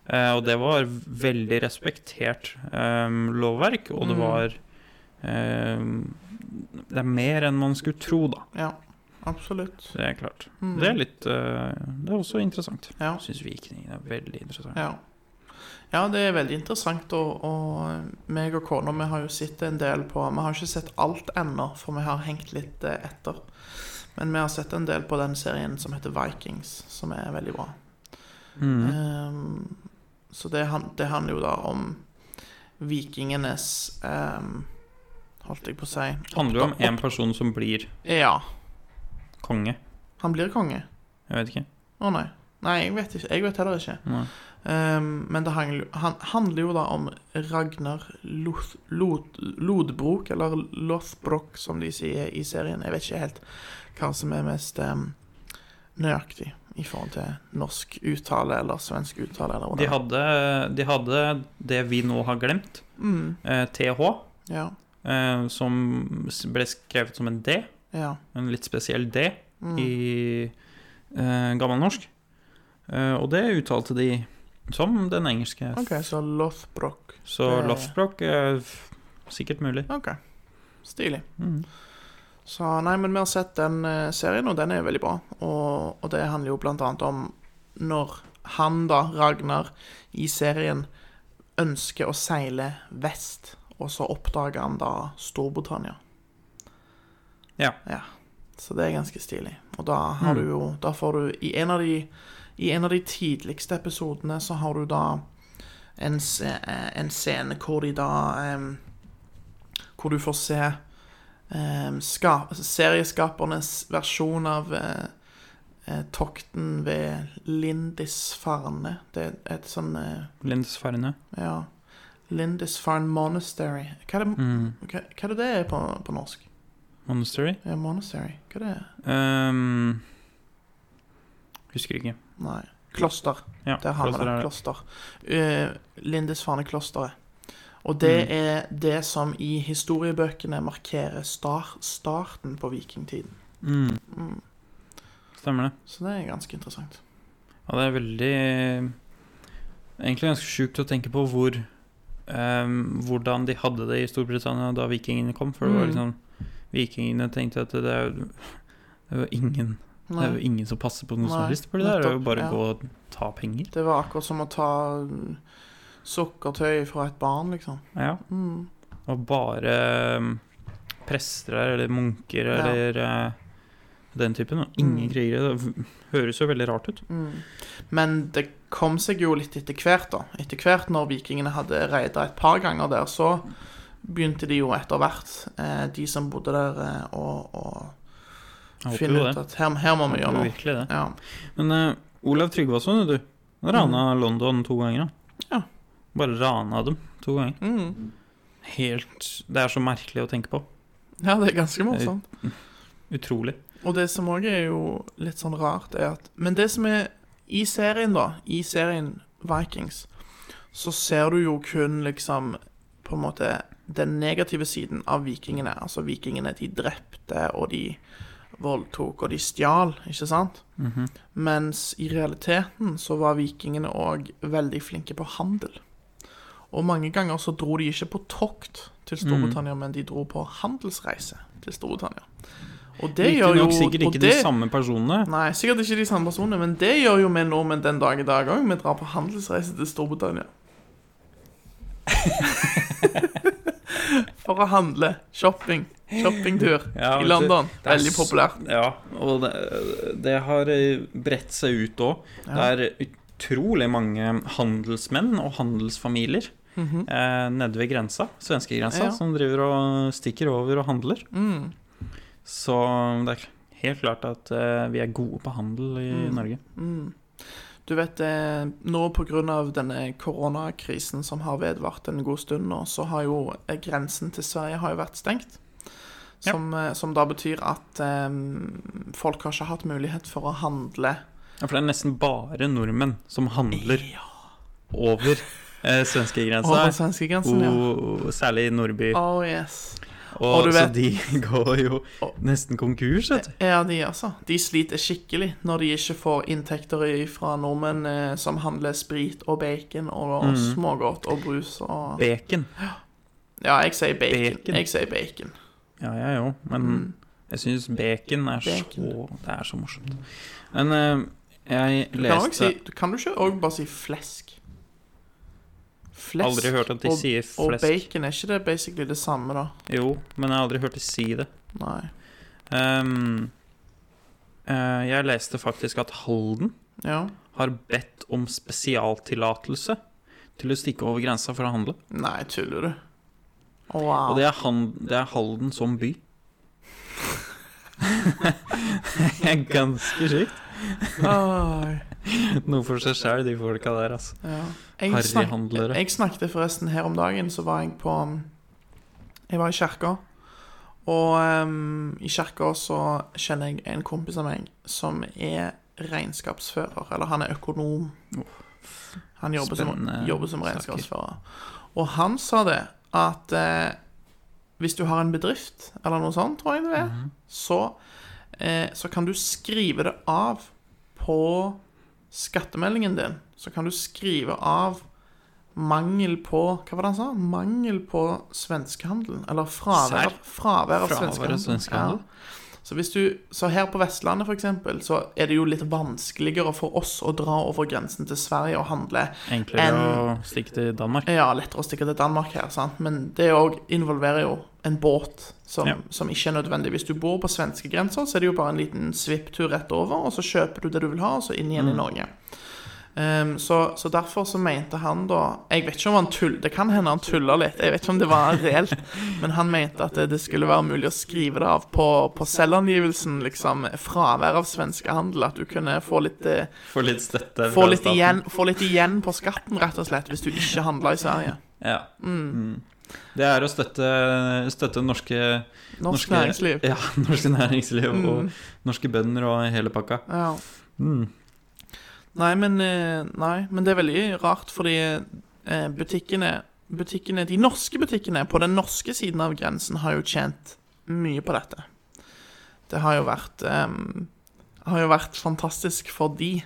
S5: Eh, og det var veldig respektert ehm, lovverk, og det
S4: Mm.
S5: var ehm, Det er mer enn man skulle tro, da.
S4: Ja, absolutt.
S5: Det er klart.
S4: Mm.
S5: Det er litt eh, Det er også interessant.
S4: Ja.
S5: Jeg syns vikingene er veldig interessant.
S4: Ja. ja, det er veldig interessant. Og, og eh, meg og kona vi har jo sett en del på Vi har ikke sett alt ennå, for vi har hengt litt eh, etter. Men vi har sett en del på den serien som heter Vikings, som er veldig bra.
S5: Mm.
S4: Ehm, så det, han- det handler jo da om vikingenes ehm, holdt jeg på å si.
S5: Handler jo om en person som blir
S4: Ja,
S5: konge.
S4: han blir konge.
S5: Jeg vet ikke.
S4: Å nei. Nei, jeg vet, ikke. Jeg vet heller ikke.
S5: Nei.
S4: Ehm, men det hang- han, handler jo da om Ragnar Loth, Loth, Lodbrok, eller Lothbrok, som de sier i serien. Jeg vet ikke helt hva som er mest ehm, nøyaktig i forhold til norsk uttale eller svensk uttale. Eller hvordan.
S5: De hadde, de hadde det vi nå har glemt,
S4: Mm,
S5: eh, TH,
S4: ja,
S5: eh, som s- ble skrevet som en D,
S4: ja.
S5: en litt spesiell D,
S4: Mm.
S5: i eh, gammelnorsk. Eh, og det uttalte de som den engelske.
S4: OK, så Lothbrok.
S5: Så
S4: det-
S5: loftspråk er f- sikkert mulig.
S4: OK. Stilig.
S5: Mm.
S4: Så nei, men vi har sett den eh, serien, og den er veldig bra. Og, og det handler jo blant annet om når han da, Ragnar, i serien ønsker å seile vest, og så oppdager han da Storbritannia.
S5: Ja. Mm.
S4: Så det er ganske stilig. Og da har du jo Da får du I en av de, i en av de tidligste episodene så har du da en, se- eh, en scene hvor de da em, Hvor du får se em, ska- altså serieskapernes versjon av eh, eh, tokten ved Lindisfarne. Det er et sånn eh,
S5: Lindesfarne.
S4: Ja. Lindisfarne Monastery. Hva
S5: Mm.
S4: er det, hva, hva er det det er på, på norsk?
S5: Monastery.
S4: Ja, monastery. Hva er det?
S5: Um, husker ikke.
S4: Nei. Kloster.
S5: Ja,
S4: Der har vi
S5: kloster er
S4: det.
S5: det.
S4: Kloster. Eh, Lindisfarne-klosteret. Og
S5: Mm.
S4: det er det som i historiebøkene markerer star starten på vikingtiden.
S5: Mm. Stemmer det.
S4: Så det er ganske interessant.
S5: Ja, det er veldig Egentlig ganske sjukt å tenke på hvor ehm, hvordan de hadde det i Storbritannia da vikingene kom. For det var
S4: Mm.
S5: liksom Vikingene tenkte at det er jo det er jo ingen Det er jo
S4: Nei,
S5: ingen som passer på noe som
S4: Nei,
S5: helst for det der. Det er jo
S4: nettopp,
S5: bare å
S4: ja.
S5: gå og ta penger.
S4: det var akkurat som å ta mm, sukkertøy fra et barn, liksom.
S5: Ja.
S4: Mm.
S5: Og bare ehm, prester der, eller munker
S4: Ja.
S5: eller eh, den typen. Og ingen
S4: Mm.
S5: krigere. Det høres jo veldig rart ut.
S4: Mm. Men det kom seg jo litt etter hvert, da. Etter hvert når vikingene hadde reida et par ganger der, så begynte de jo etter hvert, eh, de som bodde der, eh, å, å
S5: Jeg håper
S4: finne
S5: jo
S4: ut
S5: det.
S4: at her, her må vi
S5: Jeg
S4: gjøre
S5: håper
S4: noe.
S5: virkelig det.
S4: Ja.
S5: Men eh, Olav Tryggvason, du. Han Rana London to ganger, da.
S4: Mm. Ja.
S5: Bare rana dem to ganger.
S4: Mm.
S5: Helt Det er så merkelig å tenke på.
S4: ja, det er ganske morsomt.
S5: Utrolig.
S4: Og det som òg er jo litt sånn rart, er at Men det som er i serien, da, i serien Vikings, så ser du jo kun liksom på en måte den negative siden av vikingene. Altså vikingene, de drepte, og de voldtok, og de stjal, ikke sant?
S5: Mhm.
S4: Mens i realiteten så var vikingene òg veldig flinke på handel. Og mange ganger så dro de ikke på tokt til
S5: Mhm.
S4: Storbritannia, men de dro på handelsreise til Storbritannia. Og det gjør jo
S5: Riktignok sikkert
S4: og
S5: ikke de
S4: det-
S5: samme personene.
S4: Nei, sikkert ikke de samme personene, men det gjør jo vi nordmenn den dag i dag òg. Vi drar på handelsreise til Storbritannia. For å handle. Shopping. Shoppingtur
S5: Ja,
S4: i
S5: vet du,
S4: London.
S5: det er
S4: Veldig
S5: s-
S4: populært.
S5: Ja, og det, det har eh, bredt seg ut òg. Det er utrolig mange handelsmenn og handelsfamilier eh, nede ved grensa, svenskegrensa,
S4: Mhm. Ja. Mm.
S5: som driver og stikker over og handler. Så det er helt klart at eh, vi er gode på handel i
S4: Mm.
S5: Norge.
S4: Du vet, eh, nå pga. denne koronakrisen som har vedvart en god stund nå, så har jo eh, grensen til Sverige har jo vært stengt.
S5: Ja.
S4: Som, eh, som da betyr at eh, folk har ikke hatt mulighet for å handle
S5: Ja, for det er nesten bare nordmenn som handler
S4: Eh.
S5: over eh,
S4: over
S5: svenskegrensa.
S4: svenskegrensen. sånn, Ja.
S5: Og særlig i Nordby.
S4: Oh yes.
S5: Og,
S4: og du
S5: så
S4: vet-
S5: de går jo
S4: Og-
S5: nesten konkurs, vet du.
S4: Ja, de altså. De sliter skikkelig når de ikke får inntekter fra nordmenn eh, som handler sprit og bacon og, og
S5: Mm.
S4: smågodt og brus og
S5: Bacon.
S4: Ja, jeg sier bacon.
S5: Bacon.
S4: Jeg sier bacon.
S5: Ja, jeg ja, jo, men
S4: Mm.
S5: jeg syns bacon er så Det er så morsomt. Men eh, jeg
S4: Du kan, også
S5: leste
S4: si, kan du ikke òg bare si flesk? Flesk
S5: Aldri hørt at de
S4: og,
S5: sier
S4: og
S5: flesk.
S4: bacon, er ikke det basically det samme, da?
S5: Jo, men jeg har aldri hørt de si det.
S4: Nei.
S5: Ehm, eh, jeg leste faktisk at Halden
S4: Ja.
S5: har bedt om spesialtillatelse til å stikke over grensa for å handle.
S4: Nei, tuller du?
S8: Wow.
S5: Og det er, han, det er Halden som by. det er ganske sykt.
S4: Oi.
S5: Noe for seg sjæl, de folka der, altså.
S4: Ja. Jeg, snak
S5: Harryhandlere.
S4: jeg snakket forresten her om dagen, så var jeg på um, Jeg var i kirka. Og ehm, i kirka så kjenner jeg en kompis av meg som er regnskapsfører. Eller han er økonom. Han jobber, som,
S5: Spennende
S4: jobber som
S5: saker.
S4: regnskapsfører. Og han sa det at eh, hvis du har en bedrift, eller noe sånt, tror jeg det er,
S5: Mhm.
S4: så, eh, så kan du skrive det av på skattemeldingen din, så kan du skrive av mangel på Hva var det han sa? Mangel på svenskehandel. Eller fravær,
S5: Sær-
S4: fravær av
S5: fravær av
S4: svenskehandel.
S5: svenskehandel.
S4: Ja. Så, hvis du, så her på Vestlandet, f.eks., så er det jo litt vanskeligere for oss å dra over grensen til Sverige og handle.
S5: Enklere
S4: En-
S5: å stikke til Danmark.
S4: Ja, lettere å stikke til Danmark her, sant? men det òg involverer jo en båt som,
S5: Ja.
S4: som ikke er nødvendig. Hvis du bor på svenskegrensa, så er det jo bare en liten svipptur rett over, og så kjøper du det du vil ha, og så inn igjen i Norge. Ehm, så, så derfor så mente han da Jeg vet ikke om han tull, Det kan hende han tulla litt, jeg vet ikke om det var reelt. Men han mente at det, det skulle være mulig å skrive det av på, på selvangivelsen. liksom Fravær av svenskehandel. At du kunne få litt eh,
S5: Få litt støtte.
S4: Få litt, igjen, få litt igjen på skatten, rett og slett, hvis du ikke handler i Sverige.
S5: Ja. Mm. Det er å støtte, støtte norske
S4: Norsk næringsliv. Mm.
S5: Ja, norske næringsliv og norske bønder og hele pakka. Mm.
S4: Ja. Nei, men, eh, nei, men det er veldig rart, fordi eh, butikkene, butikkene De norske butikkene på den norske siden av grensen har jo tjent mye på dette. Det har jo vært eh, har jo vært fantastisk fordi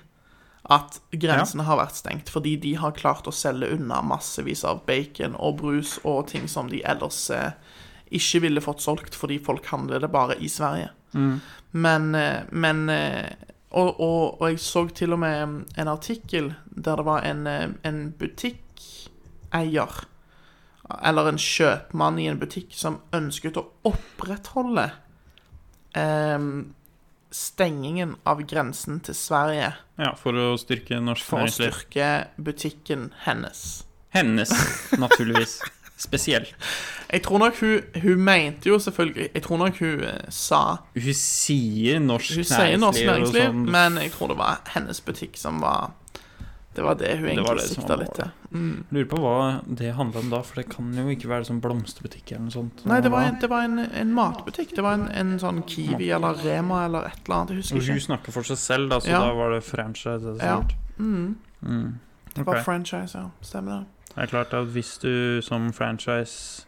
S4: at grensene har vært stengt. Fordi de har klart å selge unna massevis av bacon og brus og ting som de ellers eh, ikke ville fått solgt fordi folk handler det bare i Sverige. Men, eh, men eh, og, og, og jeg så til og med mm, en artikkel der det var en, eh, en butikkeier Eller en kjøpmann i en butikk som ønsket å opprettholde eh, stengingen av grensen til Sverige
S5: Ja, for å styrke norsk
S4: for å
S5: næringsliv.
S4: styrke butikken hennes.
S5: Hennes, naturligvis. Spesielt.
S4: Jeg tror nok hun, hun mente jo selvfølgelig Jeg tror nok hun eh, sa
S5: Hun sier norsk
S4: Hun
S5: næringsliv.
S4: sier norsk næringsliv,
S5: og sånn.
S4: men jeg tror det var hennes butikk som var Det var det hun
S5: Det var
S4: egentlig
S5: det som
S4: sikta
S5: var
S4: litt til. Mm.
S5: Lurer på hva det handla om da, for det kan jo ikke være sånn blomsterbutikk eller noe sånt.
S4: Nei, det var en, det var en, en matbutikk. Det var en, en sånn Kiwi eller Rema eller et eller annet. Jeg
S5: Og
S4: husker
S5: hun
S4: ikke.
S5: snakker for seg selv, da, så
S4: Ja.
S5: da var det franchise. Det,
S4: Ja.
S5: sikkert.
S4: Mm,
S5: Mm.
S4: det var
S5: Ok.
S4: franchise, ja. Stemmer det.
S5: Det er klart at hvis du som franchise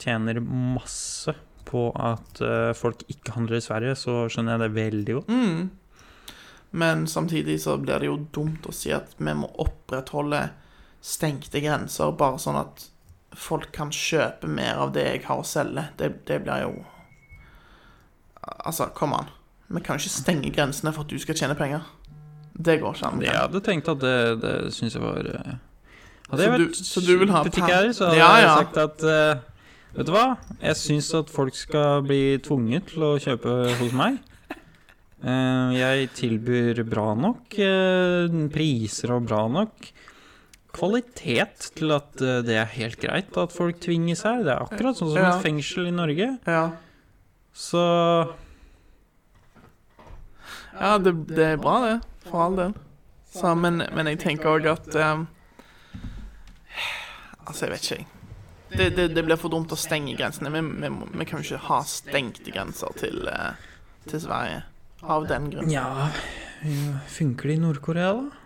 S5: tjener masse på at eh, folk ikke handler i Sverige, så skjønner jeg det veldig godt.
S4: Mm. Men samtidig så blir det jo dumt å si at vi må opprettholde stengte grenser, bare sånn at folk kan kjøpe mer av det jeg har å selge. Det, det blir jo Altså, kom an. Vi kan jo ikke stenge grensene for at du skal tjene penger. Det går ikke an.
S5: Jeg hadde tenkt at det, det syns jeg var eh, Hadde
S4: Så
S5: jeg
S4: du-
S5: vært
S4: så du vil ha pan-
S5: butikkeier, så hadde
S4: Ja,
S5: jeg
S4: ja.
S5: sagt at eh, Vet du hva? Jeg syns at folk skal bli tvunget til å kjøpe hos meg. Eh, jeg tilbyr bra nok eh, priser og bra nok kvalitet til at eh, det er helt greit at folk tvinges her. Det er akkurat sånn som
S4: Ja.
S5: et fengsel i Norge.
S4: Ja,
S5: Så
S4: ja det, det er bra, det. For all del. Så, men, men jeg tenker òg at eh, Altså, jeg vet ikke, jeg. Det, det, det blir for dumt å stenge grensene. Vi, vi, må- vi kan jo ikke ha stengte grenser til, eh, til Sverige. Av den grunn.
S5: Nja Funker det i Nord-Korea, da?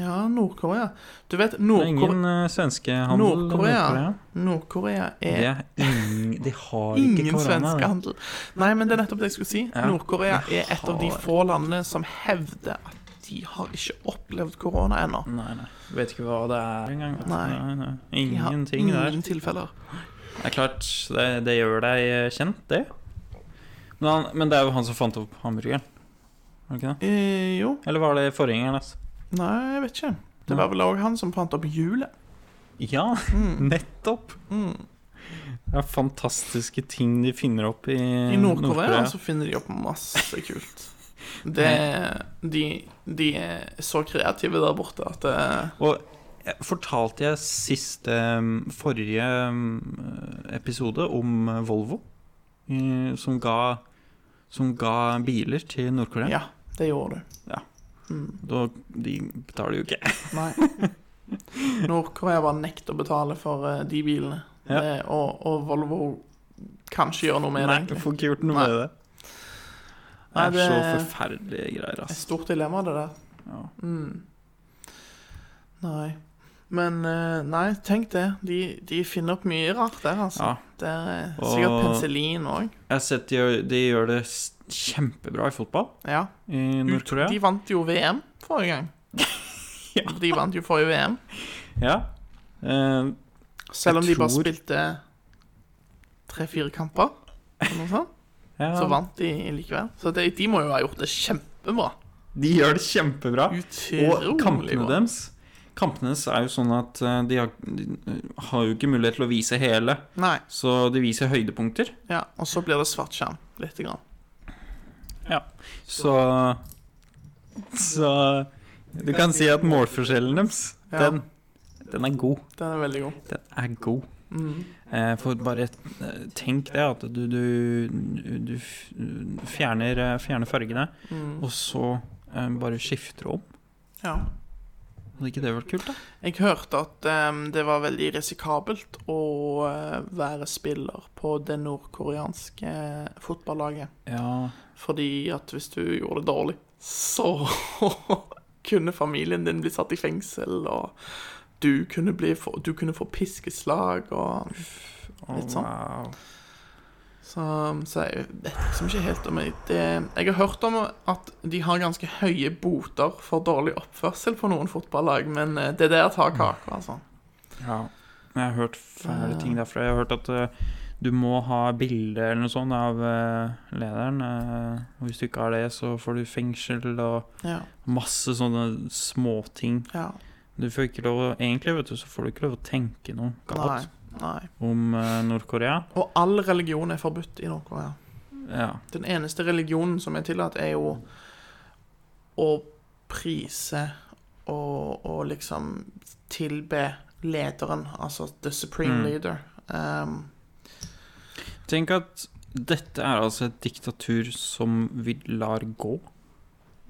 S4: Ja, Nord-Korea. Du vet,
S5: Det er ingen
S4: Nord-Korea
S5: uh, svenskehandel i
S4: Nord-Korea.
S5: Nord-Korea.
S4: Nord-Korea
S5: Det
S4: er
S5: er ingen De har ikke
S4: ingen
S5: korona. det.
S4: svenskehandel. Nei, men det er nettopp det jeg skulle si.
S5: Ja.
S4: Nord-Korea er et av de få landene som hevder at de har ikke opplevd korona ennå.
S5: Nei, nei. Vet ikke hva det er engang. vet du.
S4: Nei.
S5: Nei, nei.
S4: De har
S5: Ingenting der.
S4: Ingen tilfeller.
S5: Det er klart, det, det gjør deg eh, kjent, det. Men, han, men det er jo han som fant opp hamburgeren. Var det ikke det?
S4: Eh, jo.
S5: Eller var det forgjengeren altså? hans?
S4: Nei, jeg vet ikke. Det
S5: Nei.
S4: var vel òg han som fant opp hjulet.
S5: Ja, nettopp!
S4: Mm.
S5: Det er fantastiske ting de finner opp i, altså.
S4: I Nord-Korea så finner de opp masse kult. Det, de, de er så kreative der borte at eh, det,
S5: Og jeg- Fortalte jeg siste um, forrige um, episode om uh, Volvo? i- Som ga, som ga biler til Nord-Korea?
S4: Ja, det gjorde du.
S5: Da, de betaler jo ikke.
S4: Nei. Nord-Korea bare nekter å betale for eh, de bilene.
S5: Ja.
S4: Det, og, og Volvo kan ikke gjøre noe med det.
S5: Nei,
S4: egentlig.
S5: får ikke gjort noe
S4: Nei.
S5: med det. Det
S4: Nei,
S5: er
S4: det-
S5: så forferdelige greier,
S4: Et
S5: ass.
S4: stort dilemma, det der.
S5: Ja.
S4: Mm. Nei. Men eh, nei, tenk det. De, de finner opp mye rart der, altså.
S5: Ja.
S4: Det er sikkert
S5: Og-
S4: penicillin òg.
S5: Jeg har sett de, gjør- de gjør det s- kjempebra i fotball
S4: Ja.
S5: i
S4: De
S5: Nord-Korea.
S4: vant jo VM forrige gang. De vant jo forrige VM.
S5: Ja. Eh,
S4: Selv om de bare
S5: tror-
S4: spilte tre-fire kamper, eller noe sånt,
S5: ja.
S4: så vant de likevel. Så de, de må jo ha gjort det kjempebra.
S5: De gjør det kjempebra.
S4: Utrolig
S5: Og kampene
S4: bra.
S5: deres Kampene deres er jo sånn at eh, de har, de eh, har jo ikke mulighet til å vise hele,
S4: Nei.
S5: så de viser høydepunkter.
S4: Ja, og så blir det svart skjerm, lite grann.
S5: Så Så du kan si at målforskjellen deres,
S4: Ja.
S5: den, den er god.
S4: Den er veldig god.
S5: Den er god.
S4: Mm.
S5: Eh, For bare eh, tenk det, at du, du, du f- fjerner, eh, fjerner fargene,
S4: Mm.
S5: og så eh, bare skifter du om.
S4: Ja.
S5: Hadde ikke det vært kult, da?
S4: Jeg hørte at ehm, det var veldig risikabelt å eh, være spiller på det nordkoreanske fotballaget.
S5: Ja,
S4: Fordi at hvis du gjorde det dårlig, så kunne familien din bli satt i fengsel, og du kunne, bli få, du kunne få piskeslag og Litt sånn.
S5: Wow.
S4: Så, så jeg vet liksom ikke helt om jeg det, Jeg har hørt om at de har ganske høye boter for dårlig oppførsel på noen fotballag, men eh, det der tar kaka, altså.
S5: Ja. Jeg har hørt fæle ting derfra. Jeg har hørt at eh, du må ha bilde eller noe sånt av eh, lederen. eh, og hvis du ikke har det, så får du fengsel og
S4: Ja.
S5: masse sånne småting.
S4: ja.
S5: Du får ikke lov å- Egentlig, vet du, så får du ikke lov å tenke noe
S4: Nei.
S5: galt
S4: Nei.
S5: om eh, Nord-Korea.
S4: Og all religion er forbudt i Nord-Korea.
S5: Ja.
S4: Den eneste religionen som er tillatt, er jo å prise og, og liksom tilbe lederen, altså the supreme
S5: Mm.
S4: leader. Um,
S5: Tenk at dette er altså et diktatur som vi lar gå.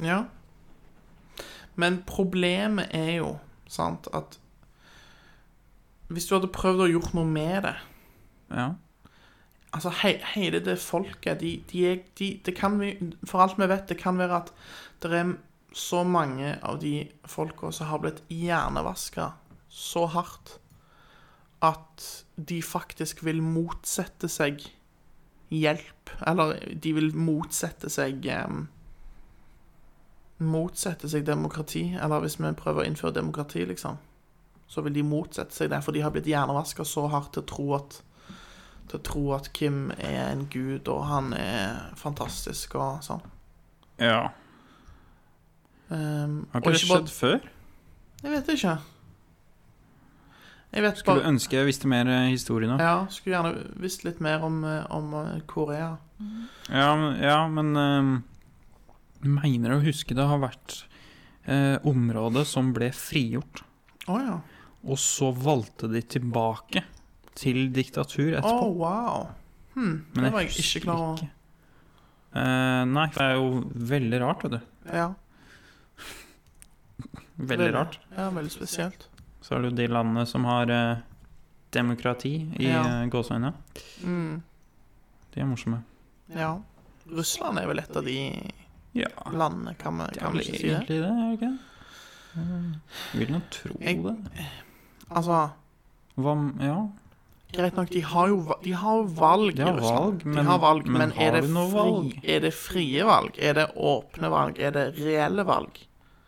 S4: ja. Men problemet er jo, sant, at hvis du hadde prøvd å gjort noe med det
S5: Ja.
S4: Altså, he hele det folket de, de er, de, det kan vi, For alt vi vet, det kan være at det er så mange av de folka som har blitt hjernevaska så hardt at de faktisk vil motsette seg hjelp. Eller de vil motsette seg em, Motsette seg demokrati. Eller hvis vi prøver å innføre demokrati, liksom, så vil de motsette seg det, for de har blitt hjernevaska så hardt til å tro at til å tro at Kim er en gud, og han er fantastisk og sånn.
S5: ja.
S4: Ehm,
S5: Har
S4: og
S5: ikke det
S4: ikke bare-
S5: skjedd før?
S4: Jeg vet ikke. Jeg vet
S5: Skulle
S4: bare
S5: ønske jeg visste mer eh, historie nå.
S4: Ja, skulle gjerne visst litt mer om, eh, om eh, Korea.
S5: Ja, men- ja men ehm, Mener å huske det har vært eh, området som ble frigjort,
S4: Å ja.
S5: og så valgte de tilbake til diktatur
S4: Å,
S5: etterpå.
S4: wow. Hm,
S5: Men
S4: det var jeg
S5: husker
S4: ikke klar over.
S5: ikke. Eh, nei, det er jo veldig rart, vet du.
S4: Ja,
S5: Veldig rart.
S4: ja, veldig spesielt.
S5: Så er det jo de landene som har eh, demokrati i
S4: Ja.
S5: ja. gåseøynene.
S4: Mm,
S5: De er morsomme.
S4: ja. Russland er vel et av de
S5: Ja,
S4: landene, kan vi,
S5: Ah. det
S4: kan
S5: er
S4: vi
S5: vel
S4: ikke si det?
S5: egentlig det, er det ikke det? Eh, Vil nå tro
S4: Jeg-
S5: det.
S4: Altså,
S5: Hva om- Ja,
S4: Greit nok, de har jo, va- de har jo valg
S5: De har
S4: i Russland.
S5: valg,
S4: de
S5: men-
S4: har valg, men,
S5: men
S4: er,
S5: har
S4: det
S5: de noe
S4: fri,
S5: valg?
S4: er det frie valg? Er det åpne valg? Er det reelle valg?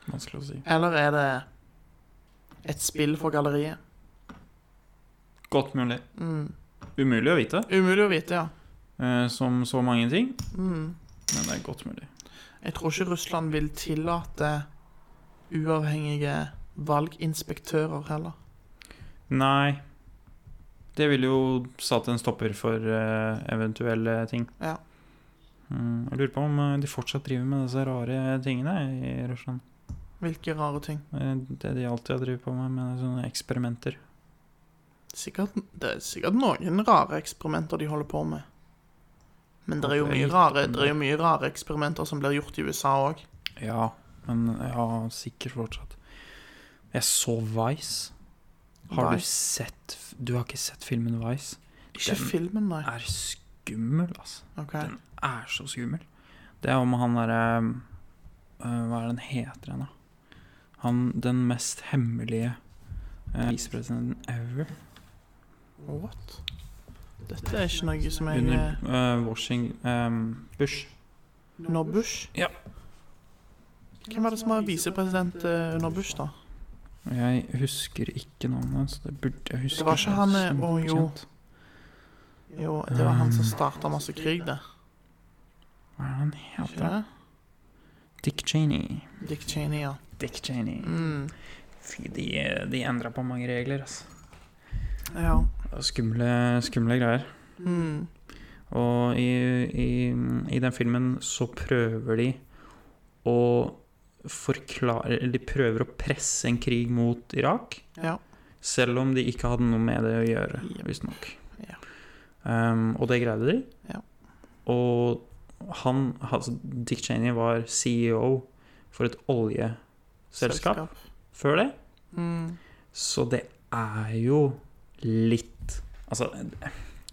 S5: vanskelig å si.
S4: Eller er det et spill for galleriet?
S5: Godt mulig.
S4: Mm.
S5: Umulig å vite,
S4: Umulig å vite, ja.
S5: eh, som så mange ting.
S4: Mm.
S5: Men det er godt mulig.
S4: Jeg tror ikke Russland vil tillate uavhengige valginspektører heller.
S5: Nei. Det ville jo satt en stopper for eh, eventuelle ting.
S4: Ja.
S5: Mm, jeg lurer på om eh, de fortsatt driver med disse rare tingene i Russland.
S4: Hvilke rare ting?
S5: Eh, Det er de alltid har drevet på med, med sånne eksperimenter.
S4: Sikkert, det er sikkert noen rare eksperimenter de holder på med. Men det er jo
S5: Ok.
S4: mye rare, det er jo mye rare eksperimenter som blir gjort i USA òg.
S5: Ja, men ja, sikkert fortsatt. Jeg så Vice. Har du
S4: Vice?
S5: sett f- Du har ikke sett filmen Vice?
S4: Ikke
S5: Den-
S4: filmen, nei.
S5: Er skummel, altså.
S4: Ok.
S5: Den er så skummel. Det er om han derre øh, Hva er den heter han, da? Han den mest hemmelige øh, visepresidenten ever.
S4: What? Dette er ikke noe som jeg
S5: Under
S4: eh,
S5: øh, Washington øhm, Bush.
S4: Under Bush?
S5: Ja.
S4: Hvem var det som var visepresident eh, under Bush, da?
S5: Jeg husker ikke navnet hans. Det burde jeg huske.
S4: Det var ikke han,
S5: er
S4: eh, å, jo.
S5: kjempekjent.
S4: Jo, det var han som starta masse krig, det.
S5: Hva er det han
S4: Ikke
S5: heter?
S4: det?
S5: Dick Cheney.
S4: Dick Cheney, ja.
S5: Dick Cheney.
S4: Mm.
S5: Fy, de, de endra på mange regler, altså.
S4: Ja.
S5: Det var Skumle, skumle greier.
S4: Mm.
S5: Og i, i, i den filmen så prøver de å forklare Eller de prøver å presse en krig mot Irak,
S4: Ja.
S5: selv om de ikke hadde noe med det å gjøre,
S4: Jep.
S5: visstnok.
S4: Ja.
S5: Um, og det greide de.
S4: Ja.
S5: Og han, altså Dick Cheney, var CEO for et oljeselskap før det.
S4: Mm.
S5: Så det er jo litt Altså,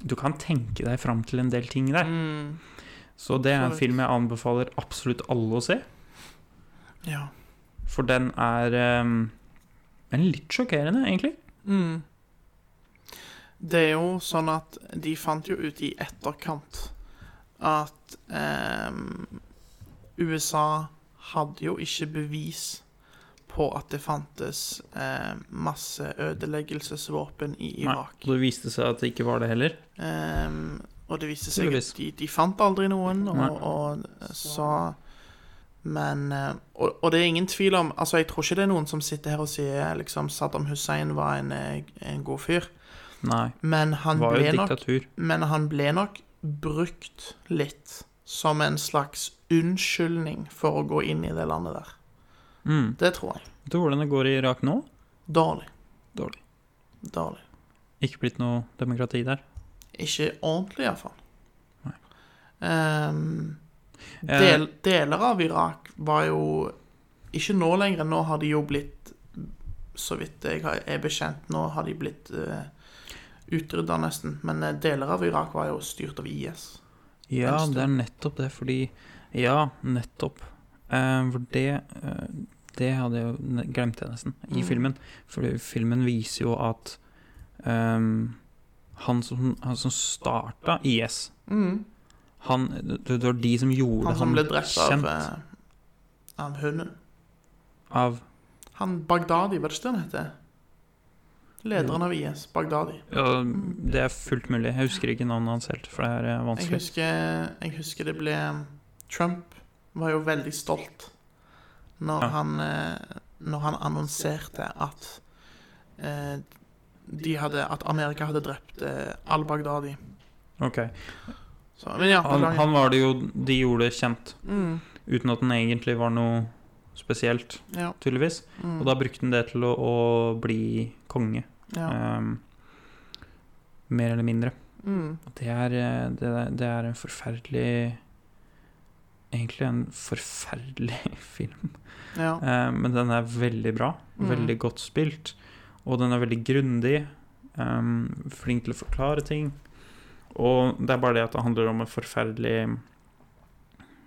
S5: du kan tenke deg fram til en del ting der.
S4: Mm.
S5: Så det er en
S4: Absolutt.
S5: film jeg anbefaler absolutt alle å se.
S4: Ja.
S5: For den er ehm, den er litt sjokkerende, egentlig.
S4: Mm. Det er jo sånn at de fant jo ut i etterkant at ehm, USA hadde jo ikke bevis på at det fantes eh, masse ødeleggelsesvåpen i
S5: Nei,
S4: Irak.
S5: og det viste seg at det ikke var det heller.
S4: Ehm, og det viste seg
S5: Tydeligvis.
S4: at de, de fant aldri noen,
S5: Nei.
S4: og, og så Men eh, og, og det er ingen tvil om Altså, jeg tror ikke det er noen som sitter her og sier liksom Saddam Hussein var en, eh, en god fyr,
S5: Nei.
S4: men
S5: Det
S4: han,
S5: var jo
S4: ble
S5: et
S4: nok,
S5: diktatur.
S4: men han ble nok brukt litt som en slags unnskyldning for å gå inn i det landet der.
S5: Mm.
S4: Det tror jeg.
S5: Vet du hvordan det går i Irak nå?
S4: Dårlig.
S5: Dårlig.
S4: Dårlig.
S5: Ikke blitt noe demokrati der.
S4: Ikke ordentlig, iallfall.
S5: Nei.
S4: Um,
S5: Eh,
S4: Del, deler av Irak var jo Ikke nå lenger. Nå har de jo blitt Så vidt jeg har- er bekjent, nå har de blitt uh, utrydda nesten. Men eh, deler av Irak var jo styrt av IS.
S5: Ja,
S4: en stund.
S5: det er nettopp det, fordi Ja, nettopp. Eh, for det eh, Det hadde jeg jo ne- glemte jeg nesten i
S4: Mm.
S5: filmen. For filmen viser jo at ehm, han som, han som starta IS han, det, Oh, det var de som gjorde
S4: Mm. Han som ble drept av,
S5: kjent av,
S4: eh, av hunden. Han Bagdadi, var det ikke det han heter? Lederen av IS, Bagdadi.
S5: ja, Det er fullt mulig. Jeg husker ikke navnet hans helt, for det er eh,
S4: Mm. Jeg
S5: vanskelig.
S4: husker, jeg husker det ble um, Trump var jo veldig stolt når,
S5: Ja.
S4: han, eh, når han annonserte at eh, de hadde, at Amerika hadde drept eh, al-Baghdadi.
S5: Ok.
S4: Så, men ja,
S5: Han,
S4: beklager.
S5: han var det jo De gjorde det kjent,
S4: Mm,
S5: uten at den egentlig var noe spesielt,
S4: ja,
S5: tydeligvis.
S4: mm,
S5: Og da brukte han det til å, å bli konge.
S4: ja.
S5: Ehm, mer eller mindre.
S4: Mm,
S5: Og Det er, eh, det, er- det er en forferdelig Egentlig en forferdelig film.
S4: ja.
S5: Eh, men den er veldig bra.
S4: Mm.
S5: Veldig godt spilt. Og den er veldig grundig. ehm, flink til å forklare ting. Og det er bare det at det handler om en forferdelig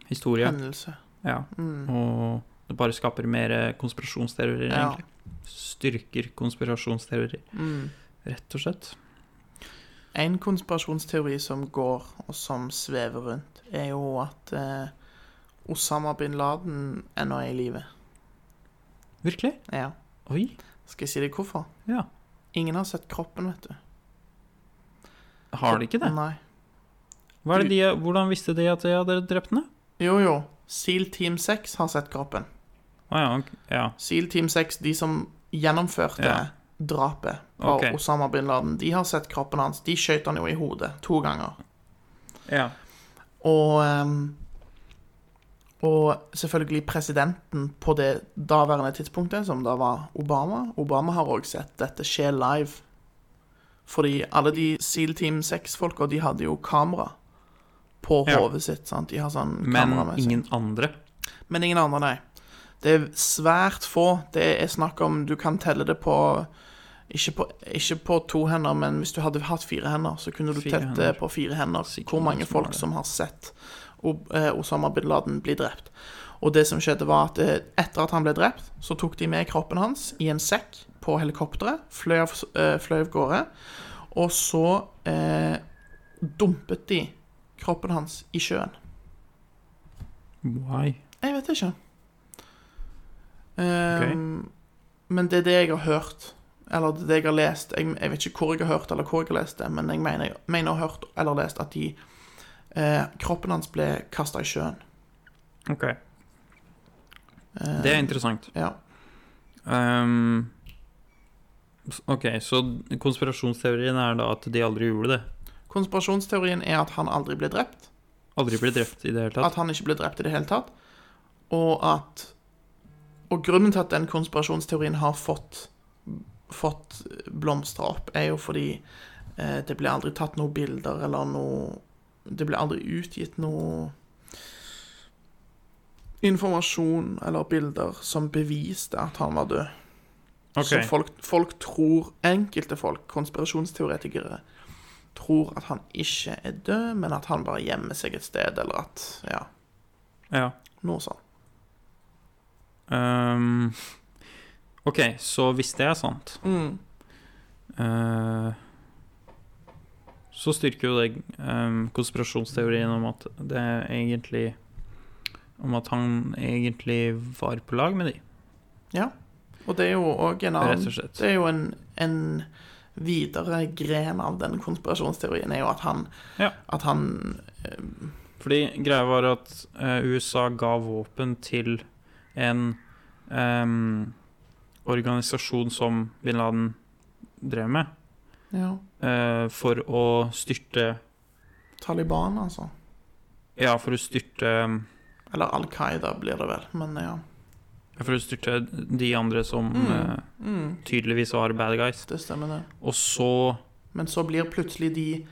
S5: historie.
S4: Hendelse.
S5: Ja.
S4: Mm,
S5: Og det bare skaper mer eh, konspirasjonsteorier,
S4: Ja.
S5: egentlig. Styrker konspirasjonsteorier,
S4: mm.
S5: rett og slett.
S4: En konspirasjonsteori som går, og som svever rundt, er jo at eh, Osama bin Laden ennå er i live.
S5: Virkelig?
S4: Ja.
S5: Oi.
S4: Skal jeg si deg hvorfor?
S5: Ja.
S4: Ingen har sett kroppen, vet du.
S5: Har de ikke det?
S4: Nei.
S5: Hva er det de, hvordan visste de at de hadde drept henne?
S4: Jo, jo. Seal Team 6 har sett kroppen.
S5: Å ja, ok. ja.
S4: Seal Team 6, de som gjennomførte
S5: Ja.
S4: drapet på
S5: Ok.
S4: Osama bin Laden, de har sett kroppen hans. De skjøt han jo i hodet to ganger.
S5: ja.
S4: Og ehm, Og selvfølgelig presidenten på det daværende tidspunktet, som da var Obama. Obama har òg sett dette skje live. Fordi alle de Seal Team 6-folka, de hadde jo kamera på
S5: Ja.
S4: hodet sitt. sant? De har sånn
S5: Men
S4: kamera med seg.
S5: ingen andre.
S4: Men ingen andre, nei. Det er svært få. Det er snakk om Du kan telle det på ikke, på ikke på to hender, men hvis du hadde hatt fire hender, så kunne du
S5: Fire
S4: telt det
S5: hender.
S4: på fire hender
S5: Sikkert
S4: hvor mange
S5: noen som har
S4: folk
S5: det.
S4: som har sett O- eh, Osama bin Laden bli drept. Og det som skjedde, var at eh, etter at han ble drept, så tok de med kroppen hans i en sekk på helikopteret, fløy av eh, fløy av gårde, og så eh, dumpet de kroppen hans i sjøen.
S5: Why?
S4: Jeg vet ikke. Ehm, Men det er det jeg har hørt. Eller det er det jeg har lest. Jeg, jeg vet ikke hvor jeg har hørt eller hvor jeg har lest det, men jeg mener, mener å ha hørt eller lest at de eh, Kroppen hans ble kasta i sjøen.
S5: Ok,
S4: Eh,
S5: det er interessant.
S4: Ja.
S5: Ehm, s- ok, så konspirasjonsteorien er da at de aldri gjorde det?
S4: Konspirasjonsteorien er at han aldri ble drept.
S5: Aldri ble drept i det hele tatt?
S4: At han ikke ble drept i det hele tatt. Og at Og grunnen til at den konspirasjonsteorien har fått Fått blomstra opp, er jo fordi eh, det ble aldri tatt noen bilder eller noe Det ble aldri utgitt noe informasjon eller bilder som beviste at han var død. Så
S5: Ok,
S4: folk, folk tror Enkelte folk, konspirasjonsteoretikere, tror at han ikke er død, men at han bare gjemmer seg et sted, eller at Ja,
S5: ja.
S4: noe sånt.
S5: Ehm, ok, så hvis det er sant,
S4: Mm.
S5: eh, så styrker jo det ehm, konspirasjonsteorien om at det egentlig Om at han egentlig var på lag med de,
S4: Og det er jo òg en
S5: rett og
S4: annen
S5: slett.
S4: Det er jo en, en videre gren av den konspirasjonsteorien, er jo at han
S5: Ja.
S4: At han eh,
S5: Fordi greia var at eh, USA ga våpen til en ehm, organisasjon som bin Laden drev med,
S4: Ja.
S5: eh, for å styrte
S4: Taliban, altså.
S5: Ja, for å styrte
S4: Eller Al Qaida blir det vel, men ja.
S5: For å styrte de andre som
S4: Mm.
S5: eh,
S4: Mm,
S5: tydeligvis var bad guys.
S4: det stemmer, det.
S5: Og så
S4: Men så blir plutselig de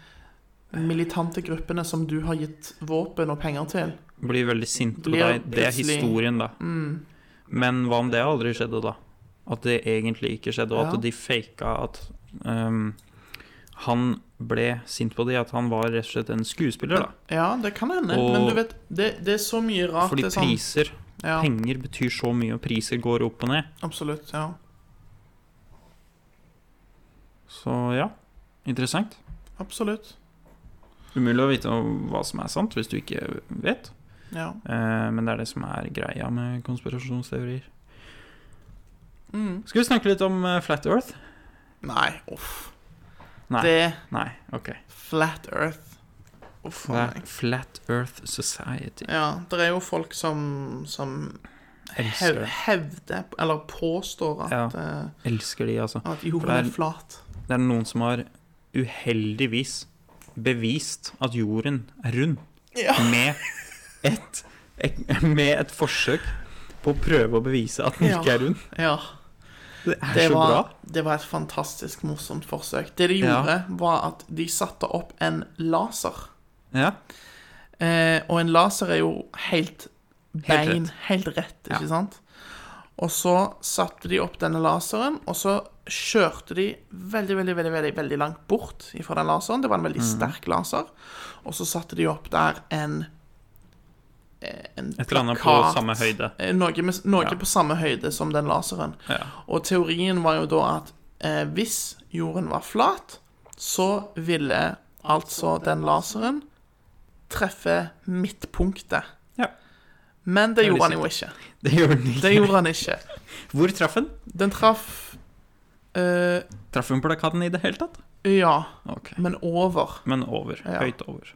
S4: militante gruppene som du har gitt våpen og penger til
S5: blir veldig sinte på
S4: Blir
S5: deg. Det er
S4: plutselig-
S5: historien, da.
S4: mm,
S5: Men hva om det aldri skjedde, da? At det egentlig ikke skjedde, og at
S4: Ja.
S5: de faka at ehm, han ble sint på de, at han var rett og slett en skuespiller, da.
S4: Ja, det kan hende.
S5: Og-
S4: Men du vet, det, det er så mye rart.
S5: Fordi
S4: det er sånn,
S5: priser,
S4: ja,
S5: penger betyr så mye, og priser går opp og ned.
S4: Absolutt. ja
S5: Så ja, interessant.
S4: Absolutt.
S5: Umulig å vite om hva som er sant, hvis du ikke vet.
S4: Ja.
S5: Eh, men det er det som er greia med konspirasjonsteorier.
S4: Mm.
S5: Skal vi snakke litt om eh, Flat Earth?
S4: Nei, uff.
S5: Nei.
S4: Det er
S5: Nei, OK.
S4: Flat Earth. Uff a
S5: Flat,
S4: meg.
S5: Flat Earth Society.
S4: Ja, det er jo folk som, som hev,
S5: Elsker det.
S4: hevder, eller påstår at, eh,
S5: Elsker de, altså.
S4: at jorden
S5: For det
S4: er
S5: er-
S4: flat.
S5: Det er noen som har uheldigvis bevist at jorden er rund
S4: Ja.
S5: med et, et, med et forsøk på å prøve å bevise at den
S4: Ja.
S5: ikke er rund.
S4: Ja.
S5: Det er
S4: det
S5: så
S4: var,
S5: bra.
S4: det var et fantastisk morsomt forsøk. Det de
S5: Ja.
S4: gjorde, var at de satte opp en laser.
S5: Ja.
S4: Eh, og en laser er jo helt bein,
S5: rett.
S4: helt rett, ikke
S5: Ja.
S4: sant? Og så satte de opp denne laseren, og så kjørte de veldig, veldig, veldig, veldig, veldig langt bort fra den laseren. Det var en veldig
S5: Mhm.
S4: sterk laser. Og så satte de opp der en eh, en
S5: Et eller annet på
S4: plakat.
S5: samme høyde.
S4: Eh, Noe, med, noe
S5: Ja.
S4: på samme høyde som den laseren.
S5: Ja.
S4: Og teorien var jo da at eh, hvis jorden var flat, så ville altså den laseren treffe midtpunktet.
S5: Ja.
S4: Men det
S5: er
S4: gjorde
S5: litt
S4: han jo ikke.
S5: Det gjør den
S4: Det
S5: ikke.
S4: gjorde han ikke.
S5: Hvor traff den?
S4: Den traff eh,
S5: Traff hun plakaten i det hele tatt?
S4: Ja,
S5: Ok.
S4: men over.
S5: Men over.
S4: Ja.
S5: Høyt over.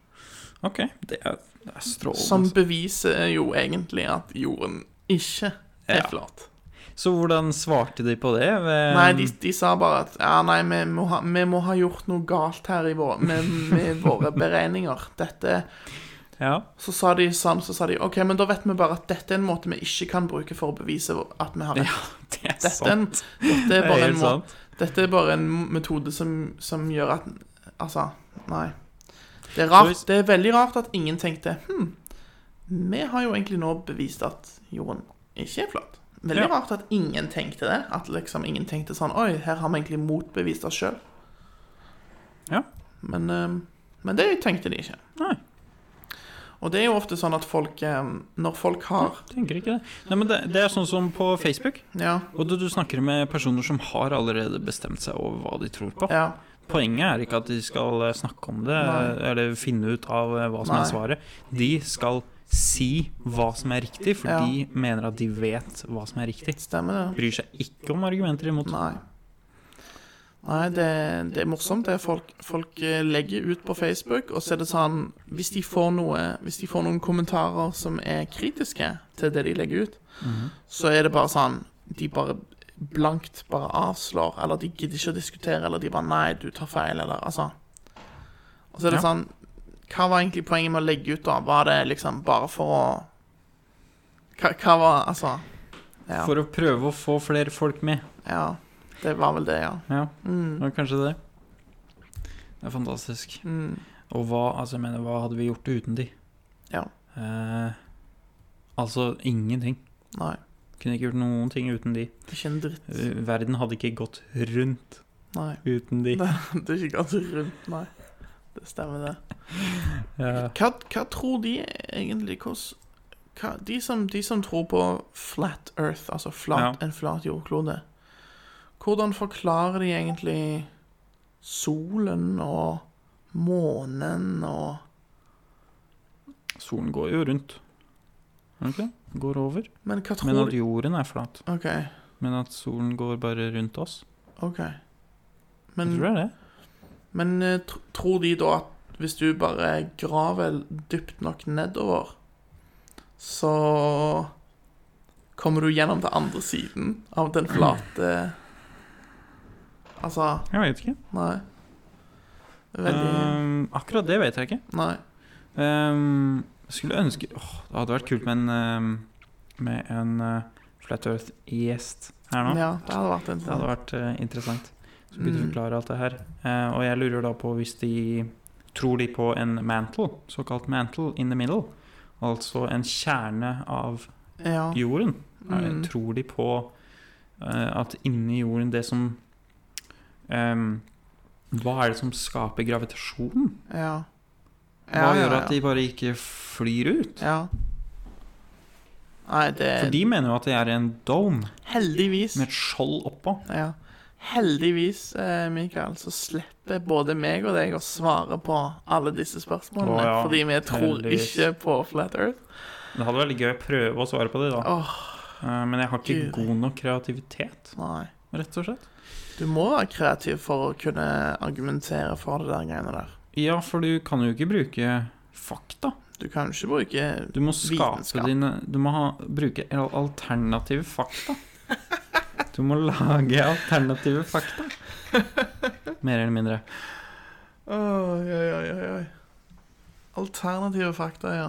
S5: OK. Det er, det er strålende.
S4: Som beviser jo egentlig at jorden ikke er
S5: Ja.
S4: flat.
S5: Så hvordan svarte de på det? Ved,
S4: Nei, de, de sa bare at ja, nei, vi må, ha, vi må ha gjort noe galt her i vår, med, med våre beregninger. Dette
S5: Ja.
S4: Så sa de sånn, så sa de OK, men da vet vi bare at dette er en måte vi ikke kan bruke for å bevise at vi har rett.
S5: Det er
S4: Dette, er en,
S5: sant.
S4: dette, er
S5: Sånn. Det er
S4: bare en
S5: helt
S4: må,
S5: sant.
S4: dette er bare en metode som, som gjør at Altså, nei. Det er,
S5: Så
S4: rart,
S5: hvis-
S4: det er veldig rart at ingen tenkte Hm, vi har jo egentlig nå bevist at jorden ikke er flat. Veldig
S5: Ja.
S4: rart at ingen tenkte det. At liksom ingen tenkte sånn Oi, her har vi egentlig motbevist oss sjøl.
S5: Ja.
S4: Men, ehm, men det tenkte de ikke.
S5: Nei.
S4: Og det er jo ofte sånn at folk ehm, Når folk har
S5: Tenker ikke det. Nei, men det, det er sånn som på Facebook.
S4: Ja.
S5: Og du, du snakker med personer som har allerede bestemt seg over hva de tror på.
S4: ja
S5: Poenget er ikke at de skal eh, snakke om det
S4: Nei.
S5: eller finne ut av eh, hva som
S4: Nei.
S5: er svaret. De skal si hva som er riktig, for
S4: Ja.
S5: de mener at de vet hva som er riktig.
S4: stemmer det.
S5: Bryr seg ikke om argumenter imot.
S4: Nei. Nei, det, det er morsomt. Det er folk, folk eh, legger ut på Facebook, og så er det sånn Hvis de får, noe, hvis de får noen kommentarer som er kritiske til det de legger ut,
S5: Mhm.
S4: så er det bare sånn De bare blankt bare avslår, eller de gidder ikke å diskutere, eller de bare Nei, du tar feil, eller altså Og så er det sånn Hva var egentlig poenget med å legge ut, da? Var det liksom bare for å Hva, hva var Altså Ja.
S5: For å prøve å få flere folk med.
S4: Ja. Det var vel det, ja.
S5: Ja,
S4: Mm.
S5: det var kanskje det. Det er fantastisk.
S4: Mm.
S5: Og hva, altså, jeg mener, hva hadde vi gjort uten de?
S4: Ja.
S5: Eh, altså, ingenting.
S4: Nei.
S5: Kunne ikke gjort noen ting uten de.
S4: Ikke en dritt.
S5: Eh, Verden hadde ikke gått rundt
S4: Nei.
S5: uten de.
S4: Nei. Det er ikke ganske rundt, nei. Det stemmer, det.
S5: Ja.
S4: Hva, hva tror de egentlig hvordan hva, de, som, de som tror på flat earth, altså flat, en flat jordklode Hvordan forklarer de egentlig solen og månen og
S5: Solen går jo rundt. Ok, går over.
S4: Men hva
S5: Men
S4: tror
S5: at
S4: de
S5: jorden er flat.
S4: OK.
S5: Men at solen går bare rundt oss.
S4: ok
S5: Jeg
S4: Men
S5: tror det er det.
S4: Men eh, tr tror de da at hvis du bare graver dypt nok nedover, så kommer du gjennom til andre siden av den flate Altså,
S5: Jeg vet ikke.
S4: nei. Veldig
S5: Ehm, akkurat det vet jeg ikke.
S4: Nei.
S5: Ehm, jeg skulle ønske Åh, Det hadde vært kult med en, ehm, med en eh, Flat Earth-gjest her nå.
S4: Ja, det hadde vært
S5: Det hadde
S4: interessant.
S5: vært eh, interessant. Så kunne du
S4: Mm.
S5: forklare alt det her. Eh, og jeg lurer da på hvis de Tror de på en mantle, såkalt mantle in the middle? Altså en kjerne av
S4: Ja.
S5: jorden? Er-
S4: Mm.
S5: Tror de på eh, at inni jorden det som ehm, Hva er det som skaper gravitasjon?
S4: ja.
S5: Hva gjør at de bare ikke flyr ut?
S4: Ja. Nei, det
S5: For de mener jo at det er en dome
S4: Heldigvis.
S5: med et skjold oppå.
S4: Ja. Heldigvis, eh, Mikael, så slipper både meg og deg å svare på alle disse spørsmålene.
S5: Å, ja.
S4: Fordi vi tror
S5: Heldigvis.
S4: ikke på Flat Earth.
S5: Det hadde vært litt gøy å prøve å svare på det, da.
S4: Åh,
S5: Eh, Men jeg har
S4: Gud.
S5: ikke god nok kreativitet,
S4: nei.
S5: rett og slett.
S4: Du må være kreativ for å kunne argumentere for det der greiene der.
S5: Ja, for du kan jo ikke bruke fakta.
S4: Du kan jo ikke bruke
S5: Du må skape
S4: Vitenskap.
S5: dine Du må ha, bruke al- alternative fakta. Du må lage alternative fakta. Mer eller mindre.
S4: Oi, oi, oi, oi, oi. Alternative fakta, ja.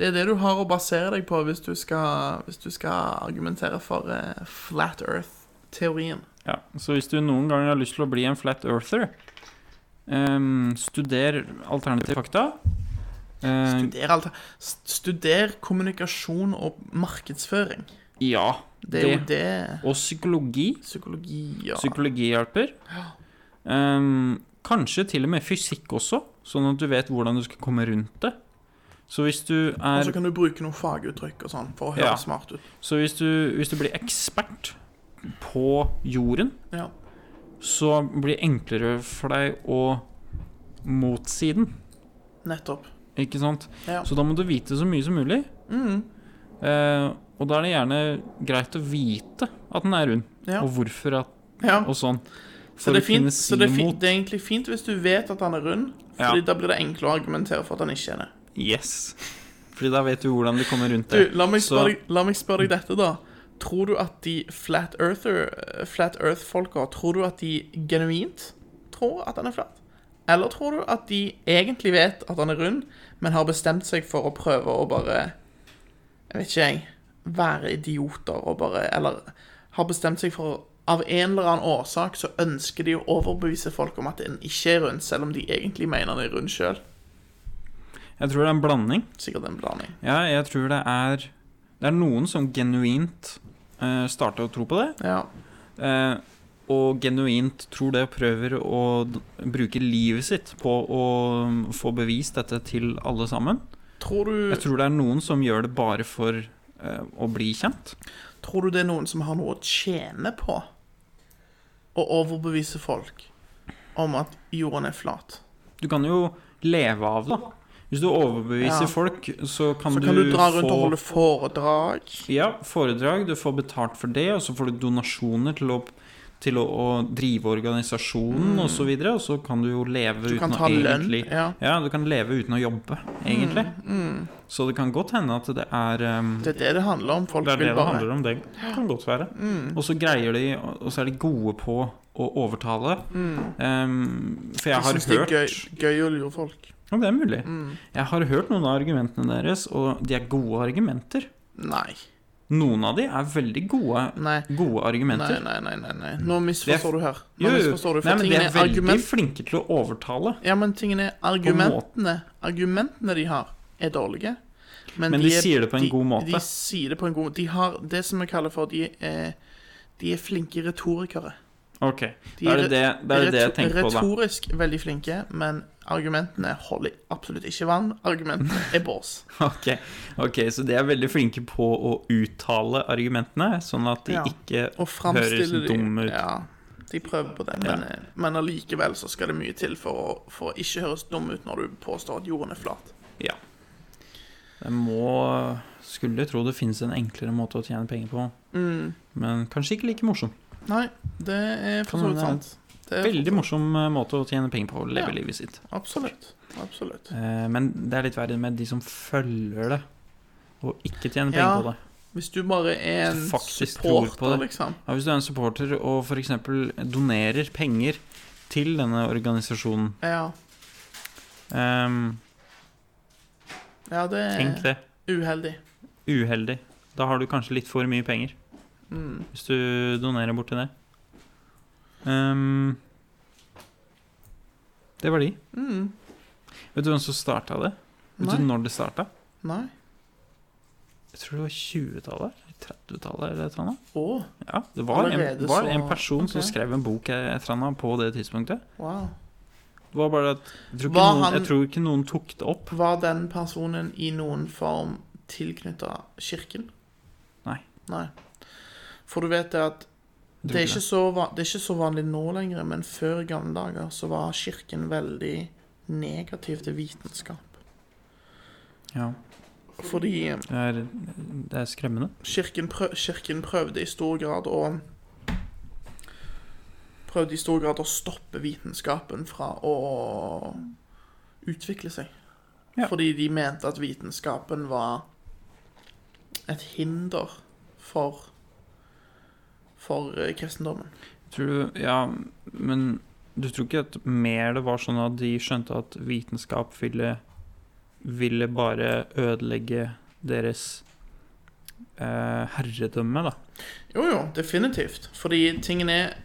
S4: Det er det du har å basere deg på hvis du skal, hvis du skal argumentere for eh, Flat Earth-teorien.
S5: Ja, så hvis du noen ganger har lyst til å bli en flat earther, ehm, studer alternative fakta. Eh,
S4: Studer, alter- st- studer kommunikasjon og markedsføring.
S5: ja.
S4: Det er jo
S5: Det.
S4: det
S5: Og psykologi.
S4: psykologi ja.
S5: Psykologi hjelper. Ehm, kanskje til og med fysikk også, sånn at du vet hvordan du skal komme rundt det. Så hvis du
S4: Og
S5: er
S4: så kan du bruke noen faguttrykk og sånn for å høre
S5: Ja.
S4: smart ut.
S5: Så hvis du, hvis du blir ekspert på jorden,
S4: Ja.
S5: så blir det enklere for deg å motsi den,
S4: Nettopp.
S5: ikke sant?
S4: Ja. Mm.
S5: Så da må du vite så mye som mulig. Eh, og da er det gjerne greit å vite at den er rund,
S4: Ja.
S5: og hvorfor at,
S4: ja.
S5: og sånn.
S4: Så,
S5: For
S4: det er,
S5: å
S4: fint,
S5: kunne
S4: så
S5: si
S4: det, er fint,
S5: imot.
S4: det er egentlig fint hvis du vet at han er rund,
S5: Ja.
S4: Fordi da blir det enklere å argumentere for at han ikke er det.
S5: Yes. Fordi da vet du hvordan du kommer rundt
S4: Du,
S5: det.
S4: la meg
S5: Så-
S4: spørre deg, la meg spørre deg dette, da. Tror du at de Flat Earther Flat Earth-folka Tror du at de genuint tror at han er flat? Eller tror du at de egentlig vet at han er rund, men har bestemt seg for å prøve å bare Jeg vet ikke, jeg. Være idioter og bare Eller har bestemt seg for Av en eller annen årsak så ønsker de å overbevise folk om at en ikke er rund, selv om de egentlig mener han er rund sjøl.
S5: Jeg tror det er en blanding.
S4: Sikkert en blanding.
S5: Ja, jeg tror det er Det er noen som genuint uh, starter å tro på det,
S4: Ja.
S5: eh, og genuint tror det og prøver å d bruke livet sitt på å mm, få bevist dette til alle sammen.
S4: Tror du
S5: Jeg tror det er noen som gjør det bare for eh, å bli kjent.
S4: Tror du det er noen som har noe å tjene på å overbevise folk om at jorden er flat?
S5: Du kan jo leve av det. da. Hvis du overbeviser
S4: Ja.
S5: folk, så kan,
S4: Så kan du dra rundt
S5: få
S4: og holde foredrag.
S5: Ja, foredrag. Du får betalt for det, og så får du donasjoner til å, til å, å drive organisasjonen og osv. Og så kan du jo leve
S4: Mm. Du kan
S5: uten
S4: ta
S5: å
S4: lønn,
S5: egentlig
S4: ja. Mm,
S5: du kan leve uten å jobbe, egentlig. Så det kan godt hende at det er um,
S4: Det er det det handler om. Folk
S5: det er det
S4: vil
S5: det
S4: bare Mm.
S5: handler om. Det kan godt være. Og så greier de Og så er de gode på å overtale. Um, for jeg
S4: Jeg
S5: har
S4: syns Mm. det er
S5: hørt
S4: gøy, Mm. gøy å lure folk.
S5: Ja, det er mulig. Jeg har hørt noen av argumentene deres, og de er gode argumenter.
S4: Nei.
S5: Noen av de er veldig gode,
S4: Nei.
S5: gode
S4: Nei,
S5: argumenter.
S4: nei, nei. nei, nei. Nå
S5: Det er-
S4: misforstår du her.
S5: Jo,
S4: Nå
S5: jo.
S4: misforstår du, for
S5: Nei, men de
S4: tingene
S5: er
S4: er
S5: veldig
S4: argument...
S5: flinke til å overtale.
S4: Ja, men tingen er argumentene Argumentene de har, er dårlige.
S5: Men de sier det på en god måte.
S4: De sier det på en god De har det som vi kaller for De er, de er flinke retorikere.
S5: Ok,
S4: De
S5: da er det det, da er det, det jeg tenker på, da.
S4: Retorisk veldig flinke, men argumentene holder absolutt ikke vann. Argumentene er bås.
S5: Ok, ok, Så de er veldig flinke på å uttale argumentene, sånn at de
S4: Ja.
S5: ikke
S4: Og
S5: høres
S4: framstiller de
S5: dumme ut.
S4: Ja, de prøver på det, men, eh, men allikevel så skal det mye til for å, for å ikke høres dum ut når du påstår at jorden er flat.
S5: Ja. Jeg må Skulle tro det finnes en enklere måte å tjene penger på,
S4: Mm.
S5: men kanskje ikke like morsom.
S4: Nei, det er for
S5: Kan
S4: så
S5: hende
S4: vidt sant. Det er for
S5: Veldig
S4: så-
S5: morsom eh, måte å tjene penger på, å leve
S4: Ja.
S5: livet sitt.
S4: Absolutt. Absolutt.
S5: Eh, Men det er litt verre med de som følger det, og ikke tjener penger
S4: Ja.
S5: på det.
S4: Hvis du bare er en
S5: Som faktisk tror på
S4: supporter,
S5: det.
S4: liksom.
S5: Ja, hvis du er en supporter og f.eks. donerer penger til denne organisasjonen
S4: Ja,
S5: ehm,
S4: ja det
S5: Tenk
S4: er
S5: det.
S4: uheldig.
S5: Uheldig. Da har du kanskje litt for mye penger.
S4: Mm.
S5: Hvis du donerer bort til det. Ehm, det var de.
S4: Mm.
S5: Vet du hvem som starta det? Vet du
S4: Nei.
S5: når det starta?
S4: Nei.
S5: Jeg tror det var 20-tallet? eller 30-tallet? eller et eller annet.
S4: Å,
S5: Ja, det var, en,
S4: Allerede
S5: var
S4: så-
S5: en person som
S4: ok.
S5: skrev en bok eh, et eller annet på det tidspunktet.
S4: wow.
S5: Det var bare at jeg tror, ikke
S4: Var
S5: noen,
S4: han-
S5: jeg tror ikke noen tok det opp.
S4: Var den personen i noen form tilknytta kirken?
S5: Nei.
S4: Nei. For du vet det at det er,
S5: ikke
S4: ikke så, va- det er ikke så vanlig nå lenger, men før i gamle dager så var kirken veldig negativ til vitenskap.
S5: Ja.
S4: Fordi eh,
S5: Det er, det er skremmende.
S4: kirken, prøv, kirken prøvde i stor grad å Prøvde i stor grad å stoppe vitenskapen fra å utvikle seg.
S5: Ja.
S4: Fordi de mente at vitenskapen var et hinder for for eh, kristendommen.
S5: Tror du, ja, men du tror ikke at mer det var sånn at de skjønte at vitenskap ville, ville bare ødelegge deres eh, herredømme, da?
S4: Jo, jo, definitivt. Fordi tingen er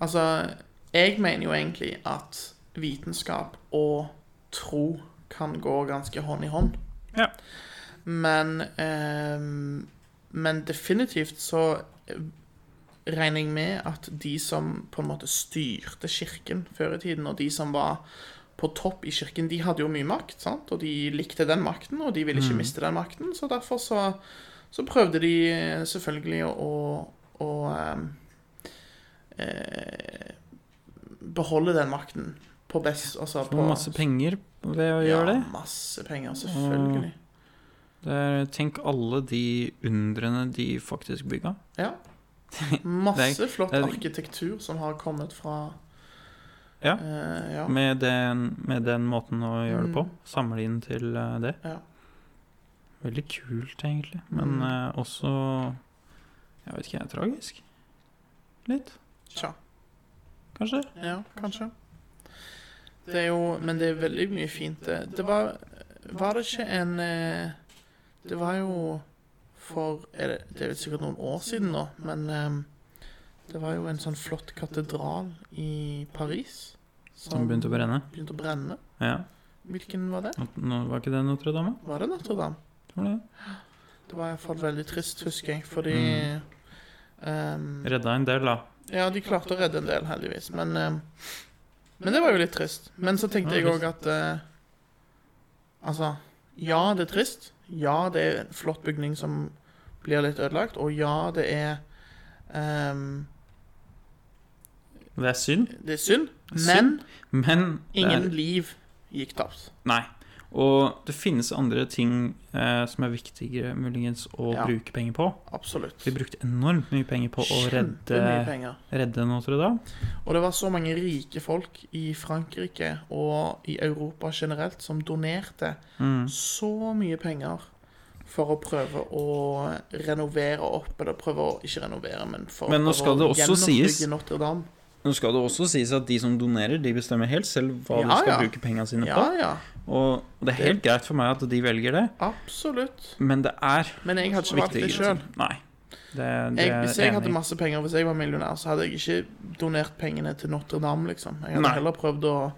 S4: Altså, jeg mener jo egentlig at vitenskap og tro kan gå ganske hånd i hånd.
S5: Ja.
S4: Men ehm, Men definitivt så eh, regner jeg med at de som på en måte styrte kirken før i tiden, og de som var på topp i kirken, de hadde jo mye makt, sant? og de likte den makten, og de ville
S5: Mm.
S4: ikke miste den makten, så derfor så så prøvde de eh, selvfølgelig å, å, å ehm, eh, beholde den makten på best altså
S5: Det
S4: på,
S5: var masse penger ved å gjøre
S4: Ja,
S5: det.
S4: masse penger,
S5: Mm.
S4: selvfølgelig.
S5: det er, tenk alle de undrene de faktisk bygga.
S4: Ja. Masse flott
S5: det er-
S4: arkitektur som har kommet fra
S5: Ja.
S4: eh, ja. Mm.
S5: Med den, med den måten å gjøre det på. Samle inn til eh, det.
S4: Ja. Mm.
S5: Veldig kult, egentlig. Men eh, også Jeg vet ikke, jeg er tragisk. Litt,
S4: Tja.
S5: kanskje.
S4: Ja, kanskje. Det er jo Men det er veldig mye fint, det. Det var Var det ikke en eh, Det var jo for er det, det er vel sikkert noen år siden nå, men eh, det var jo en sånn flott katedral i Paris
S5: Som begynte å brenne.
S4: begynte å brenne.
S5: Ja.
S4: Hvilken var det?
S5: Nå- Nå var ikke det Notre-Dame?
S4: Var det Notre-Dame?
S5: Tror det.
S4: Det var iallfall veldig trist, husker jeg, fordi
S5: Mm.
S4: ehm,
S5: Redda en del, da.
S4: Ja, de klarte å redde en del, heldigvis, men ehm, Men det var jo litt trist. Men så tenkte jeg òg at eh, Altså, ja, det er trist. Ja, det er en flott bygning som blir litt ødelagt, og ja, det er ehm,
S5: Det er synd,
S4: Det er synd, men
S5: Synd? men det er-
S4: ingen liv gikk tapt.
S5: Nei. Og det finnes andre ting eh, som er viktigere muligens å
S4: Ja.
S5: bruke penger på.
S4: Absolutt.
S5: Vi brukte enormt mye penger på å
S4: Kjempemye
S5: redde,
S4: penger.
S5: redde Notre-Dame.
S4: Og det var så mange rike folk i Frankrike og i Europa generelt som donerte
S5: Mm.
S4: så mye penger for å prøve å renovere opp Eller prøve å ikke renovere, men for
S5: Men nå
S4: å
S5: skal det også
S4: gjenoppbygge
S5: sies-
S4: Notre-Dame.
S5: Nå skal det også sies at de som donerer, de bestemmer helt selv hva
S4: Ja,
S5: de skal
S4: ja.
S5: bruke pengene sine
S4: Ja,
S5: på.
S4: ja.
S5: Og det er helt greit for meg at de velger det,
S4: Absolutt.
S5: men det er
S4: Men jeg hadde ikke valgt
S5: viktigere.
S4: det sjøl.
S5: ting. Nei. Det, det er
S4: Hvis jeg
S5: enig.
S4: hadde masse penger, hvis jeg var millionær, så hadde jeg ikke donert pengene til Notre-Dame, liksom. Jeg hadde
S5: Nei.
S4: heller prøvd å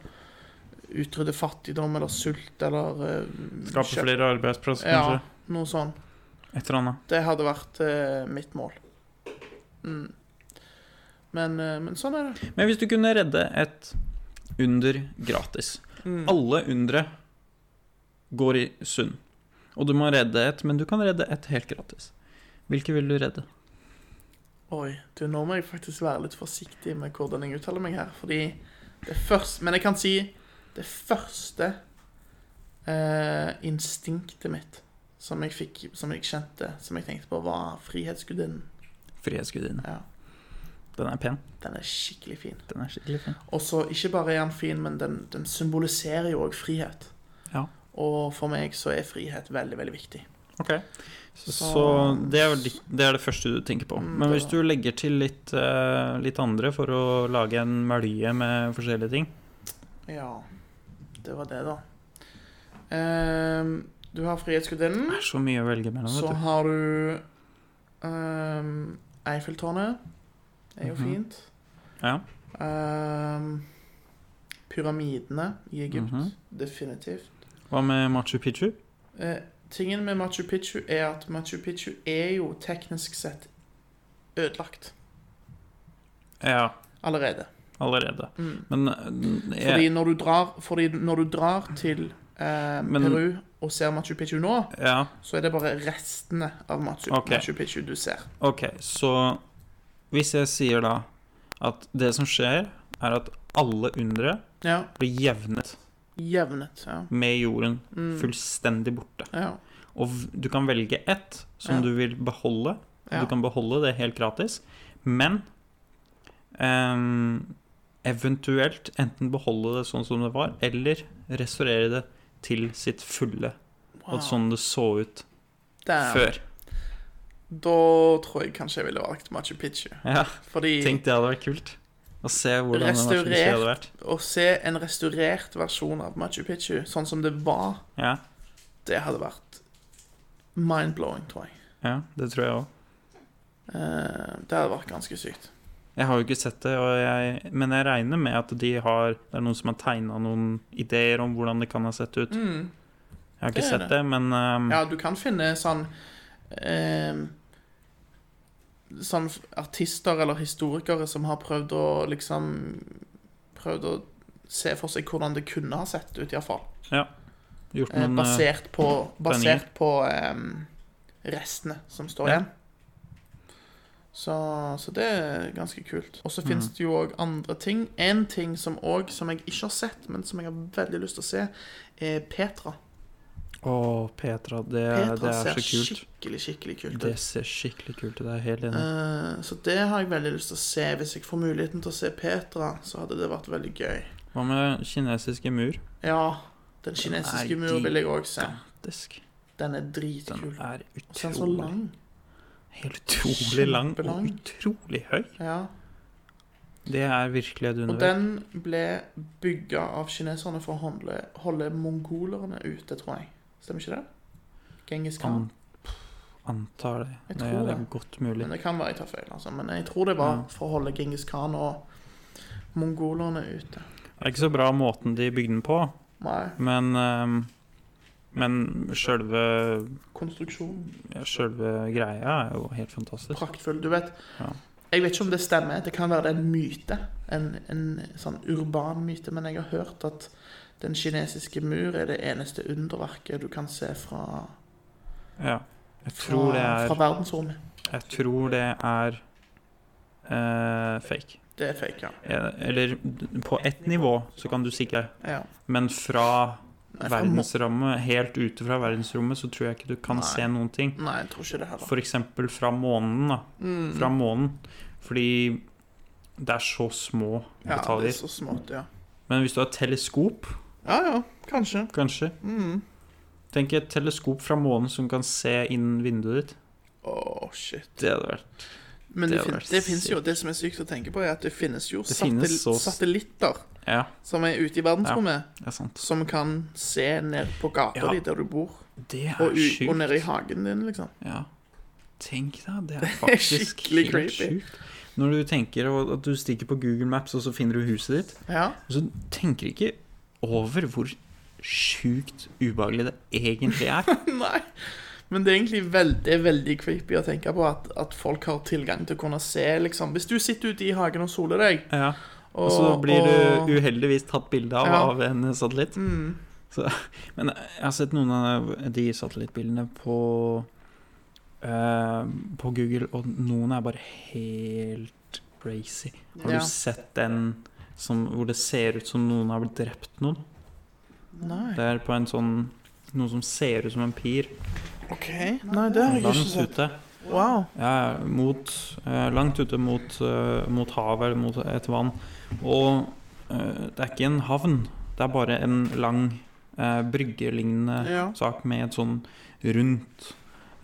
S4: utrydde fattigdom eller sult eller eh,
S5: Skape
S4: kjøpt-
S5: flere arbeidsplasser,
S4: Ja,
S5: kanskje.
S4: noe sånn.
S5: Et eller annet.
S4: Det hadde vært eh, mitt mål. Mm. Men, eh, men sånn er det.
S5: Men hvis du kunne redde et under gratis
S4: Mm.
S5: Alle undre går i sund. Og du må redde et, men du kan redde et helt gratis. Hvilke vil du redde?
S4: Oi, du, nå må jeg faktisk være litt forsiktig med hvordan jeg uttaler meg her, fordi det første Men jeg kan si det første eh, instinktet mitt som jeg fikk, som jeg kjente, som jeg tenkte på, var Frihetsgudinnen.
S5: Frihetsgudinnen.
S4: Ja,
S5: Den er pen.
S4: den er skikkelig fin.
S5: Den er skikkelig pen.
S4: Og så ikke bare er den fin, men den, den symboliserer jo òg frihet.
S5: Ja.
S4: Og for meg så er frihet veldig, veldig viktig.
S5: Ok. Så,
S4: Så-
S5: det, er jo litt, det er det første du tenker på.
S4: Mm,
S5: Men
S4: det
S5: hvis du legger til litt, eh, litt andre for å lage en mølje med forskjellige ting
S4: Mm. Ja, det var det, da. Ehm, du har Frihetsgudinnen.
S5: Det er så mye å velge mellom,
S4: Så
S5: vet du.
S4: har du ehm, Eiffeltårnet. Det er jo
S5: Mhm.
S4: fint.
S5: Ja.
S4: Ehm, pyramidene i Egypt.
S5: Mhm.
S4: Definitivt.
S5: Hva med Machu Picchu?
S4: Eh, tingen med Machu Picchu er at Machu Picchu er jo teknisk sett ødelagt
S5: Ja,
S4: allerede.
S5: allerede.
S4: Mm.
S5: Men eh, jeg-
S4: Fordi, når du drar, fordi når du drar til eh,
S5: Men-
S4: Peru og ser Machu Picchu nå,
S5: Ja,
S4: så er det bare restene av Machu,
S5: Ok.
S4: Machu Picchu du ser.
S5: ok, så hvis jeg sier da at det som skjer, er at alle undre
S4: Ja,
S5: blir jevnet
S4: jevnet. Ja.
S5: med jorden,
S4: Mm.
S5: fullstendig borte.
S4: Ja.
S5: Og v- du kan velge ett som
S4: Ja.
S5: du vil beholde.
S4: Ja.
S5: Du kan beholde det helt gratis, men ehm, eventuelt enten beholde det sånn som det var, eller restaurere det til sitt fulle,
S4: Wow.
S5: og sånn det så ut
S4: Damn.
S5: før.
S4: Da tror jeg kanskje jeg ville valgt Machu Picchu.
S5: Ja,
S4: Fordi
S5: tenk det hadde vært kult. Å se hvordan det hadde vært.
S4: å se en restaurert versjon av Machu Picchu sånn som det var,
S5: Ja,
S4: det hadde vært mind-blowing, tror jeg.
S5: ja, det tror jeg òg.
S4: Eh, det hadde vært ganske sykt.
S5: Jeg har jo ikke sett det, og jeg, men jeg regner med at de har, det er noen som har tegna noen ideer om hvordan det kan ha sett ut. Jeg har
S4: Mm. det
S5: ikke
S4: er
S5: sett
S4: det.
S5: det, men um,
S4: Ja, du kan finne sånn eh, Sånn f- artister eller historikere som har prøvd å liksom Prøvd å se for seg hvordan det kunne ha sett ut, iallfall.
S5: gjort
S4: Eh,
S5: noen uh,
S4: basert på,
S5: tegninger.
S4: basert på em, restene som står
S5: Ja.
S4: igjen. Så, så det er ganske kult. Og
S5: Mm.
S4: så finnes det jo òg andre ting. En ting som òg, som jeg ikke har sett, men som jeg har veldig lyst til å se, er Petra.
S5: Å, Petra, det,
S4: Petra
S5: det er
S4: ser
S5: så kult.
S4: skikkelig, skikkelig kult ut.
S5: Det ser skikkelig kult ut, jeg er helt enig.
S4: Eh, Så det har jeg veldig lyst til å se. Hvis jeg får muligheten til å se Petra, så hadde det vært veldig gøy.
S5: Hva med kinesiske mur?
S4: Ja, den kinesiske
S5: Den er
S4: mur vil jeg òg se.
S5: Gigantisk.
S4: Den er
S5: Den
S4: dritkul.
S5: er
S4: Og så er den så
S5: utrolig
S4: lang.
S5: Helt utrolig lang og
S4: Kjempelang.
S5: utrolig høy.
S4: Ja.
S5: Det er virkelig et
S4: Og
S5: underverk.
S4: den ble bygga av kineserne for å holde, holde mongolerne ute, tror jeg. Stemmer ikke det? Genghis Khan.
S5: An antar det.
S4: Jeg
S5: Nei,
S4: tror
S5: det er
S4: det.
S5: godt mulig.
S4: Men det kan være jeg tar feil, altså. Men jeg tror det var for å holde Genghis Khan og mongolerne ute.
S5: Det er ikke så bra måten de bygde den på,
S4: Nei,
S5: men ehm, men sjølve
S4: konstruksjonen.
S5: Sjølve greia er jo helt fantastisk.
S4: Praktfull. Du vet,
S5: Ja.
S4: jeg vet ikke om det stemmer. Det kan være det er en myte. En, en sånn urban myte. Men jeg har hørt at den kinesiske mur er det eneste underverket du kan se fra,
S5: Ja. Jeg
S4: fra,
S5: tror det er
S4: fra verdensrommet.
S5: Jeg tror det er eh, fake.
S4: Det er fake, ja.
S5: Eh, Eller på ett nivå så kan du sikre,
S4: ja.
S5: men fra
S4: Nei, fra mo-
S5: verdensrommet, helt ute fra verdensrommet, så tror jeg ikke du kan
S4: Nei.
S5: se noen ting.
S4: Nei, jeg tror ikke det heller.
S5: F.eks. fra månen, da.
S4: Mm.
S5: Fra månen. Fordi det er så små
S4: ja, det er
S5: detaljer.
S4: så smått, ja.
S5: Men hvis du har et teleskop,
S4: Ja ja, kanskje.
S5: kanskje
S4: Mm.
S5: Tenk et teleskop fra månen som kan se inn vinduet ditt.
S4: Åh, shit.
S5: Det hadde vært
S4: Men
S5: Det
S4: det, fin
S5: hadde vært
S4: det finnes jo, det som er sykt å tenke på, er at det finnes jo
S5: Det finnes
S4: satel-
S5: så-
S4: satellitter
S5: Ja,
S4: som er ute i verdensrommet,
S5: det er sant.
S4: som kan se ned på gata
S5: Ja.
S4: di der du bor.
S5: Det er
S4: Og, u- og
S5: sjukt.
S4: nede i hagen din, liksom.
S5: Ja. Tenk deg, det er faktisk
S4: skikkelig
S5: helt
S4: creepy.
S5: sjukt. Når du tenker og- at du stikker på Google Maps, og så finner du huset ditt,
S4: Ja.
S5: og så tenker du ikke over hvor sjukt ubehagelig det egentlig er.
S4: Nei. Men det er egentlig veld, det er veldig creepy å tenke på at, at folk har tilgang til å kunne se, liksom. Hvis du sitter ute i hagen og soler deg,
S5: Ja.
S4: og,
S5: Og så blir du
S4: og-
S5: uheldigvis tatt bilde av
S4: Ja.
S5: av en satellitt.
S4: mm,
S5: Så, men jeg har sett noen av de satellittbildene på eh, på Google, og noen er bare helt crazy. Har
S4: ja.
S5: du sett den som, hvor det ser ut som noen har blitt drept noen?
S4: Nei.
S5: Det er på en sånn Noe som ser ut som en pir.
S4: OK. Nei, det har jeg ikke
S5: Langt
S4: sett.
S5: ute.
S4: Wow.
S5: Ja, mot, eh, langt ute mot, eh, mot havet eller mot et vann. Og eh, det er ikke en havn. Det er bare en lang eh, bryggelignende
S4: Ja.
S5: sak med et sånn rundt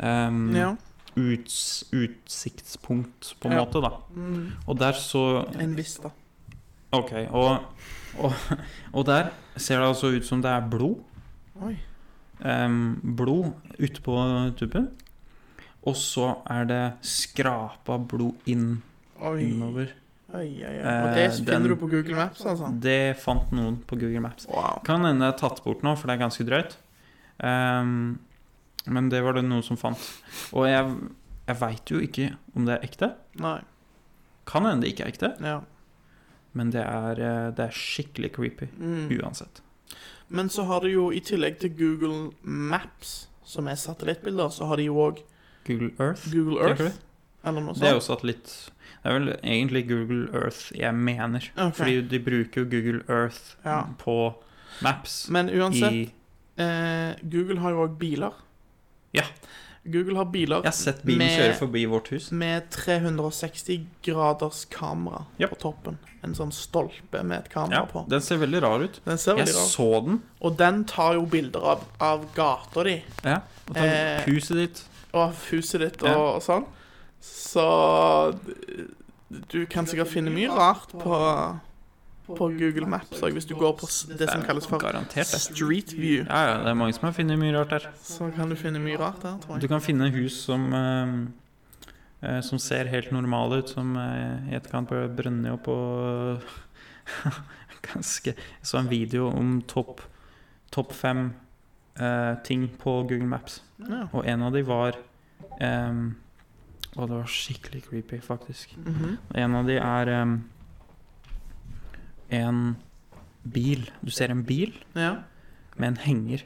S5: em,
S4: ja.
S5: uts, utsiktspunkt, på en
S4: Ja.
S5: måte, da.
S4: Mm.
S5: Og der så
S4: En vista.
S5: Ok, og, og, og der ser det altså ut som det er blod.
S4: Oi.
S5: Ehm, blod ute på tuppen. Og så er det skrapa blod inn,
S4: Oi.
S5: innover.
S4: Oi, oi, oi. Og det
S5: Eh,
S4: finner
S5: den-
S4: du på Google Maps, altså?
S5: Det fant noen på Google Maps.
S4: Wow.
S5: Kan hende det er tatt bort nå, for det er ganske drøyt. Ehm, men det var det noen som fant. Og jeg, jeg veit jo ikke om det er ekte.
S4: Nei.
S5: Kan hende det ikke er ekte,
S4: Ja.
S5: men det er, eh, det er skikkelig creepy
S4: Mm.
S5: uansett.
S4: Men så har du jo i tillegg til Google Maps, som er satellittbilder, så har de jo òg
S5: Google Earth.
S4: Google
S5: Tenker
S4: Earth. Eller noe sånt.
S5: Det er jo satellitt Det er vel egentlig Google Earth jeg mener.
S4: Ok.
S5: Fordi de bruker jo Google Earth
S4: Ja.
S5: på maps
S4: Men uansett,
S5: i
S4: eh, Google har jo òg biler.
S5: Ja.
S4: Google har biler
S5: Jeg har sett bilen
S4: med-
S5: kjøre forbi vårt hus.
S4: med 360 graders kamera
S5: Japp.
S4: på toppen. En sånn stolpe med et kamera
S5: Ja,
S4: på.
S5: den ser veldig rar ut.
S4: Den ser
S5: Jeg
S4: veldig rar ut.
S5: så den.
S4: Og den tar jo bilder av, av gata di
S5: Ja, og ta
S4: Eh,
S5: huset ditt.
S4: og av huset ditt og,
S5: Ja.
S4: og sånn. Så d- du kan sikkert finne mye rart på, på Google Maps og hvis du går på s- det som kalles for
S5: Garantert det.
S4: Street View.
S5: Ja, ja, det er mange som har funnet mye rart der.
S4: Så kan du finne mye rart der, tror
S5: Du
S4: jeg.
S5: kan finne hus som eh, eh, Som ser helt normale ut, som eh, i etterkant ble brønnet opp og Ganske Jeg så en video om topp topp fem eh, ting på Google Maps,
S4: Ja.
S5: og en av de var um, Og det var skikkelig creepy, faktisk.
S4: Mhm.
S5: En av de er em, en bil. Du ser en bil
S4: ja.
S5: med en henger.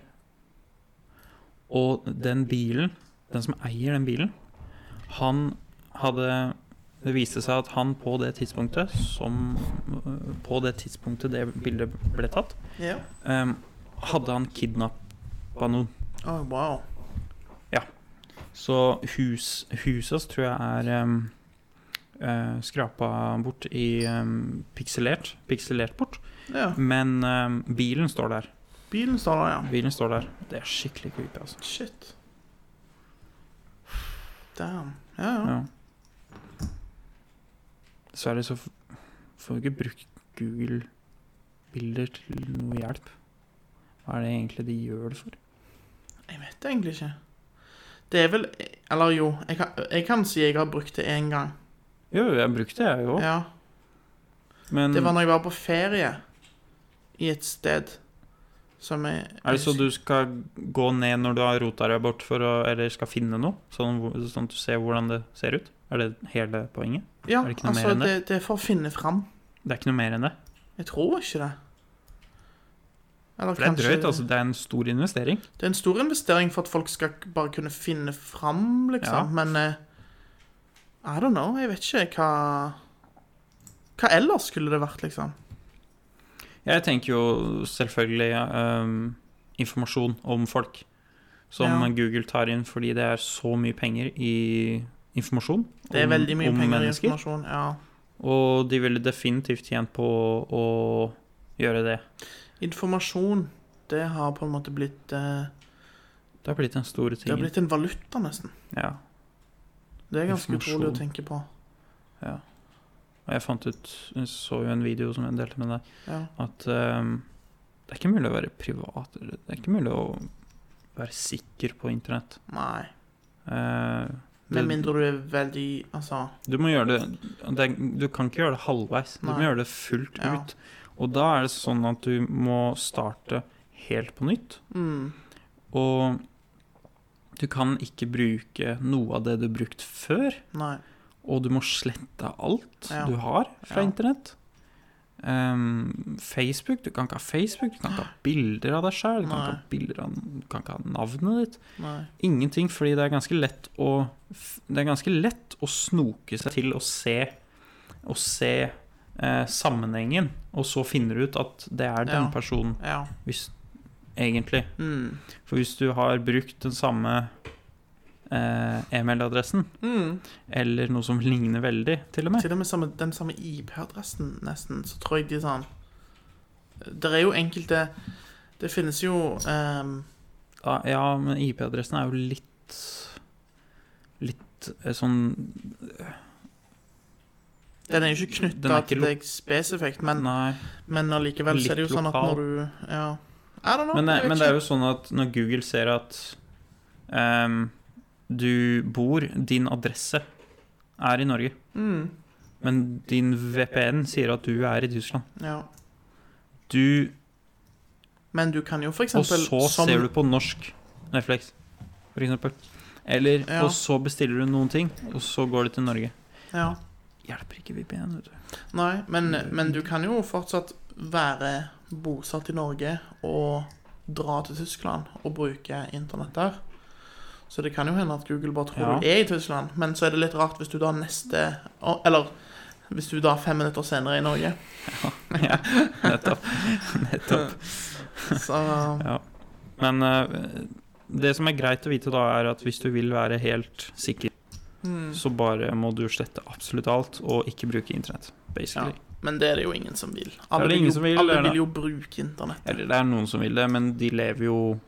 S5: Og den bilen, den som eier den bilen, han hadde Det viste seg at han på det tidspunktet som øh, På det tidspunktet det bildet ble tatt,
S4: ja.
S5: ehm, hadde han kidnappa noen.
S4: Å, wow.
S5: Så hus, huset hans tror jeg er ehm, eh, skrapa bort i ehm, pikselert. Pikselert bort.
S4: Ja.
S5: Men ehm, bilen står der.
S4: Bilen står der, ja.
S5: Bilen står der. Det er skikkelig creepy, altså.
S4: Shit. Damn. Ja, ja.
S5: Ja. Dessverre så f- Får jo ikke brukt Google-bilder til noe hjelp. Hva er det egentlig de gjør det for?
S4: Jeg vet egentlig ikke. Det er vel Eller jo, jeg kan, jeg kan si jeg har brukt det én gang.
S5: Jo, jeg brukte det, jeg òg,
S4: Ja,
S5: men Mm.
S4: Det var når jeg var på ferie i et sted som jeg
S5: er det så du skal gå ned når du har rota deg bort, for å, eller skal finne noe? Sånn, hvor- sånn at du ser hvordan det ser ut? Er det hele poenget?
S4: Ja,
S5: er det ikke noe mer
S4: altså,
S5: enn
S4: det,
S5: det?
S4: det er for å finne fram.
S5: Det er ikke noe mer enn det.
S4: Jeg tror ikke det. Eller
S5: For det er
S4: kanskje-
S5: drøyt, altså. Det er en stor investering.
S4: Det er en stor investering for at folk skal k- bare kunne finne fram, liksom.
S5: Ja.
S4: Men eh, I don't know. Jeg vet ikke hva Hva ellers skulle det vært, liksom?
S5: Jeg tenker jo selvfølgelig ehm, informasjon om folk, som
S4: Ja.
S5: Google tar inn fordi det er så mye penger i informasjon
S4: Det er
S5: om,
S4: veldig mye
S5: om
S4: penger i
S5: mennesker.
S4: informasjon. Ja.
S5: Og de ville definitivt tjent på å, å gjøre det.
S4: Informasjon, det har på en måte blitt eh,
S5: Det har blitt den store
S4: Det har
S5: tingen.
S4: blitt en valuta, nesten.
S5: Ja.
S4: Det er ganske utrolig å
S5: Informasjon.
S4: tenke på.
S5: Og jeg fant ut Jeg så jo en video som jeg delte med deg,
S4: Ja.
S5: at ehm, det er ikke mulig å være privat. eller Det er ikke mulig å være sikker på internett.
S4: Nei.
S5: Eh,
S4: Med
S5: det-
S4: mindre du er veldig Altså,
S5: Du må gjøre det, det er, Du kan ikke gjøre det halvveis. Du må
S4: Nei.
S5: gjøre det fullt
S4: Ja.
S5: ut. Og da er det sånn at du må starte helt på nytt.
S4: mm,
S5: Og du kan ikke bruke noe av det du har brukt før.
S4: nei.
S5: Og du må slette alt
S4: Ja.
S5: du har fra
S4: Ja.
S5: internett. Ehm, Facebook Du kan ikke ha Facebook, du kan ikke ha bilder av deg sjøl, du, kan ikke
S4: Nei.
S5: ha bilder av- du kan ikke ha navnet ditt.
S4: Nei.
S5: Ingenting, fordi det er ganske lett å Det er ganske lett å snoke seg til å se Å se eh, sammenhengen, og så finner du ut at det er den
S4: Ja.
S5: personen,
S4: Ja.
S5: hvis, egentlig.
S4: Mm.
S5: For hvis du har brukt den samme eh, e-mailadressen,
S4: Mm.
S5: eller noe som ligner veldig, til og med
S4: Til og med samme, den samme IP-adressen, nesten, så tror jeg de sånn Det er jo enkelte Det finnes jo ehm,
S5: da, Ja, men IP-adressen er jo litt Litt eh, sånn
S4: Den er jo ikke
S5: Den
S4: knytta
S5: er ikke
S4: til
S5: lo-
S4: deg spesifikt, men,
S5: Nei.
S4: men allikevel så er det jo
S5: Litt
S4: sånn at når
S5: lokal.
S4: du Ja. I don't know.
S5: Men det,
S4: jeg vet
S5: men det er
S4: ikke.
S5: jo sånn at når Google ser at ehm, du bor, din adresse er i Norge,
S4: mm,
S5: men din VPN sier at du er i Tyskland.
S4: ja.
S5: Du,
S4: Men du kan jo for
S5: og
S4: eksempel
S5: så
S4: som-
S5: ser du på norsk Netflix, for eksempel. Eller,
S4: Ja.
S5: og så bestiller du noen ting, og så går det til Norge.
S4: ja.
S5: Hjelper ikke VPN, vet du.
S4: Nei, men,
S5: Mm.
S4: men du kan jo fortsatt være bosatt i Norge og dra til Tyskland og bruke internett der. Så det kan jo hende at Google bare tror
S5: Ja.
S4: du er i Tyskland, men så er det litt rart hvis du da neste Eller hvis du da er fem minutter senere er i Norge.
S5: Ja, nettopp. nettopp.
S4: Så
S5: Men eh, det som er greit å vite da, er at hvis du vil være helt sikker
S4: mm.
S5: så bare må du slette absolutt alt og ikke bruke internett. Basically.
S4: Men det er det jo ingen som vil. Alle,
S5: det
S4: vil,
S5: ingen
S4: jo,
S5: som vil,
S4: alle
S5: eller
S4: vil jo bruke internett.
S5: Eller det er noen som vil det, men de lever jo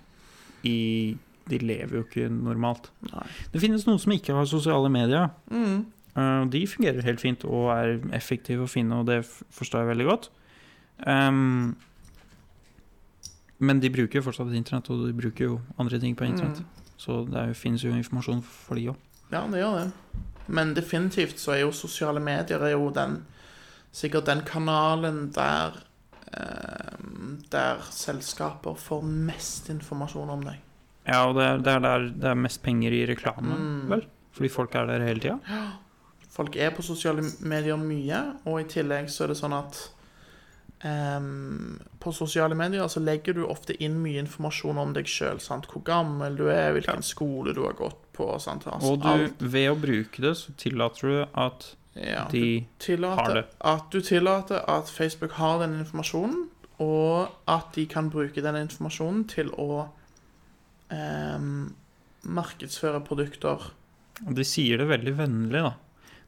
S5: i De lever jo ikke normalt.
S4: Nei.
S5: Det finnes noen som ikke har sosiale medier.
S4: Mm.
S5: eh, og De fungerer helt fint og er effektive å finne, og det f- forstår jeg veldig godt. Ehm, men de bruker jo fortsatt internett, og de bruker jo andre ting på internett.
S4: Mm.
S5: Så det er, jo- finnes jo informasjon for de òg.
S4: Ja, det gjør det. Men definitivt så er jo sosiale medier er jo den Sikkert den kanalen der eh, Der selskaper får mest informasjon om deg.
S5: Ja, og det er, det er der det er mest penger i reklame,
S4: Mm.
S5: vel? Fordi folk er der hele tida.
S4: Folk er på sosiale medier mye, og i tillegg så er det sånn at ehm, På sosiale medier så legger du ofte inn mye informasjon om deg sjøl. Hvor gammel du er, hvilken skole du har gått på. Sant? Altså,
S5: Og
S4: alt.
S5: du, ved å bruke det, så tillater du at
S4: ja,
S5: de har
S4: tillater
S5: det.
S4: at du tillater at Facebook har den informasjonen, og at de kan bruke den informasjonen til å ehm, markedsføre produkter.
S5: Og de sier det veldig vennlig, da.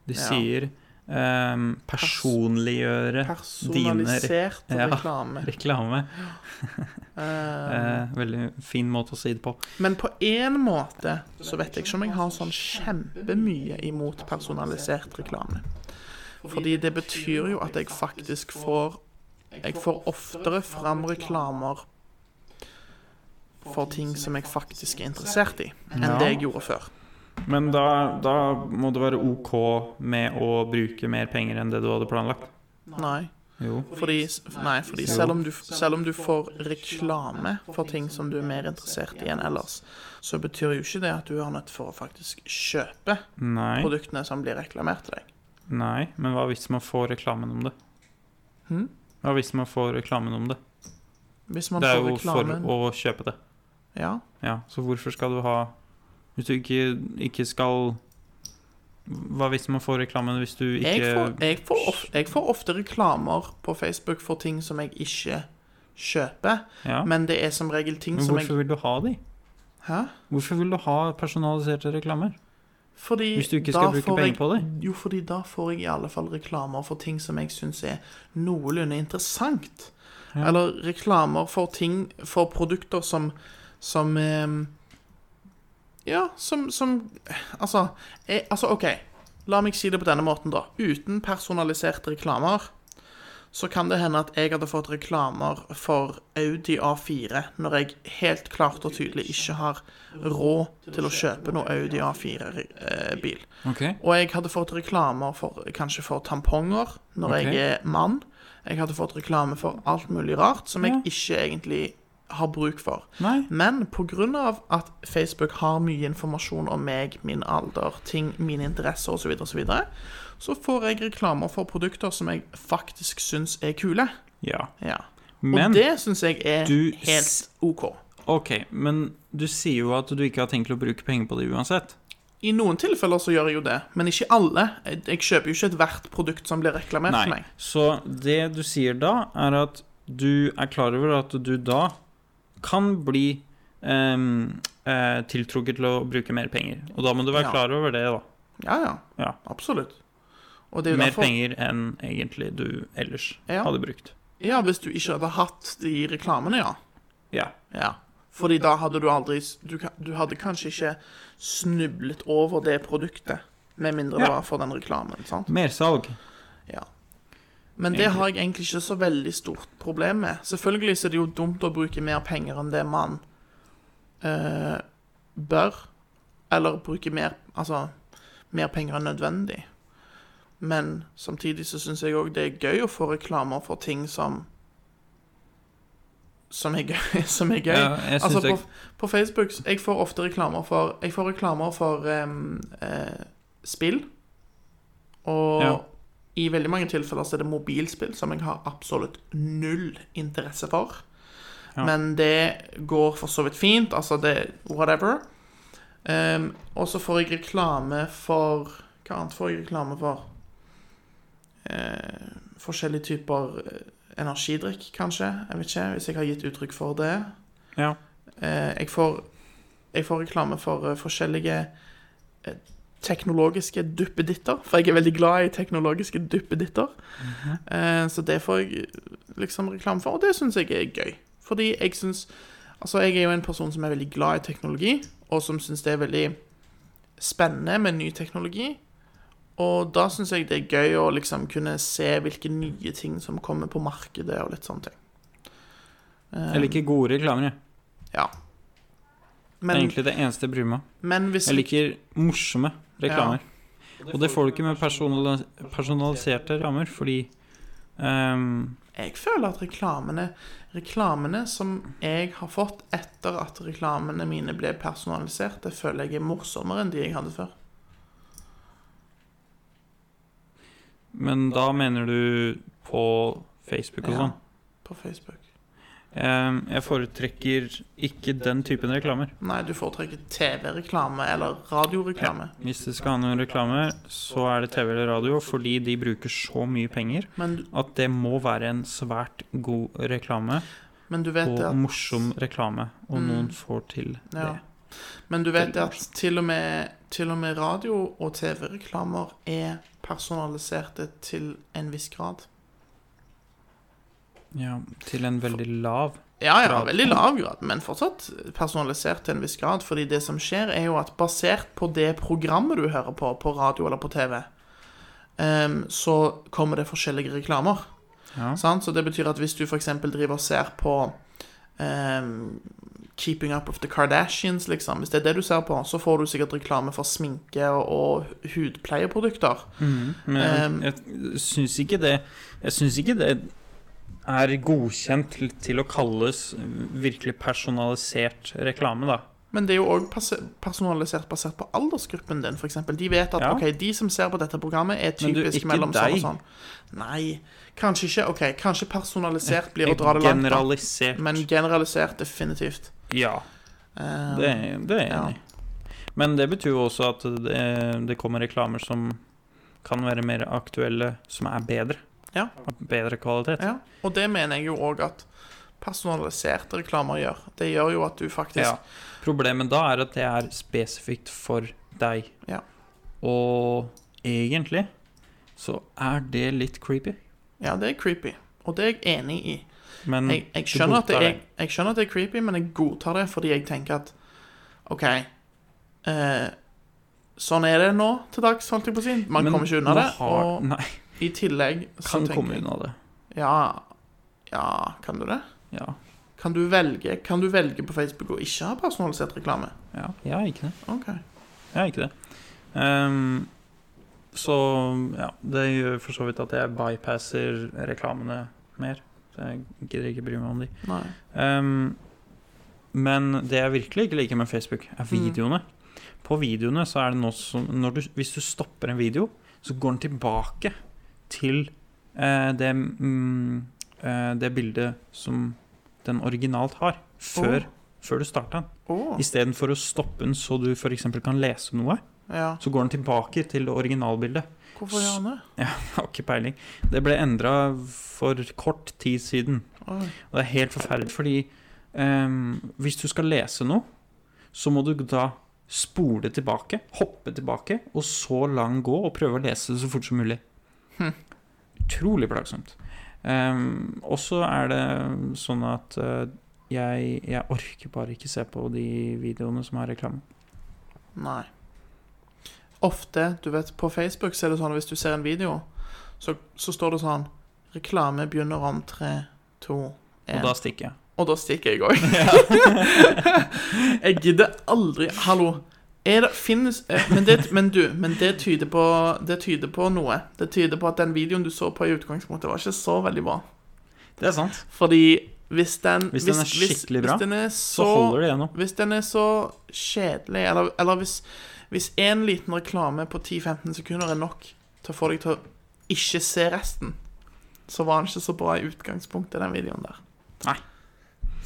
S5: De
S4: Ja.
S5: sier ehm, personliggjøre
S4: Personalisert
S5: Dine re- ja.
S4: reklame.
S5: reklame.
S4: Ehm,
S5: Eh, veldig fin måte å si det på.
S4: men på én måte så vet jeg ikke om jeg har sånn kjempemye imot personalisert reklame. Fordi det betyr jo at jeg faktisk får Jeg får oftere fram reklamer for ting som jeg faktisk er interessert i, enn det jeg gjorde før.
S5: Men da, da må det være OK med å bruke mer penger enn det du hadde planlagt.
S4: Nei.
S5: Jo.
S4: Fordi, nei, fordi selv, om du, selv om du får reklame for ting som du er mer interessert i enn ellers, så betyr jo ikke det at du er nødt for å faktisk kjøpe
S5: Nei.
S4: produktene som blir reklamert til deg.
S5: Nei. Men hva hvis man får reklamen om det?
S4: Hm?
S5: Hva hvis man får reklamen om det?
S4: Hvis man
S5: Det er
S4: får
S5: jo
S4: reklamen
S5: for å kjøpe det.
S4: Ja.
S5: Ja, så hvorfor skal du ha Hvis du ikke, ikke skal Hva hvis man får reklamen hvis du ikke
S4: Jeg får, jeg, får of, jeg får ofte reklamer på Facebook for ting som jeg ikke kjøper,
S5: ja. Men,
S4: men det er som regel ting som
S5: hvorfor
S4: jeg
S5: vil du ha de?
S4: Hæ?
S5: Hvorfor vil du ha personaliserte reklamer?
S4: Fordi
S5: Hvis du ikke
S4: da
S5: skal bruke
S4: får
S5: penger
S4: jeg-
S5: på det?
S4: Jo, fordi da får jeg i alle fall reklamer for ting som jeg syns er noenlunde interessant. Eller reklamer for ting For produkter som Som ehm, Ja, som, som Altså, eh, altså, OK. La meg si det på denne måten, da. Uten personaliserte reklamer så kan det hende at jeg hadde fått reklamer for Audi A4 når jeg helt klart og tydelig ikke har råd til å kjøpe noe Audi A4-bil.
S5: Ok.
S4: Og jeg hadde fått reklamer for, kanskje for tamponger når
S5: Ok.
S4: jeg er mann. Jeg hadde fått reklame for alt mulig rart som jeg ikke egentlig har bruk for.
S5: Nei.
S4: Men pga. at Facebook har mye informasjon om meg, min alder, ting, mine interesser osv., så, videre, og så, videre, så får jeg reklamer for produkter som jeg faktisk syns er kule.
S5: Ja.
S4: Ja. Og
S5: Men
S4: det syns jeg er
S5: du s-
S4: helt OK.
S5: OK, men du sier jo at du ikke har tenkt å bruke penger på det uansett.
S4: I noen tilfeller så gjør jeg jo det, men ikke alle. Jeg, jeg kjøper jo ikke ethvert produkt som blir reklamert for
S5: Nei.
S4: meg.
S5: Så det du sier da, er at du er klar over at du da kan bli em, eh, tiltrukket til å bruke mer penger. Og da må du være
S4: Ja.
S5: klar over det, da.
S4: Ja, ja.
S5: Ja.
S4: Absolutt. Og det er jo
S5: Mer
S4: derfor,
S5: penger enn egentlig du ellers
S4: Ja.
S5: hadde brukt.
S4: Ja, hvis du ikke hadde hatt de reklamene, ja.
S5: Ja.
S4: ja. Fordi da hadde du aldri s- du, ka- du hadde kanskje ikke snublet over det produktet. Med mindre det
S5: Ja.
S4: var for den reklamen. sant?
S5: Mersalg.
S4: Ja. Men det har jeg egentlig ikke så veldig stort problem med. Selvfølgelig så er det jo dumt å bruke mer penger enn det man eh, bør. Eller bruke mer, altså, mer penger enn nødvendig. Men samtidig så syns jeg òg det er gøy å få reklamer for ting som som er gøy. Som er gøy.
S5: Ja, jeg synes
S4: altså,
S5: jeg-
S4: på, på Facebook s- Jeg får ofte reklamer for Jeg får reklamer for em, eh, spill. Og
S5: Ja.
S4: i veldig mange tilfeller så er det mobilspill som jeg har absolutt null interesse for. Men det går for så vidt fint. Altså, det Whatever. Ehm, og så får jeg reklame for Hva annet får jeg reklame for? Eh, forskjellige typer eh, energidrikk, kanskje. Jeg vet ikke, hvis jeg har gitt uttrykk for det.
S5: Ja.
S4: Eh, jeg, får, jeg får reklame for eh, forskjellige eh, teknologiske duppeditter, for jeg er veldig glad i teknologiske duppeditter.
S5: Mhm.
S4: Eh, så det får jeg liksom reklame for, og det syns jeg er gøy. Fordi jeg syns Altså, jeg er jo en person som er veldig glad i teknologi, og som syns det er veldig spennende med ny teknologi. Og da syns jeg det er gøy å liksom kunne se hvilke nye ting som kommer på markedet, og litt sånne ting. Eh,
S5: Jeg liker gode reklamer, jeg.
S4: Ja.
S5: Det er
S4: Men,
S5: egentlig det eneste jeg bryr meg om.
S4: men hvis
S5: Jeg liker morsomme reklamer. Og det får du ikke med personali personaliserte rammer, fordi ehm, em,
S4: Jeg føler at reklamene Reklamene som jeg har fått etter at reklamene mine ble personalisert, det føler jeg er morsommere enn de jeg hadde før.
S5: Men da mener du på Facebook og
S4: Ja,
S5: sånn?
S4: på Facebook.
S5: Em, Jeg foretrekker ikke den typen reklamer.
S4: Nei, du foretrekker TV-reklame eller radioreklame.
S5: Hvis du skal ha noen reklame, så er det TV eller radio, fordi de bruker så mye penger
S4: Men,
S5: at det må være en svært god reklame,
S4: men du vet
S5: og
S4: det at
S5: morsom reklame, og noen får til det.
S4: Mm. Ja. Men du vet det at til og med, til og med radio- og TV-reklamer er personaliserte til en viss grad.
S5: Ja, til en veldig lav
S4: Ja, ja,
S5: grad.
S4: veldig lav grad, men fortsatt personalisert til en viss grad. Fordi det som skjer, er jo at basert på det programmet du hører på, på radio eller på TV, ehm, så kommer det forskjellige reklamer. Sant? Så det betyr at hvis du f.eks. driver og ser på ehm, Keeping Up With The Kardashians, liksom. Hvis det er det du ser på, så får du sikkert reklame for sminke og, og hudpleieprodukter.
S5: Men
S4: Ehm.
S5: jeg, jeg syns ikke det Jeg syns ikke det er godkjent til, til å kalles virkelig personalisert reklame, da.
S4: Men det er jo òg personalisert basert på aldersgruppen din, f.eks. De vet at
S5: Ja.
S4: ok, de som ser på dette programmet, er
S5: Men du,
S4: typisk
S5: ikke
S4: mellom sånn og
S5: deg.
S4: sånn. Nei, kanskje ikke. ok, Kanskje personalisert blir å dra det langt, da.
S5: Eh, Generalisert.
S4: men generalisert definitivt.
S5: Ja,
S4: Eh,
S5: det, det er jeg
S4: Ja.
S5: enig i. Men det betyr jo også at det, det kommer reklamer som kan være mer aktuelle, som er bedre.
S4: Ja.
S5: Av Bedre kvalitet.
S4: ja. Og det mener jeg jo òg at personaliserte reklamer gjør. Det gjør jo at du faktisk
S5: Ja. Problemet da er at det er spesifikt for deg.
S4: Ja.
S5: Og egentlig så er det litt creepy.
S4: Ja, det er creepy. Og det er jeg enig i.
S5: Men
S4: Jeg, jeg,
S5: Mm. du
S4: skjønner at det
S5: godtar
S4: er, jeg skjønner at det er creepy, men jeg godtar det fordi jeg tenker at OK eh, Sånn er det nå til dags, holdt jeg på å si. Man
S5: Men
S4: kommer ikke unna
S5: nå
S4: det.
S5: har-
S4: Og
S5: Nei,
S4: i tillegg så
S5: kan komme
S4: tenker jeg
S5: unna det.
S4: Ja, ja, kan du det?
S5: Ja.
S4: Kan du velge Kan du velge på Facebook å ikke ha personalisert reklame?
S5: ja. Jeg er ikke det.
S4: OK.
S5: Jeg er ikke det. Ehm, så ja, det gjør for så vidt at jeg bypasser reklamene mer. Så jeg gidder ikke bry meg om de.
S4: Nei.
S5: Ehm, men det jeg virkelig ikke liker med Facebook, er videoene. På videoene så er det noe som når du, Hvis du stopper en video, så går den tilbake til eh, det, mm, eh, det bildet som den originalt har, før, før du starta den.
S4: Å.
S5: Istedenfor å stoppe den så du f.eks. kan lese noe,
S4: Ja.
S5: så går den tilbake til det originalbildet.
S4: Hvorfor gjør han det?
S5: Jeg har ikke peiling. Det ble endra for kort tid siden.
S4: Oi.
S5: Og det er helt forferdelig, fordi ehm, hvis du skal lese noe, så må du da spole tilbake, hoppe tilbake, og så lang gå og prøve å lese det så fort som mulig. Hm. Utrolig plagsomt. Ehm, og så er det sånn at eh, jeg, jeg orker bare ikke se på de videoene som har reklame.
S4: Nei. Ofte, du vet, på Facebook så er det sånn at hvis du ser en video, så, så står det sånn Reklame begynner om tre, to,
S5: Og
S4: én.
S5: da stikker jeg.
S4: Og da stikker jeg òg. jeg gidder aldri Hallo. Er det, finnes, eh, men, det, men du, men det tyder, på, det tyder på noe. Det tyder på at den videoen du så på i utgangspunktet, var ikke så veldig bra.
S5: Det er sant.
S4: Fordi hvis den
S5: Hvis den er skikkelig bra,
S4: hvis den er
S5: Så, holder det gjennom.
S4: hvis den er så kjedelig, eller, eller hvis, hvis en liten reklame på 10-15 sekunder er nok til å få deg til å ikke se resten, så var den ikke så bra i utgangspunktet, den videoen der.
S5: Nei.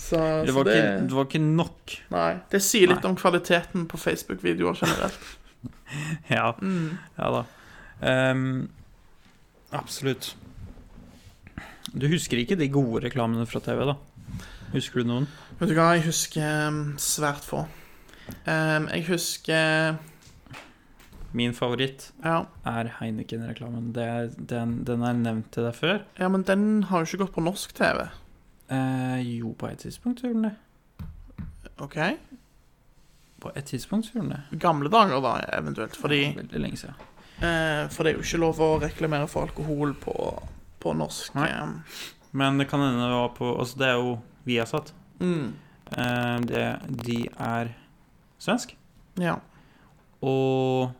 S4: Så,
S5: Det
S4: så Altså,
S5: var,
S4: det,
S5: ikke, det var ikke nok.
S4: nei, det sier litt
S5: Nei.
S4: om kvaliteten på Facebook-videoer generelt.
S5: Ja, ja da. Ehm, absolutt. Du husker ikke de gode reklamene fra TV, da? Husker du noen?
S4: Vet du hva, jeg husker um, svært få. Um, jeg husker
S5: Min favoritt
S4: ja,
S5: er Heineken-reklamen. Det er- Den, den er nevnt til deg før.
S4: ja, men den har jo ikke gått på norsk TV.
S5: Eh, jo, på et tidspunkt gjorde den det.
S4: OK?
S5: På et tidspunkt gjorde den det.
S4: Gamle dager, da, eventuelt. Fordi
S5: Veldig lenge siden.
S4: Eh, for det er jo ikke lov å reklamere for alkohol på, på norsk.
S5: Nei.
S4: eh,
S5: Men det kan hende det var på Altså, det er jo Viasat.
S4: Mm,
S5: Eh, det, de er svensk.
S4: ja.
S5: Og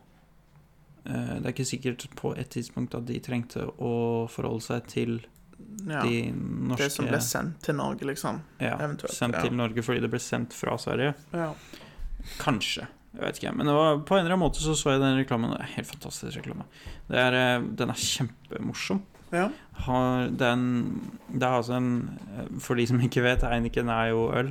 S5: eh, det er ikke sikkert på et tidspunkt at de trengte å forholde seg til
S4: ja.
S5: de norske
S4: det som ble sendt til Norge, liksom.
S5: ja,
S4: eventuelt,
S5: sendt
S4: ja.
S5: til Norge fordi det ble sendt fra Sverige.
S4: Ja.
S5: Kanskje. Jeg vet ikke. Men det var, på en eller annen måte så så jeg den reklamen. Det er en Helt fantastisk reklame. Det er, eh, den er kjempemorsom.
S4: Ja.
S5: Har den Det er altså en eh, For de som ikke vet, Heineken er jo øl.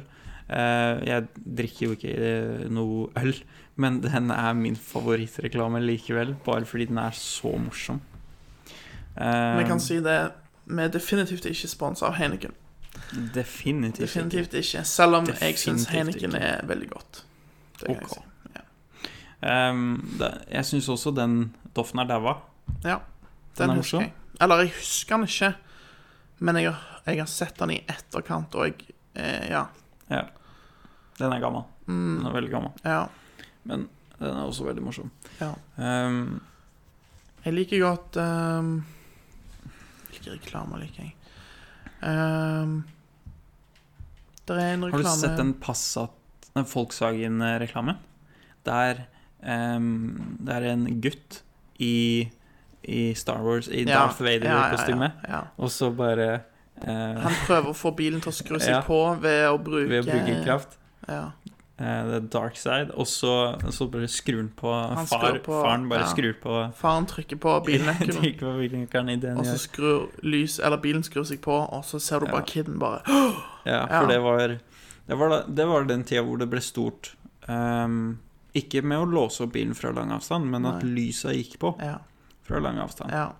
S5: Eh, Jeg drikker jo ikke eh, noe øl, men den er min favorittreklame likevel. Bare fordi den er så morsom.
S4: Men jeg
S5: Eh,
S4: kan si det. Vi er definitivt ikke sponsa av Heineken.
S5: Definitivt. ikke.
S4: Definitivt ikke. Selv om jeg syns
S5: Definitivt
S4: Heineken
S5: ikke.
S4: er veldig godt. Det kan jeg
S5: Ok.
S4: si.
S5: Ehm, det, jeg syns også den Doffen er daua.
S4: Ja, den
S5: Den er
S4: husker
S5: morsom.
S4: jeg. Eller jeg husker den ikke, men jeg har, jeg har sett den i etterkant, og jeg eh, Ja.
S5: Ja. Den er gammel.
S4: Mm.
S5: Den er veldig gammel.
S4: ja.
S5: Men den er også veldig morsom.
S4: Ja.
S5: Ehm,
S4: Jeg liker godt ehm, Hvilke reklamer liker jeg? Um, det er en
S5: Har
S4: reklame
S5: du sett den Passat den Volkswagen-reklamen? Der ehm, det er en gutt i, i Star Wars, i
S4: Ja,
S5: Darth Vader-kostyme,
S4: Ja, ja, ja,
S5: og så bare eh,
S4: ja. Han prøver å få bilen til å skru seg
S5: Ja.
S4: på ved å bruke
S5: ved å bruke kraft.
S4: Ja.
S5: eh, the dark side. Og så, så bare skrur han på
S4: Han
S5: far,
S4: skrur på-
S5: Faren bare
S4: ja.
S5: skrur på
S4: Faren trykker på bilnøkkelen,
S5: Tenk på hvilken kan ideen
S4: og så
S5: gjør.
S4: skrur lys, eller bilen skrur seg på, og så ser du bare
S5: Ja.
S4: kiden bare
S5: Ja,
S4: Ja.
S5: for det var det var, da- det var den tida hvor det ble stort. ehm, ikke med å låse opp bilen fra lang avstand, men at
S4: Nei.
S5: lysa gikk på
S4: Ja.
S5: fra lang avstand.
S4: ja.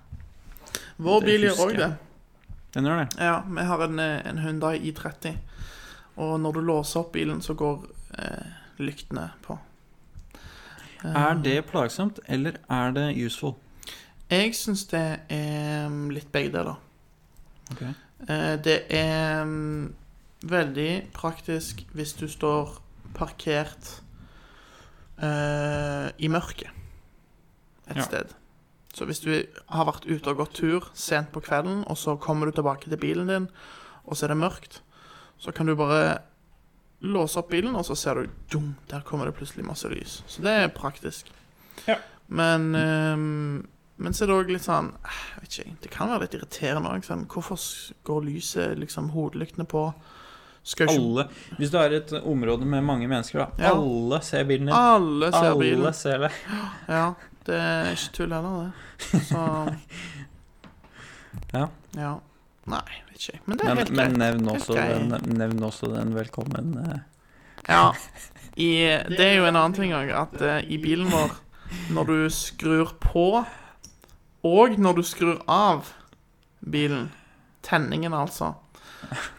S4: Vår
S5: Det
S4: bil gjør
S5: husker
S4: òg
S5: jeg.
S4: det.
S5: Den gjør det.
S4: Ja, vi har en, eh, en Hyundai i30. Og når du låser opp bilen, så går eh, lyktene på. Eh,
S5: Er det plagsomt, eller er det useful?
S4: Jeg syns det er mm, litt begge deler.
S5: Ok.
S4: Eh, det er mm, veldig praktisk hvis du står parkert eh, i mørket et
S5: Ja.
S4: sted. Så hvis du har vært ute og gått tur sent på kvelden, og så kommer du tilbake til bilen din, og så er det mørkt, så kan du bare låse opp bilen, og så ser du dum, Der kommer det plutselig masse lys. Så det er praktisk.
S5: Ja.
S4: Men, ehm, men så er det òg litt sånn eh, jeg vet ikke, jeg, Det kan være litt irriterende òg. Sånn, hvorfor s- går lyset, liksom, hodelyktene på? Skal jo ikke
S5: Alle, hvis du er i et område med mange mennesker, da.
S4: Ja.
S5: Alle ser bilen din.
S4: Alle ser
S5: Alle
S4: bilen.
S5: ser det.
S4: Ja, det er ikke tull heller, det. Så
S5: Ja.
S4: ja. Nei, jeg vet ikke. jeg. Men det er
S5: Men,
S4: helt
S5: men
S4: greit.
S5: nevn,
S4: Helt
S5: også
S4: grei.
S5: den, nevn også den velkommen eh,
S4: Ja. I, det er jo en annen ting òg, at eh, i bilen vår, når du skrur på, og når du skrur av bilen, tenningen altså,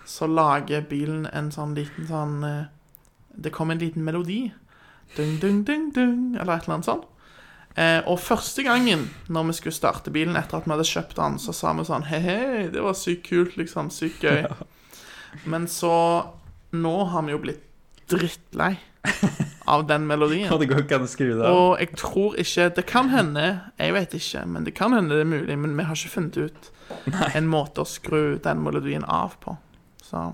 S4: så lager bilen en sånn liten sånn eh, Det kommer en liten melodi. Dung, dung, dung, dung, eller et eller annet sånt. Eh, og første gangen når vi skulle starte bilen etter at vi hadde kjøpt den, så sa vi sånn Hei, hei, det var sykt kult, liksom. Sykt gøy. Men så Nå har vi jo blitt drittlei av den melodien.
S5: Og det går ikke an å skru det av.
S4: Og jeg tror ikke Det kan hende, jeg vet ikke, men det kan hende det er mulig. Men vi har ikke funnet ut en måte å skru den melodien av på. Så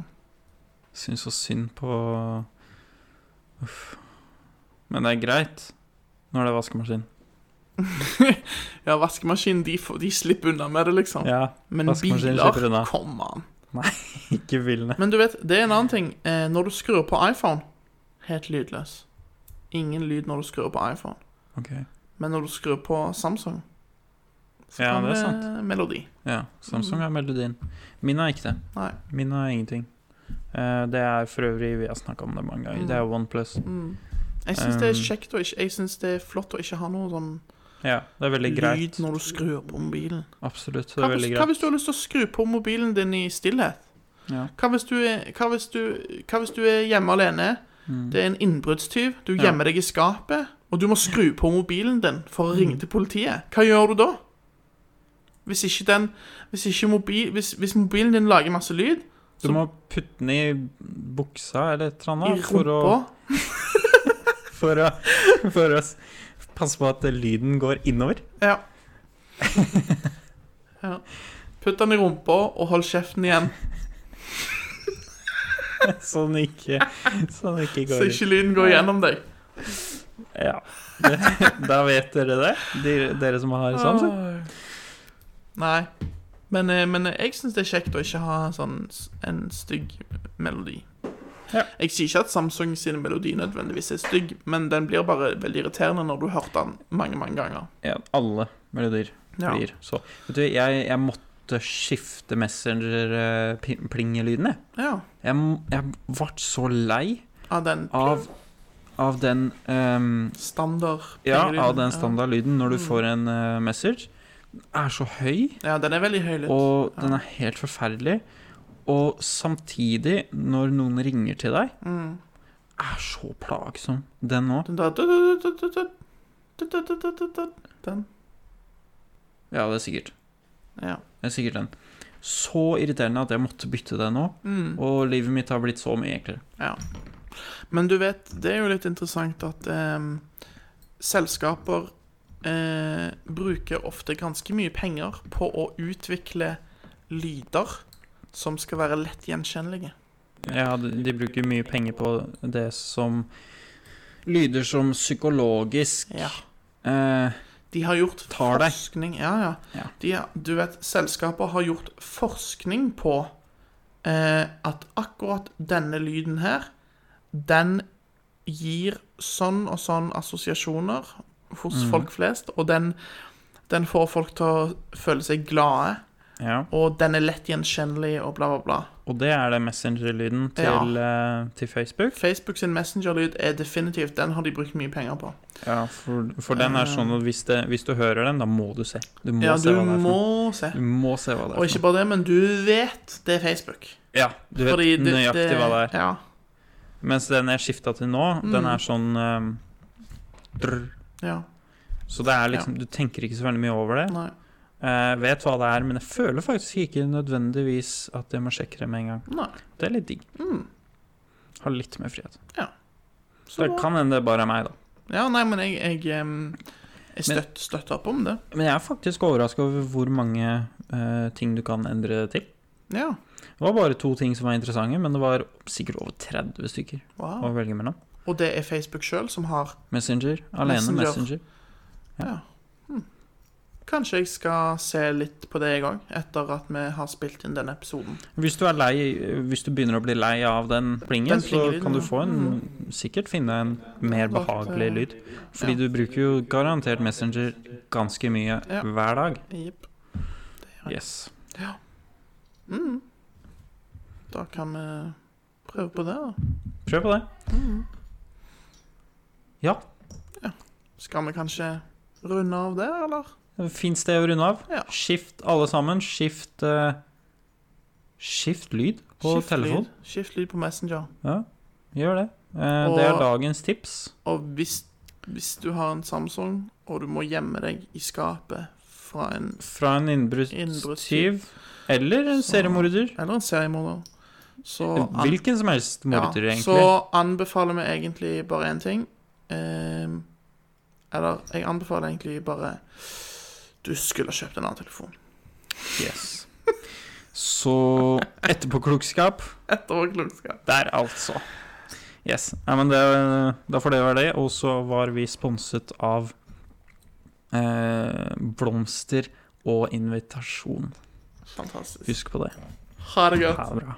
S5: Syns så synd på Uff. Men det er greit når det er vaskemaskin.
S4: Ja, vaskemaskinen, de, får, de slipper unna med det, liksom.
S5: Ja,
S4: men
S5: vaskemaskinen slipper unna.
S4: biler, kom an.
S5: ikke bilene.
S4: Men du vet, det er en annen ting. Eh, når du skrur på iPhone, helt lydløs. Ingen lyd når du skrur på iPhone.
S5: Ok,
S4: Men når du skrur på Samsung, så
S5: Ja,
S4: kan
S5: det er sant.
S4: melodi.
S5: Ja,
S4: Mm.
S5: Samsung er melodien. Min er ikke det.
S4: Nei.
S5: Min er ingenting. Eh, det er for øvrig Vi har snakka om det mange ganger. Det er OnePlus.
S4: Mm. Jeg syns det er
S5: Um,
S4: kjekt og ikke Jeg synes det er flott å ikke ha noe sånn
S5: Ja, det er veldig greit.
S4: lyd når du skrur på mobilen.
S5: Absolutt. Det
S4: Hva
S5: er
S4: hvis,
S5: veldig
S4: hva
S5: greit.
S4: hvis du har lyst til å skru på mobilen din i stillhet?
S5: Ja.
S4: Hva, hvis du er, hva, hvis du, hva hvis du er hjemme alene?
S5: Mm.
S4: Det er en innbruddstyv. Du
S5: Ja.
S4: gjemmer deg i skapet, og du må skru på mobilen din for å
S5: Mm.
S4: ringe til politiet. Hva gjør du da? Hvis ikke, den, hvis ikke mobil, hvis, hvis mobilen din lager masse lyd
S5: Du må putte den i buksa eller et eller
S4: i
S5: annet for å,
S4: rumpa
S5: for, å, for å s- passe på at lyden går innover.
S4: Ja. ja. Putt den i rumpa og hold kjeften igjen,
S5: Så den ikke, så den ikke
S4: så
S5: går ut.
S4: ikke lyden går gjennom deg.
S5: Ja. Det, da vet dere det, dere, dere som
S4: Ah.
S5: har sånn, Samsung.
S4: Nei. Men, eh, men jeg syns det er kjekt å ikke ha sånn s- en stygg melodi.
S5: Ja.
S4: Jeg sier ikke at Samsung sin melodi nødvendigvis er stygg, men den blir bare veldig irriterende når du har hørt den mange, mange ganger.
S5: Ja, alle melodier
S4: Ja.
S5: blir så. Vet du, jeg, jeg måtte skifte Messenger-plingelyden, jeg.
S4: Ja.
S5: Jeg, m- jeg ble så lei
S4: Av den
S5: av, av den ehm,
S4: standard
S5: Ja,
S4: pingelyden.
S5: av den standardlyden når du får en eh, message. Den er så høy,
S4: Ja. ja, den er veldig høylytt.
S5: og den er helt forferdelig. Og samtidig, når noen ringer til deg, er så plagsom, den òg.
S4: Den der du-du-du-du-du-du-du-du-du-du-du-du. Den.
S5: Ja, det er sikkert.
S4: Ja.
S5: Det er sikkert den. Så irriterende at jeg måtte bytte det nå. Og livet mitt har blitt så mye enklere.
S4: Ja. Men du vet, det er jo litt interessant at eh, ehm, selskaper eh, bruker ofte ganske mye penger på å utvikle lyder som skal være lett gjenkjennelige.
S5: Ja, de de bruker mye penger på det som lyder som psykologisk
S4: Ja.
S5: eh,
S4: De har gjort
S5: Tar deg.
S4: forskning Ja, ja.
S5: Ja.
S4: De, har- du vet, selskaper har gjort forskning på eh, at akkurat denne lyden her, den gir sånn og sånn assosiasjoner hos
S5: Mm.
S4: folk flest, og den, den får folk til å føle seg glade,
S5: Ja.
S4: og den er lett gjenkjennelig, og bla, bla, bla.
S5: Og det er det Messenger-lyden til, eh, til Facebook.
S4: Facebook sin messengerlyd er definitivt Den har de brukt mye penger på.
S5: Ja, for, for den er sånn at hvis, det, hvis du hører den, da må du se. Du må
S4: Ja,
S5: se
S4: du
S5: hva det er for noe.
S4: må se.
S5: Du må se hva det
S4: Og
S5: er
S4: ikke
S5: for noe.
S4: bare det, men du vet det er Facebook.
S5: Ja, du vet
S4: Fordi det-
S5: nøyaktig
S4: det- Mm.
S5: hva det er.
S4: Ja.
S5: Mens den jeg skifta til nå, den er sånn ehm, drr.
S4: ja
S5: Så det er liksom, du tenker ikke så veldig mye over det.
S4: nei.
S5: Eh, vet hva det er, men jeg føler faktisk ikke nødvendigvis at jeg må sjekke det med en gang.
S4: nei.
S5: Det er litt digg. Har litt mer frihet.
S4: Mm. Så
S5: Så det
S4: bra.
S5: kan hende det bare er meg, da.
S4: Ja, nei, men jeg, jeg, em, jeg støtt, støtter opp om det.
S5: Men jeg er faktisk overraska over hvor mange eh, ting du kan endre det til.
S4: Ja.
S5: Det var bare to ting som var interessante, men det var sikkert over 30 stykker å
S4: Wow.
S5: velge mellom.
S4: Og det er Facebook sjøl som har
S5: Messenger. Alene
S4: Messenger.
S5: Messenger.
S4: Ja. Hm. Kanskje jeg skal se litt på det i gang, etter at vi har spilt inn denne episoden.
S5: Hvis du, er lei, hvis du begynner å bli lei av den plingen,
S4: Den
S5: så
S4: plingelyden,
S5: kan du
S4: ja. Mm. eh,
S5: få en, sikkert finne en mer behagelig lyd. Fordi
S4: ja.
S5: du bruker jo garantert Messenger ganske mye
S4: Ja.
S5: hver dag.
S4: Jepp.
S5: Yes.
S4: Mm. Da kan vi prøve på det. da.
S5: Prøv på det.
S4: Mm.
S5: Ja.
S4: Skal vi kanskje runde av det, eller?
S5: Fint sted å runde av.
S4: Ja.
S5: Skift alle sammen. Skift eh, Skift lyd på
S4: Skift
S5: telefon.
S4: Lyd. Skift lyd på Messenger.
S5: Gjør det. Eh, det er
S4: Og-
S5: dagens tips.
S4: Og hvis, hvis du har en Samsung, og du må gjemme deg i skapet fra en
S5: Fra en innbruddstyv
S4: Innbruddstyv.
S5: eller en
S4: Så-
S5: seriemorder.
S4: Eller en seriemorder. Så, an-
S5: Hvilken som helst morder,
S4: ja,
S5: egentlig.
S4: så anbefaler vi egentlig bare én ting. Ehm, eller jeg anbefaler egentlig bare Du skulle ha kjøpt en annen telefon.
S5: Yes. Så etterpåklokskap
S4: Etterpåklokskap.
S5: der, altså. Yes. Nei, men det, da får det være det. Og så var vi sponset av eh, blomster og invitasjon.
S4: Fantastisk.
S5: Husk på det.
S4: Ha det godt.
S5: Ha det bra.